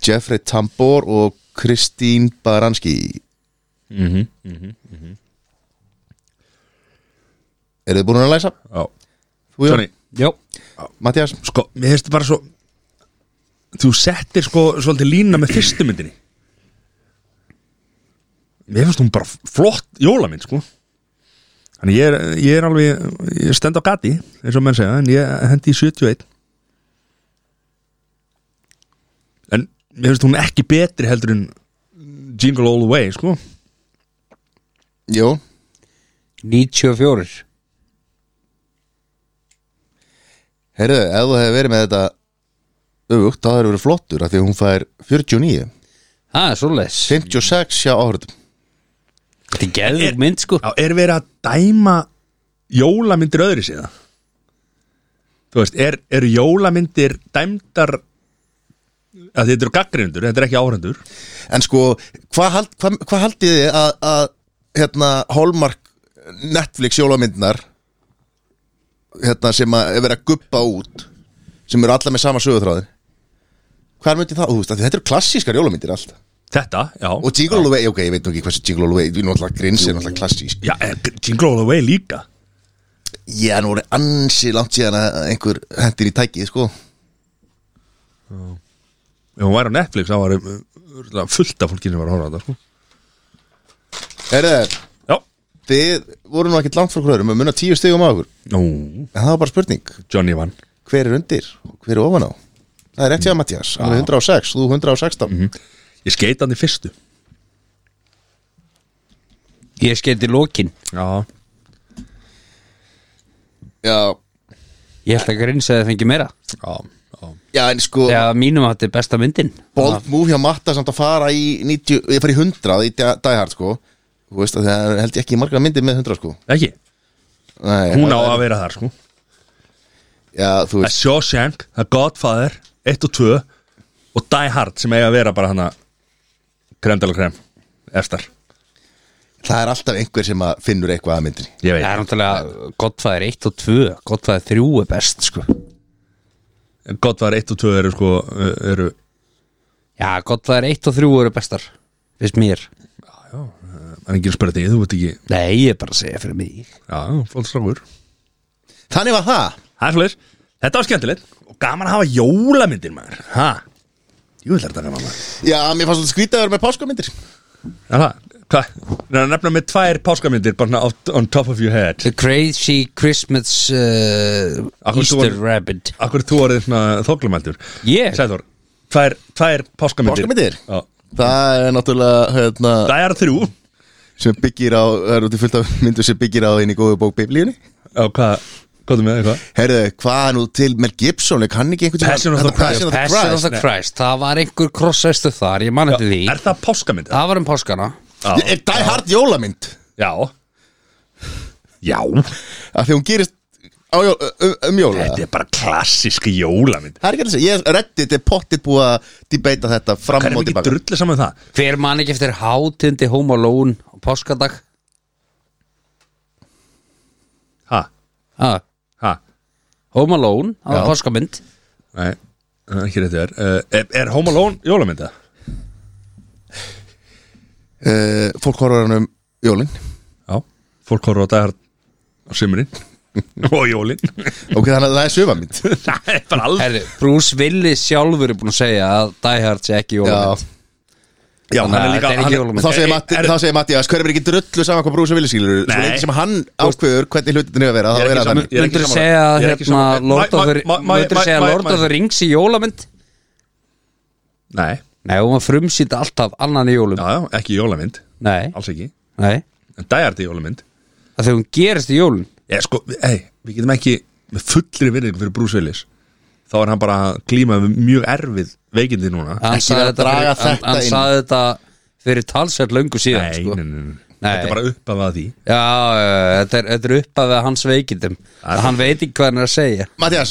Speaker 2: Jeffrey Tambor og Kristín Baranski Eru þið búin að læsa?
Speaker 1: Já
Speaker 2: Þú, Jón?
Speaker 1: Sjóni,
Speaker 3: já,
Speaker 2: Mattias?
Speaker 1: sko, mér finnst bara svo Þú settir sko svolítið lína með fyrstu myndinni Mér finnst hún bara flott jólamynd sko Þannig ég er, ég er alveg Ég stend á gati, eins og menn segja En ég hendi í 71 En mér finnst hún ekki betri heldur en Jingle All The Way sko
Speaker 2: Jó
Speaker 3: 94
Speaker 2: Herðu, ef þú hefur verið með þetta öfugt, þá hefur verið flottur af því að hún fær 49
Speaker 3: Það er svoleiðis
Speaker 2: 56 hjá áhrifum
Speaker 3: Þetta er geðug mynd sko
Speaker 1: Já, er verið að dæma jólamyndir öðru síðan? Þú veist, er, er jólamyndir dæmdar að þetta eru gaggrindur, þetta er ekki áhrendur
Speaker 2: En sko, hvað hald, hva, hva haldið þið að, að hérna, Hallmark Netflix jólamyndnar hérna, sem að er verið að guppa út sem eru alla með sama sögutráðin Hvað myndi það? Þú veist, af því þetta eru klassískar jólamyndir allt
Speaker 1: Þetta, já
Speaker 2: Og Jingle All The Way, ok, ég veit nú ekki hversu Jingle All The Way Við erum alltaf grins, er alltaf klassísk
Speaker 1: Já, en Jingle All The Way líka
Speaker 2: Ég er nú orðið ansi langt síðan að einhver hendir í tækið, sko
Speaker 1: Ef hún væri á Netflix, þá var örugglega fullt af fólki sem var að horfa á þetta sko.
Speaker 2: Herðu,
Speaker 1: Já,
Speaker 2: þið voru nú ekkert langt frá hverjum Við munna tíu stigum á okkur
Speaker 1: nú,
Speaker 2: En það var bara spurning
Speaker 1: Johnny vann
Speaker 2: hver er undir og hver er ofan á það er rétt hjá Mattias, hann er 106, þú 116
Speaker 1: Mhm. Ég skeit hann í fyrstu
Speaker 3: Ég skeiti lokin
Speaker 1: Já,
Speaker 2: já,
Speaker 3: Ég held að grins að það fengi meira
Speaker 1: já, já
Speaker 2: já, en sko
Speaker 3: Þegar að mínum hatt er besta myndin
Speaker 2: bold move hjá Matta samt að fara í 90, ég fari í 100 í Da- Die Hard sko þú veist að það er- held ég ekki margra myndir með 100 sko
Speaker 1: Ekki,
Speaker 2: Nei,
Speaker 1: hún á
Speaker 2: það-
Speaker 1: að vera þar sko
Speaker 2: já, þú
Speaker 1: Það er
Speaker 2: veist,
Speaker 1: Shawshank, það er Godfather 1 og 2 og Die Hard sem eiga að vera bara hana kremdala krem, efstar
Speaker 2: það er alltaf einhver sem að finnur eitthvað að myndinni
Speaker 1: ég
Speaker 3: Það er
Speaker 1: veit,
Speaker 3: náttúrulega Godfæðir 1 og 2 Godfæðir 3 er best sko
Speaker 1: Godfather 1 og 2 eru sko eru,
Speaker 3: Já, Godfæðir 1 og 3 eru bestar Fyrst mér
Speaker 1: það er ekki að spyrja þig, þú veit ekki
Speaker 3: Nei, ég er bara að segja fyrir mig
Speaker 1: já, fólk strákur
Speaker 2: þannig var það,
Speaker 1: það er svolítið, þetta var skemmtilegt og gaman að hafa jólamyndir maður ha, jú vil þetta gaman maður
Speaker 2: já, mér fannst svolítið skrítið að vera með páskamyndir
Speaker 1: er það, hvað, það er að nefna með tvær páskamyndir bara svona off- on top of your head
Speaker 3: The Crazy Christmas uh,
Speaker 1: Akkur þú
Speaker 3: Easter
Speaker 1: var-
Speaker 3: Rabbit
Speaker 1: akkur þú orðið svona þóklumæltur
Speaker 3: Ég?
Speaker 1: Sæður, tvær, tvær páskamyndir
Speaker 2: Páskamyndir?
Speaker 1: já
Speaker 2: það er náttúrulega hérna,
Speaker 1: Það er þrjú
Speaker 2: sem byggir á, það er út í fullt af myndu sem byggir á einu góðu bók biblíunni
Speaker 1: Já, hvað, hvað er með eitthvað?
Speaker 2: Herðu, hvað er nú til Mel Gibson, er hann ekki einhvern tímann-
Speaker 1: Passion of the
Speaker 2: Þetta
Speaker 1: Christ.
Speaker 2: Passion of the
Speaker 3: Passion of
Speaker 2: Christ
Speaker 3: the Christ Það var einhver krossvestu þar, ég man eftir því
Speaker 1: Er það páskamind?
Speaker 3: Það var um páskana
Speaker 1: Já.
Speaker 2: Er Die Hard jólamynd?
Speaker 1: Já Já,
Speaker 2: Af því hún gerist á jól, um, um jól eða?
Speaker 1: þetta er bara klassíski jólamind
Speaker 2: Það er ekki að segja, ég reddi þetta er pottið búið að debata þetta
Speaker 1: Hvað
Speaker 2: fram
Speaker 1: er
Speaker 2: og
Speaker 1: mikið
Speaker 2: tilbaka
Speaker 1: drullið saman það?
Speaker 3: Hver man ekki eftir hátindi Home Alone og páskadag
Speaker 1: Ha,
Speaker 3: ha,
Speaker 1: ha,
Speaker 3: Home Alone, það var
Speaker 2: Já.
Speaker 3: páskamynd
Speaker 1: nei, það er ekki rétt er. Uh, er Er Home Alone jólamynda?
Speaker 2: uh, Fólk horfður hann um jólin
Speaker 1: Já, fólk horfður á dagar á sumrin *laughs* og jólin
Speaker 2: Ok, þannig að það er söfamynd
Speaker 1: Það er bara alveg
Speaker 3: Herri, Bruce Willis sjálfur er búin að segja að Die Hard sé ekki
Speaker 2: Já,
Speaker 3: jólumynd
Speaker 1: Já, hann
Speaker 3: Þannig
Speaker 1: er
Speaker 3: að
Speaker 1: líka
Speaker 3: þetta er ekki
Speaker 1: hann-
Speaker 3: jólum-
Speaker 2: Og þá segir
Speaker 1: Er-
Speaker 2: Matti,
Speaker 1: er-
Speaker 2: þá segir Matti að hverjum er ekki drullu saman hvað brúsa vilja skilur Svo
Speaker 1: Nei.
Speaker 2: lengi sem hann ákveður hvernig hlutin er að vera
Speaker 1: Ég er
Speaker 2: þá er
Speaker 1: ekki
Speaker 2: það
Speaker 1: saman- Ég
Speaker 2: þannig
Speaker 1: er ekki
Speaker 3: Möndur
Speaker 1: sammála.
Speaker 3: segja
Speaker 1: Ég er ekki
Speaker 3: hérna
Speaker 1: sammála.
Speaker 3: Lord
Speaker 1: Ma-
Speaker 3: of the-
Speaker 1: ma- ma-
Speaker 3: myndirðu
Speaker 1: ma-
Speaker 3: segja
Speaker 1: ma-
Speaker 3: Lord
Speaker 1: ma-
Speaker 3: of the Rings í jólamynd
Speaker 1: Nei,
Speaker 3: Nei, og maður frumsýndi alltaf annan í jólum
Speaker 1: já, já, ekki jólamynd
Speaker 3: Nei,
Speaker 1: Alls ekki,
Speaker 3: nei
Speaker 1: en dæjardi jólamynd
Speaker 3: að þegar hún gerist í jólun
Speaker 1: Ég sko, ei, við getum ekki með fullri virðingu fyrir Bruce Willis þá er hann bara að glíma við mjög erfið veikindi núna
Speaker 3: hann
Speaker 2: Ekki
Speaker 3: sagði
Speaker 2: vera að
Speaker 3: þetta,
Speaker 2: draga
Speaker 3: fyrir, hann,
Speaker 2: þetta
Speaker 3: hann
Speaker 2: inn.
Speaker 3: sagði þetta fyrir talsett löngu síðan
Speaker 1: nei,
Speaker 3: sko.
Speaker 1: nei, nei, nei,
Speaker 3: Nei.
Speaker 1: þetta er bara upp af að því
Speaker 3: Já, já, þetta er, þetta er uppað við hans veikindum
Speaker 1: Það er-
Speaker 3: Hann veit ekki hvað hann er að segja
Speaker 2: Mattias,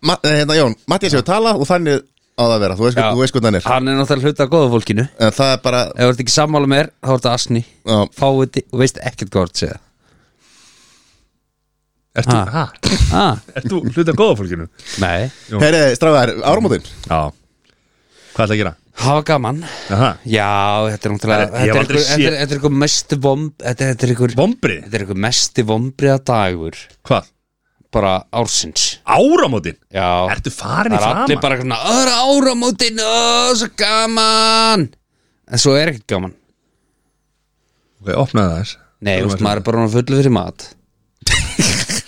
Speaker 2: Ma- eh, hérna Jón, Mattias hefur talað og þannig á það að vera Þú veist,
Speaker 3: Já.
Speaker 2: þú veist hvernig hann er
Speaker 3: Hann er náttúrulega hluta af góða fólkinu
Speaker 2: En það er bara,
Speaker 3: Ef þú ert ekki sammála með þér, þá ertu asni
Speaker 2: já,
Speaker 3: Fáiði og veist ekkert hvað þú ert að segja
Speaker 1: Ertu,
Speaker 3: Ha.
Speaker 1: ha.
Speaker 3: ah,
Speaker 1: Ertu hluta góða fólkinu?
Speaker 3: Nei,
Speaker 2: herri, strafgar, áramótin
Speaker 1: Já Hvað ætla að gera?
Speaker 3: það var gaman
Speaker 1: Aha.
Speaker 3: Já, þetta er
Speaker 1: Það
Speaker 3: náttúrulega
Speaker 1: er- ég
Speaker 3: Þetta
Speaker 1: hef
Speaker 3: er
Speaker 1: aldrei séð-
Speaker 3: einhver- þetta er- þetta er einhver mesti vomb Þetta er- þetta er einhver
Speaker 1: Vombri?
Speaker 3: Þetta er einhver mesti vombriða dagur
Speaker 1: Hvað?
Speaker 3: Bara ársins
Speaker 1: Áramótin?
Speaker 3: Já
Speaker 1: Ertu farin í
Speaker 3: Það er
Speaker 1: framan?
Speaker 3: allir bara svona Öðra áramótin, ó, svo gaman En svo er ekkert gaman
Speaker 1: Ok, opnaði það þess
Speaker 3: Nei, þú veist, maður er bara fullu fyrir mat
Speaker 1: *laughs*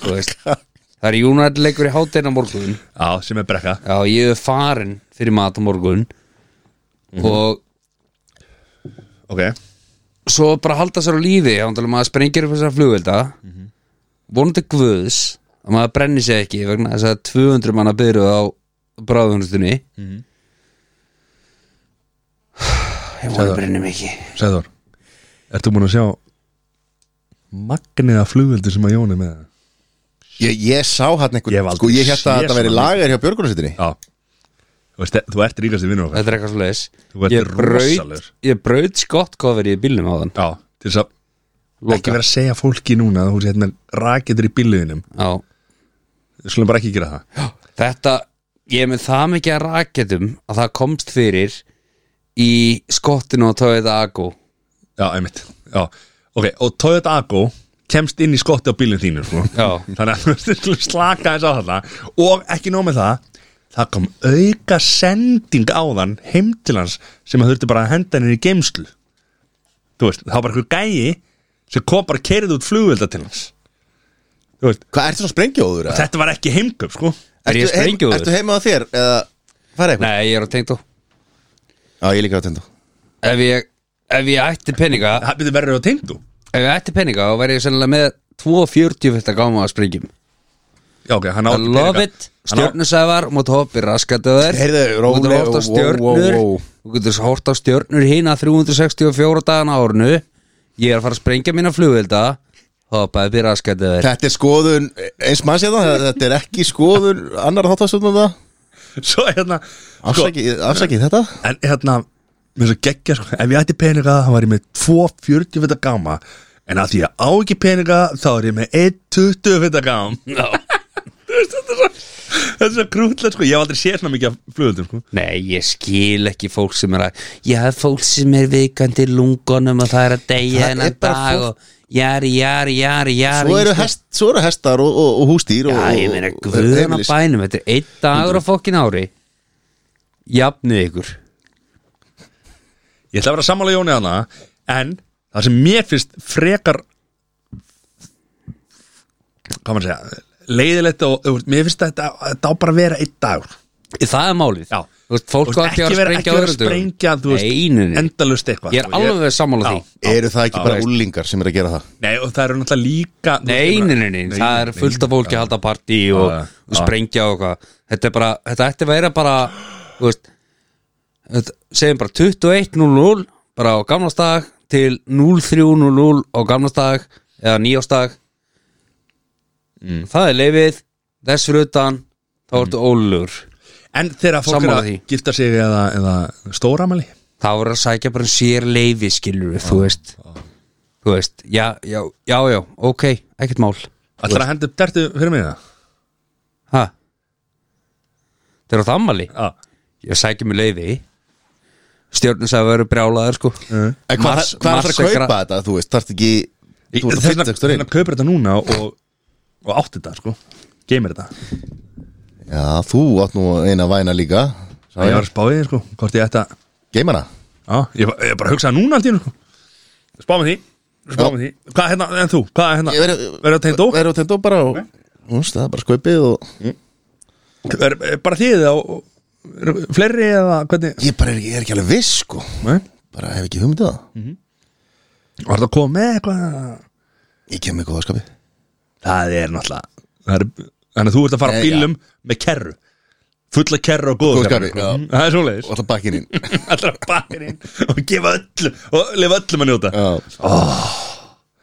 Speaker 3: Þú veist Það er júnarleikur í hátinn á morgun
Speaker 1: Já, sem er brekka
Speaker 3: Já, ég er farin fyrir mat á morgun
Speaker 1: Mhm.
Speaker 3: Og
Speaker 1: Ok
Speaker 3: svo bara halda sér á lífi Þannig að maður sprengir upp þessar flugvelda Vonandi guðs Að maður brenni sig ekki vegna þess að 200 manna byrjuð á bráðunustunni *sighs* Ég
Speaker 1: Sagði
Speaker 3: vonið
Speaker 1: það.
Speaker 3: brenni mig ekki
Speaker 1: Sæður Ertu búin að sjá Magniða flugveldi sem að Jón er með
Speaker 2: Ég, ég sá hann
Speaker 1: Ég hef
Speaker 2: einhvern,
Speaker 1: aldrei
Speaker 2: sko, ég hérta
Speaker 1: séð
Speaker 2: að þetta veri
Speaker 1: svona
Speaker 2: lagar hjá björgunarsýttinni
Speaker 1: Já Þú veist, þú ert ríkast í vinnur okkar
Speaker 3: Þetta er eitthvað svo
Speaker 1: Þú ert
Speaker 3: Ég braut,
Speaker 1: rosalegur.
Speaker 3: ég braut skottkofir í bílnum á þann
Speaker 1: Já Til þess að Ekki
Speaker 3: Loka.
Speaker 1: vera að segja fólki núna að Þú sé hérna raketur í bíluðinum
Speaker 3: Já
Speaker 1: Við skulum bara ekki gera það
Speaker 3: Þetta, ég er með það mikið að raketum að það komst fyrir í skottinu á Toyota Ago
Speaker 1: Já, einmitt Já Ok, og Toyota Ago kemst inn í skotti á bílinn þínu sko.
Speaker 3: Já.
Speaker 1: þannig að *laughs* þú veist, við skulum slaka þess á þarna og ekki nóg með það það kom auka sending á þann heim til hans sem að þurfti bara að henda henni í geimslu þú veist, það var bara eitthvað gæi sem kom bara kerið út flugvelda til hans þú veist,
Speaker 2: Hvað, ertu svona sprengjóður? eða?
Speaker 1: þetta var ekki heimköp sko
Speaker 3: Er ég
Speaker 2: Ertu heim-
Speaker 3: sprengjóður?
Speaker 2: Ertu heima á þér, eða farið eitthvað?
Speaker 3: Nei, ég er á tengdó
Speaker 2: Já, ég er líka á tindu
Speaker 3: ef ég, ef ég ætti peninga
Speaker 1: það byrði verður á teimdu
Speaker 3: Ef ég ætti peninga þá væri ég sennilega með 240 fyrta gáma að sprengjum
Speaker 1: já ok, hann
Speaker 3: I
Speaker 1: átti
Speaker 3: love it,
Speaker 1: Hann á-
Speaker 3: stjörnusævar mót hoppi raskatöður
Speaker 2: Heyrðu,
Speaker 3: Þú getur
Speaker 2: róleg,
Speaker 3: hort á
Speaker 2: wow,
Speaker 3: stjörnur
Speaker 2: wow, wow.
Speaker 3: Þú getur hort á stjörnur hína 364 dagana á árinu Ég er að fara að sprengja mína flugvilda Hoppaði byrja raskatöður
Speaker 2: Þetta er skoðun, eins manns ég það, þetta er ekki skoðun annar þáttastjórnum það
Speaker 1: *laughs* Sko. svo hérna sko,
Speaker 2: Afsakið, afsakið þetta
Speaker 1: En hérna, mér finnst að geggja sko, ef ég ætti peninga þá var ég með 2,40 fyrir gáma En að því ég á ekki peninga þá er ég með 1,20 fyrir
Speaker 3: *laughs*
Speaker 1: gám
Speaker 3: no.
Speaker 1: *laughs* Þetta er svo krútlega sko, ég hef aldrei séð svona mikið af flugöldum sko
Speaker 3: Nei, ég skil ekki fólk sem er að Ég hef fólk sem er vikandi í lungunum og það er að deyja
Speaker 2: Það er
Speaker 3: hennan
Speaker 2: bara
Speaker 3: dag
Speaker 2: fólk-
Speaker 3: og jari, jari, jari, jari
Speaker 2: Svo eru, hest, svo eru hestar og, og, og hústýr og,
Speaker 3: Já, ég meina
Speaker 2: og- og-
Speaker 3: guðan á
Speaker 2: heimilis.
Speaker 3: bænum Þetta er einn dagur á fokkin ári Jafnið ykkur
Speaker 1: Ég ætla að vera sammála Jóni hana En það sem mér finnst frekar Hvað maður að segja Leiðilegt og þú veist, mér finnst að þetta, þetta á bara að vera einn dagur
Speaker 3: Það er málið
Speaker 1: Já.
Speaker 3: Þú veist, Fólk
Speaker 1: Þú
Speaker 3: á
Speaker 1: veist,
Speaker 3: ekki að vera að
Speaker 1: ekki vera að
Speaker 3: sprengja
Speaker 1: sprengja þú veist,
Speaker 3: Einunni
Speaker 1: endalaust eitthvað
Speaker 3: Ég er
Speaker 1: sko.
Speaker 3: alveg sammála
Speaker 1: Já.
Speaker 3: því
Speaker 2: Eru það ekki
Speaker 1: Já,
Speaker 2: bara
Speaker 1: veist.
Speaker 2: úlingar sem er að gera það?
Speaker 1: Nei og það eru náttúrulega líka þú veist,
Speaker 3: Nei,
Speaker 1: ég
Speaker 3: nei,
Speaker 1: meina-
Speaker 3: nei, Ah, nei, það er fullt af
Speaker 1: nei,
Speaker 3: fólki að halda partí og,
Speaker 1: Já,
Speaker 3: og
Speaker 1: já.
Speaker 3: sprengja og hvað Þetta er bara, þetta ætti að vera bara þú veist þetta, segjum bara 21.00 bara á gamlastag til 03.00 á gamlastag eða nýjastag Það er leifið þess fyrir utan, þá ertu ólugur
Speaker 1: En þegar fólk er
Speaker 3: Sammála
Speaker 1: að
Speaker 3: því.
Speaker 1: gifta sig eða, eða stóramæli
Speaker 3: þá er að sækja bara um sér leifi skilur við, þú veist þú veist, já, já, já, já ok, ekkert mál
Speaker 1: Ætlar að henda upp dertu fyrir mig það?
Speaker 3: ha? það er á þammali
Speaker 1: Já
Speaker 3: ég sækja mig leifi stjórnum sagði að vera brjálaður sko
Speaker 2: Mm. En hvað
Speaker 3: Mars-
Speaker 2: hvað er það að
Speaker 3: Mars er
Speaker 2: kaupa þetta? Þú veist, þarft ekki Þú ert að
Speaker 1: Þannig
Speaker 2: fyrsta
Speaker 1: að
Speaker 2: ekki stöðin
Speaker 1: kaupir þetta núna og, og átti þetta sko Geymir þetta
Speaker 2: Já, þú átt nú eina væna líka
Speaker 1: Ég var að spá í því sko Hvort ég ætti að
Speaker 2: Geimana
Speaker 1: Já Já, ég, ba- ég bara hugsaði núna allt í hennu sko. Spá með því, spá
Speaker 2: Já.
Speaker 1: með því Hvað hérna, en þú, hvað er hérna
Speaker 2: Ég verð-
Speaker 1: Verður það tengdó?
Speaker 2: Verður á tengdó bara og Úst, það er bara skaupið og
Speaker 1: Er er bara þið á eru Fleiri eða hvernig
Speaker 2: ég bara er, ég er ekki alveg viss sko
Speaker 1: Nei.
Speaker 2: bara hef ekki hugmyndið það
Speaker 1: Var það að koma með eitthvað
Speaker 2: ég kem með góða skapið
Speaker 1: Það er náttúrulega það er, Þannig að þú ert að fara
Speaker 2: Nei,
Speaker 1: á bílum með kerru Fulla kerru og
Speaker 2: Góðu
Speaker 1: góðu
Speaker 2: skapi,
Speaker 1: kerru
Speaker 2: já.
Speaker 1: Mhm, Það er svoleiðis
Speaker 2: og það bakkin inn
Speaker 1: *laughs* Allra bakirinn og gefa öllum og lifa öllum að njóta
Speaker 2: *laughs* Já.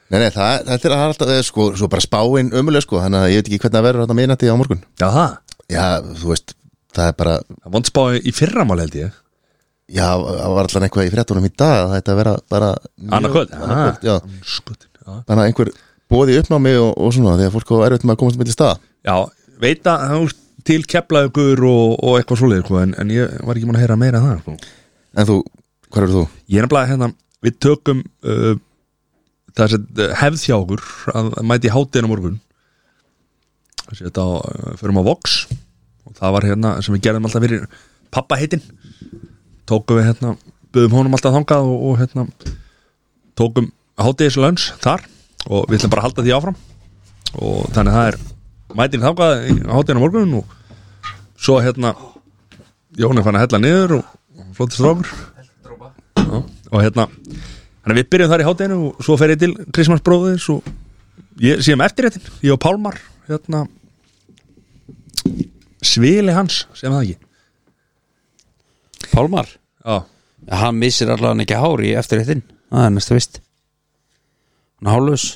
Speaker 2: nei, nei, það, þetta er alltaf eh, sko, svo bara spáin ömuleg sko þannig að ég veit ekki hvernig það verður þetta minnati á morgun
Speaker 1: Já, það
Speaker 2: já, þú veist, það er bara
Speaker 1: Það vond spá í fyrramál held ég
Speaker 2: já, það var alltaf eitthvað í fréttunum í dag að þetta verða bara mjög-
Speaker 1: Annað kvöld
Speaker 2: annað kvöld, já.
Speaker 1: Ah, skotin, já.
Speaker 2: þannig að einhver bóði uppnámi og, og svona þegar fólk á erfitt með að komast með til stað
Speaker 1: Já, veit að það er til keflaðugur og, og eitthvað svoleið sko, en, en ég var ekki mann að heyra meira en það sko.
Speaker 2: en þú, hvað eru þú?
Speaker 1: Ég er nefnilega hérna, við tökum uh, það sem uh, hefð hjá okkur að að mæti hátinu morgun þessi þetta á, uh, förum á Vox og það var hérna sem við gerðum alltaf fyrir pappa heitin tókum við hérna, buðum honum alltaf þangað og, og hérna tókum hátíðislöns þar og við ætlum bara að halda því áfram og þannig að það er mætin þangað í- á hátíðinu morgun og svo hérna Jón er fann að hella niður og flóttist rákur Já, og hérna þannig að við byrjum þar í hátæðinu og svo fer ég til Kristmanns bróðins og ég séum eftirréttin, ég og Pálmar hérna svili hans, sem það ekki
Speaker 3: Pálmar
Speaker 1: já,
Speaker 3: Hann missir allavega ekki hár í eftirréttin Það er næsta vist Hann er hálfus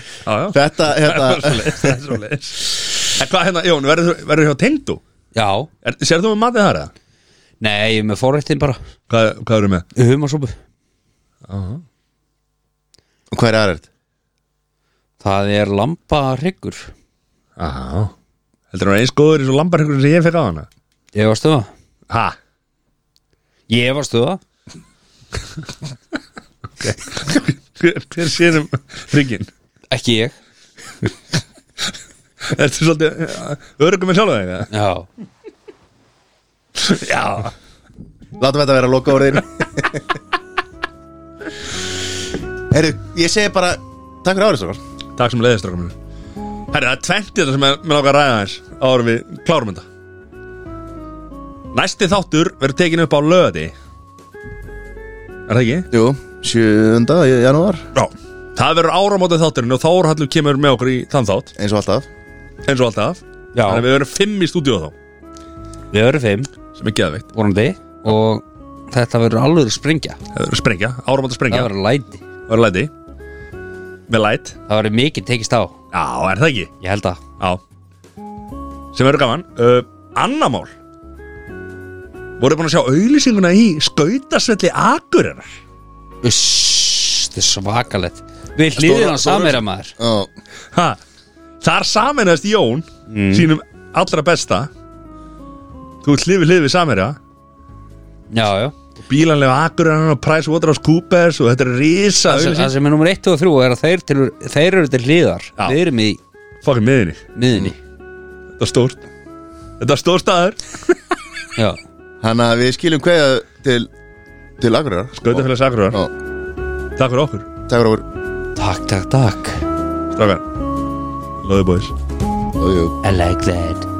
Speaker 1: já, já
Speaker 2: þetta,
Speaker 1: *laughs* það
Speaker 2: *laughs*
Speaker 1: er
Speaker 2: hérna,
Speaker 1: svoleiðis, það er svoleiðis en hvað hérna, Jón, verður þú- verður hjá tengdu?
Speaker 3: Já,
Speaker 1: Er, sér þú með matið þar eða?
Speaker 3: nei, ég er með forrættin bara
Speaker 1: Hvað, hvað eru með?
Speaker 3: Humarsópu
Speaker 2: hvað er aðrætt?
Speaker 3: Það er lampa hryggur
Speaker 1: já, heldur hann eins góður í svo lambarhyggur sem ég fyrir á hana
Speaker 3: Ég varstu það
Speaker 1: ha,
Speaker 3: Ég varstu það
Speaker 1: hver, hver sér um hrygginn?
Speaker 3: Ekki ég
Speaker 1: Ertu svolítið örgum með sjálf þegar?
Speaker 3: Já
Speaker 1: Já
Speaker 2: Látum þetta vera loka *laughs* orðin Herru, ég segi bara Takk fyrir árið svo
Speaker 1: Takk sem leiðist okkur mér Herri, það er tventið þetta sem ég mér okkar að ræða þess Árum við klárum þetta Næsti þáttur verður tekin upp á löði Er það ekki?
Speaker 2: Jú, 7. janúar
Speaker 1: Já Það verður áramótið þátturinn og Þór Hallur kemur með okkur í þann þátt
Speaker 2: Eins og alltaf
Speaker 1: eins og alltaf
Speaker 3: Já.
Speaker 1: Þannig að við verðum fimm í stúdíu þá
Speaker 3: Við erum fimm
Speaker 1: sem er geðveikt
Speaker 3: vonandi og þetta verður alveg springja
Speaker 1: Það verður sprengja, áramótið
Speaker 3: það
Speaker 1: sprengja
Speaker 3: verður læti
Speaker 1: Það verður læti Með læt
Speaker 3: það verður mikið tekist á
Speaker 1: Já, er það ekki?
Speaker 3: ég held að
Speaker 1: Já Sem verður gaman uh, Annamál Voruð búin að sjá auðlýsinguna í Skautasvelli Akureyrar
Speaker 3: uss þetta er svakalett við hlýðum
Speaker 2: Stóra-
Speaker 3: á samera maður
Speaker 2: Ó,
Speaker 1: ha, Þar sameinast Jón Sínum allra besta Þú ert hlifi hlifi samerja
Speaker 3: já já
Speaker 1: Bílanlega Akureyrar og Price Waterhouse Coopers Og þetta er risa
Speaker 3: það sem, það
Speaker 1: auðlýsing
Speaker 3: sem er nummer 1 og 3 er að þeir, til, þeir eru til hlýðar
Speaker 1: Já.
Speaker 3: við erum í
Speaker 1: Fokkin miðinni
Speaker 3: miðinni
Speaker 1: Þetta er stórt Þetta er stór staður
Speaker 3: já
Speaker 2: Þannig að við skiljum hverja til Til Akureyrar
Speaker 1: Skautafélags Akureyrar
Speaker 2: Ó,
Speaker 1: Takk fyrir okkur
Speaker 2: Takk fyrir árið
Speaker 3: takk takk takk
Speaker 1: Strákar Lóði boys
Speaker 2: Ó, jú
Speaker 3: I like that